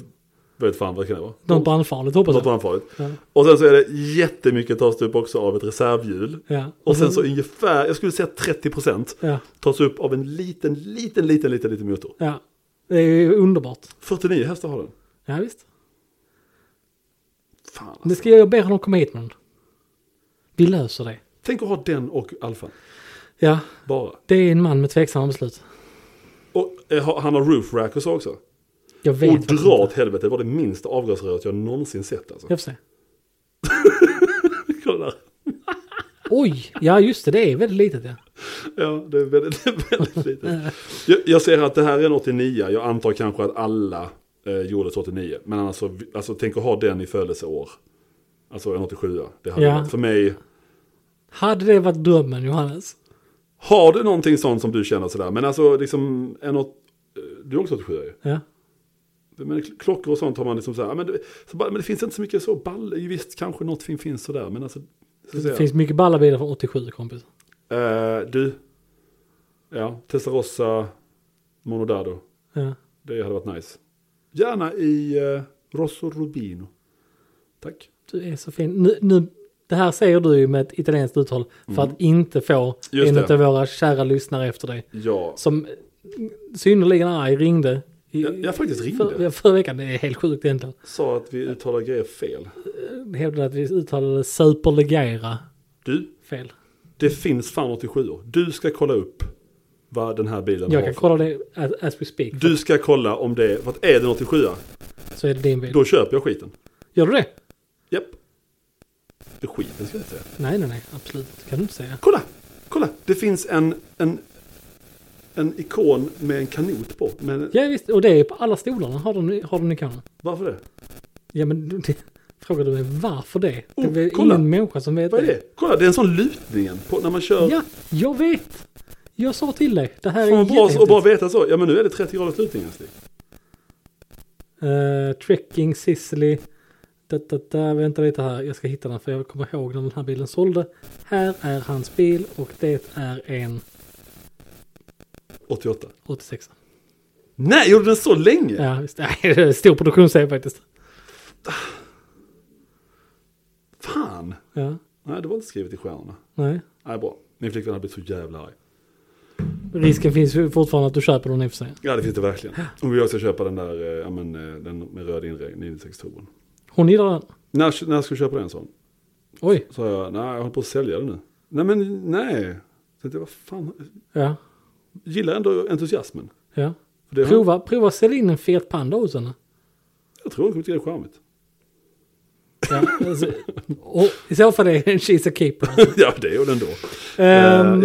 Speaker 2: vet fan vad det kan vara.
Speaker 1: Något brandfarligt hoppas
Speaker 2: Något
Speaker 1: jag.
Speaker 2: brandfarligt. Och sen så är det jättemycket tas det upp också av ett reservhjul.
Speaker 1: Ja.
Speaker 2: Och sen så ungefär, jag skulle säga 30%
Speaker 1: Mhm. Ja,
Speaker 2: tas upp av en liten, liten, liten, liten, liten motor.
Speaker 1: ja. Det är ju underbart.
Speaker 2: 49 hästar har den.
Speaker 1: Ja, visst.
Speaker 2: Fan alltså.
Speaker 1: Det ska jag be honom komma hit med den. Vi löser det.
Speaker 2: Tänk att ha den och alfan.
Speaker 1: Ja,
Speaker 2: Bara.
Speaker 1: det är en man med tveksamma beslut.
Speaker 2: Och eh, ha- han har roof rack och så också.
Speaker 1: Jag vet
Speaker 2: Och
Speaker 1: faktiskt
Speaker 2: dra
Speaker 1: inte.
Speaker 2: åt helvete, det var det minsta avgasröret jag någonsin sett alltså.
Speaker 1: Jag får se.
Speaker 2: Kolla där.
Speaker 1: Oj, ja just det, det är väldigt litet ja.
Speaker 2: Ja, det är väldigt, det är väldigt litet. Jag, jag ser att det här är en 89. Jag antar kanske att alla eh, gjordes 89. Men annars så, alltså, tänk att ha den i födelseår. Alltså en 87. Det hade
Speaker 1: Ja.
Speaker 2: varit för mig.
Speaker 1: Hade det varit drömmen Johannes?
Speaker 2: Har du någonting sånt som du känner sådär? Men alltså liksom en åt, eh, du är också 87 ju.
Speaker 1: Ja.
Speaker 2: Men kl- klockor och sånt har man liksom såhär. Men det, så bara, men det finns inte så mycket så ball. Visst, kanske något fin finns sådär. Men alltså. Så
Speaker 1: Det
Speaker 2: att säga.
Speaker 1: finns mycket balla bilar från 87 kompis.
Speaker 2: Eh, du. Ja, Testarossa. Monodado.
Speaker 1: Ja.
Speaker 2: Det hade varit nice. Gärna i eh, Rosso Rubino. Tack.
Speaker 1: Du är så fin. Nu, nu, det här säger du ju med ett italienskt uttal för att inte få
Speaker 2: Mm. Just
Speaker 1: en
Speaker 2: det.
Speaker 1: av våra kära lyssnare efter dig.
Speaker 2: Ja.
Speaker 1: Som synnerligen arg ringde. I,
Speaker 2: Jag, jag faktiskt ringde.
Speaker 1: för, förra veckan, det är helt sjukt egentligen.
Speaker 2: Sa att vi uttalar grejer fel.
Speaker 1: hävdade att vi uttalade superlegera
Speaker 2: Du,
Speaker 1: fel.
Speaker 2: Det finns fan 87 år. Du ska kolla upp vad den här bilen
Speaker 1: Jag
Speaker 2: har.
Speaker 1: kan
Speaker 2: för-
Speaker 1: kolla det as, as we speak.
Speaker 2: Du ska kolla om det är, för att är det en 87
Speaker 1: Så är det din bil.
Speaker 2: då köper jag skiten.
Speaker 1: Gör du det?
Speaker 2: Japp. Det är skiten ska jag inte säga.
Speaker 1: Nej, nej, nej. Absolut. Det kan du inte säga.
Speaker 2: Kolla! Kolla! Det finns en, en, en ikon med en kanot på. Men
Speaker 1: Ja, visst. Och det är på alla stolarna har de, har de ikoner.
Speaker 2: varför det?
Speaker 1: Ja, men du- det, frågar du mig varför det? Det är
Speaker 2: Oh,
Speaker 1: väl
Speaker 2: kolla.
Speaker 1: ingen människa som vet
Speaker 2: Vad är det? Kolla, det är en sån lutning igen på, när man kör.
Speaker 1: Ja, jag vet. Jag sa till dig. Det här är
Speaker 2: Fan, vad bra, och
Speaker 1: jättehäftigt.
Speaker 2: bara veta så. Ja men nu är det 30 graders lutning älskling.
Speaker 1: Eh, trekking, Sicily. Da, da, da. Vänta lite här, jag ska hitta den för jag kommer ihåg när den här bilen sålde. Här är hans bil och det är en
Speaker 2: 88.
Speaker 1: 86.
Speaker 2: Nej, gjorde den så länge?
Speaker 1: Ja, visst. Nej, det är stor produktionsserie faktiskt.
Speaker 2: Fan!
Speaker 1: Ja,
Speaker 2: Nej, det var inte skrivet i stjärnorna.
Speaker 1: nej.
Speaker 2: Nej, bra. Min flickvän hade blivit så jävla arg.
Speaker 1: Risken finns ju fortfarande att du köper den i och för sig.
Speaker 2: Ja, det finns det verkligen. Hon vill också köpa den där, eh, ja men eh, den med röd inredning, 96 turbon.
Speaker 1: Hon gillar den.
Speaker 2: När, när ska du köpa den sån?
Speaker 1: Oj,
Speaker 2: Sa jag, nej jag håller på att sälja den nu. Nej men nej. Så tänkte jag, vad fan,
Speaker 1: ja.
Speaker 2: gillar ändå entusiasmen.
Speaker 1: ja.
Speaker 2: För det har-
Speaker 1: Prova, prova att sälja in en Fiat Panda hos henne.
Speaker 2: Jag tror hon kommer tycka det är charmigt.
Speaker 1: Ja, alltså, och, I så fall är det en She's a keeper.
Speaker 2: ja, det är hon ändå.
Speaker 1: Ehm,
Speaker 2: Eh,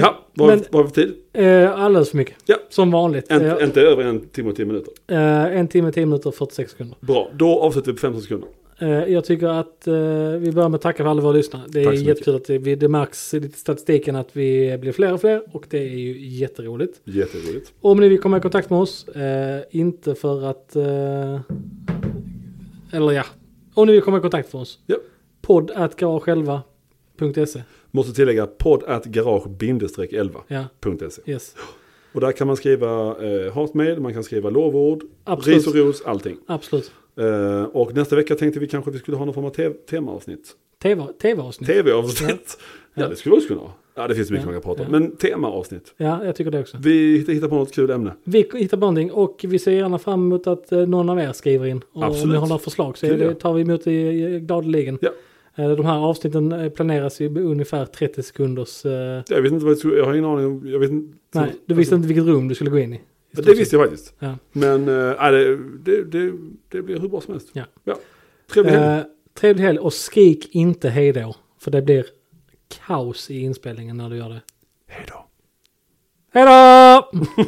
Speaker 2: ja, vad har
Speaker 1: men-
Speaker 2: vi- vad har vi för tid?
Speaker 1: eh, alldeles för mycket.
Speaker 2: Ja.
Speaker 1: Som vanligt.
Speaker 2: En,
Speaker 1: Eh,
Speaker 2: Inte över en timme och tio minuter.
Speaker 1: eh, en timme, 10 minuter och 46 sekunder.
Speaker 2: Bra, då avslutar vi på 15 sekunder.
Speaker 1: Eh, Jag tycker att eh, vi börjar med att tacka för alla våra lyssnare. Det är
Speaker 2: Tack så mycket.
Speaker 1: jättekul att det, vi- det märks i lite statistiken att vi blir fler och fler och det är ju jätteroligt.
Speaker 2: Jätteroligt.
Speaker 1: Om ni vill komma i kontakt med oss, eh, inte för att... Eh, eller ja, om ni vill komma i kontakt med oss.
Speaker 2: Ja.
Speaker 1: Podd at garagesjälva.se.
Speaker 2: Måste tillägga podd at garage-11.se.
Speaker 1: Ja, yes.
Speaker 2: Och där kan man skriva eh, hatmejl, man kan skriva lovord,
Speaker 1: Absolut.
Speaker 2: ris och ros, allting.
Speaker 1: Absolut.
Speaker 2: Eh, och nästa vecka tänkte vi kanske att vi skulle ha någon form av te- temaavsnitt.
Speaker 1: TV- TV-avsnitt.
Speaker 2: Tv-avsnitt. Ja.
Speaker 1: Ja.
Speaker 2: det skulle vi också kunna ha. Ja, det finns mycket
Speaker 1: Ja.
Speaker 2: man kan prata om.
Speaker 1: Ja.
Speaker 2: Men temaavsnitt.
Speaker 1: ja, jag tycker det också.
Speaker 2: Vi hittar, hittar på något kul ämne.
Speaker 1: Vi hittar bonding och vi ser gärna fram emot att eh, någon av er skriver in. Och om ni
Speaker 2: Absolut.
Speaker 1: har några förslag så
Speaker 2: Kul, ja.
Speaker 1: tar vi emot det eh, gladeligen.
Speaker 2: Ja.
Speaker 1: Eh, De här avsnitten eh, planeras ju med ungefär 30 sekunders... eh,
Speaker 2: Jag vet inte vad jag skulle, jag har ingen aning om, jag vet inte.
Speaker 1: Nej, du visste inte vilket rum du skulle gå in i.
Speaker 2: Ja, Det visste jag faktiskt.
Speaker 1: Ja.
Speaker 2: Men eh, nej, det, det, det, det blir hur bra som helst.
Speaker 1: Ja.
Speaker 2: Trevlig helg.
Speaker 1: Eh, trevlig helg och skrik inte hej då. För det blir kaos i inspelningen när du gör det.
Speaker 2: Hej då.
Speaker 1: Hej då!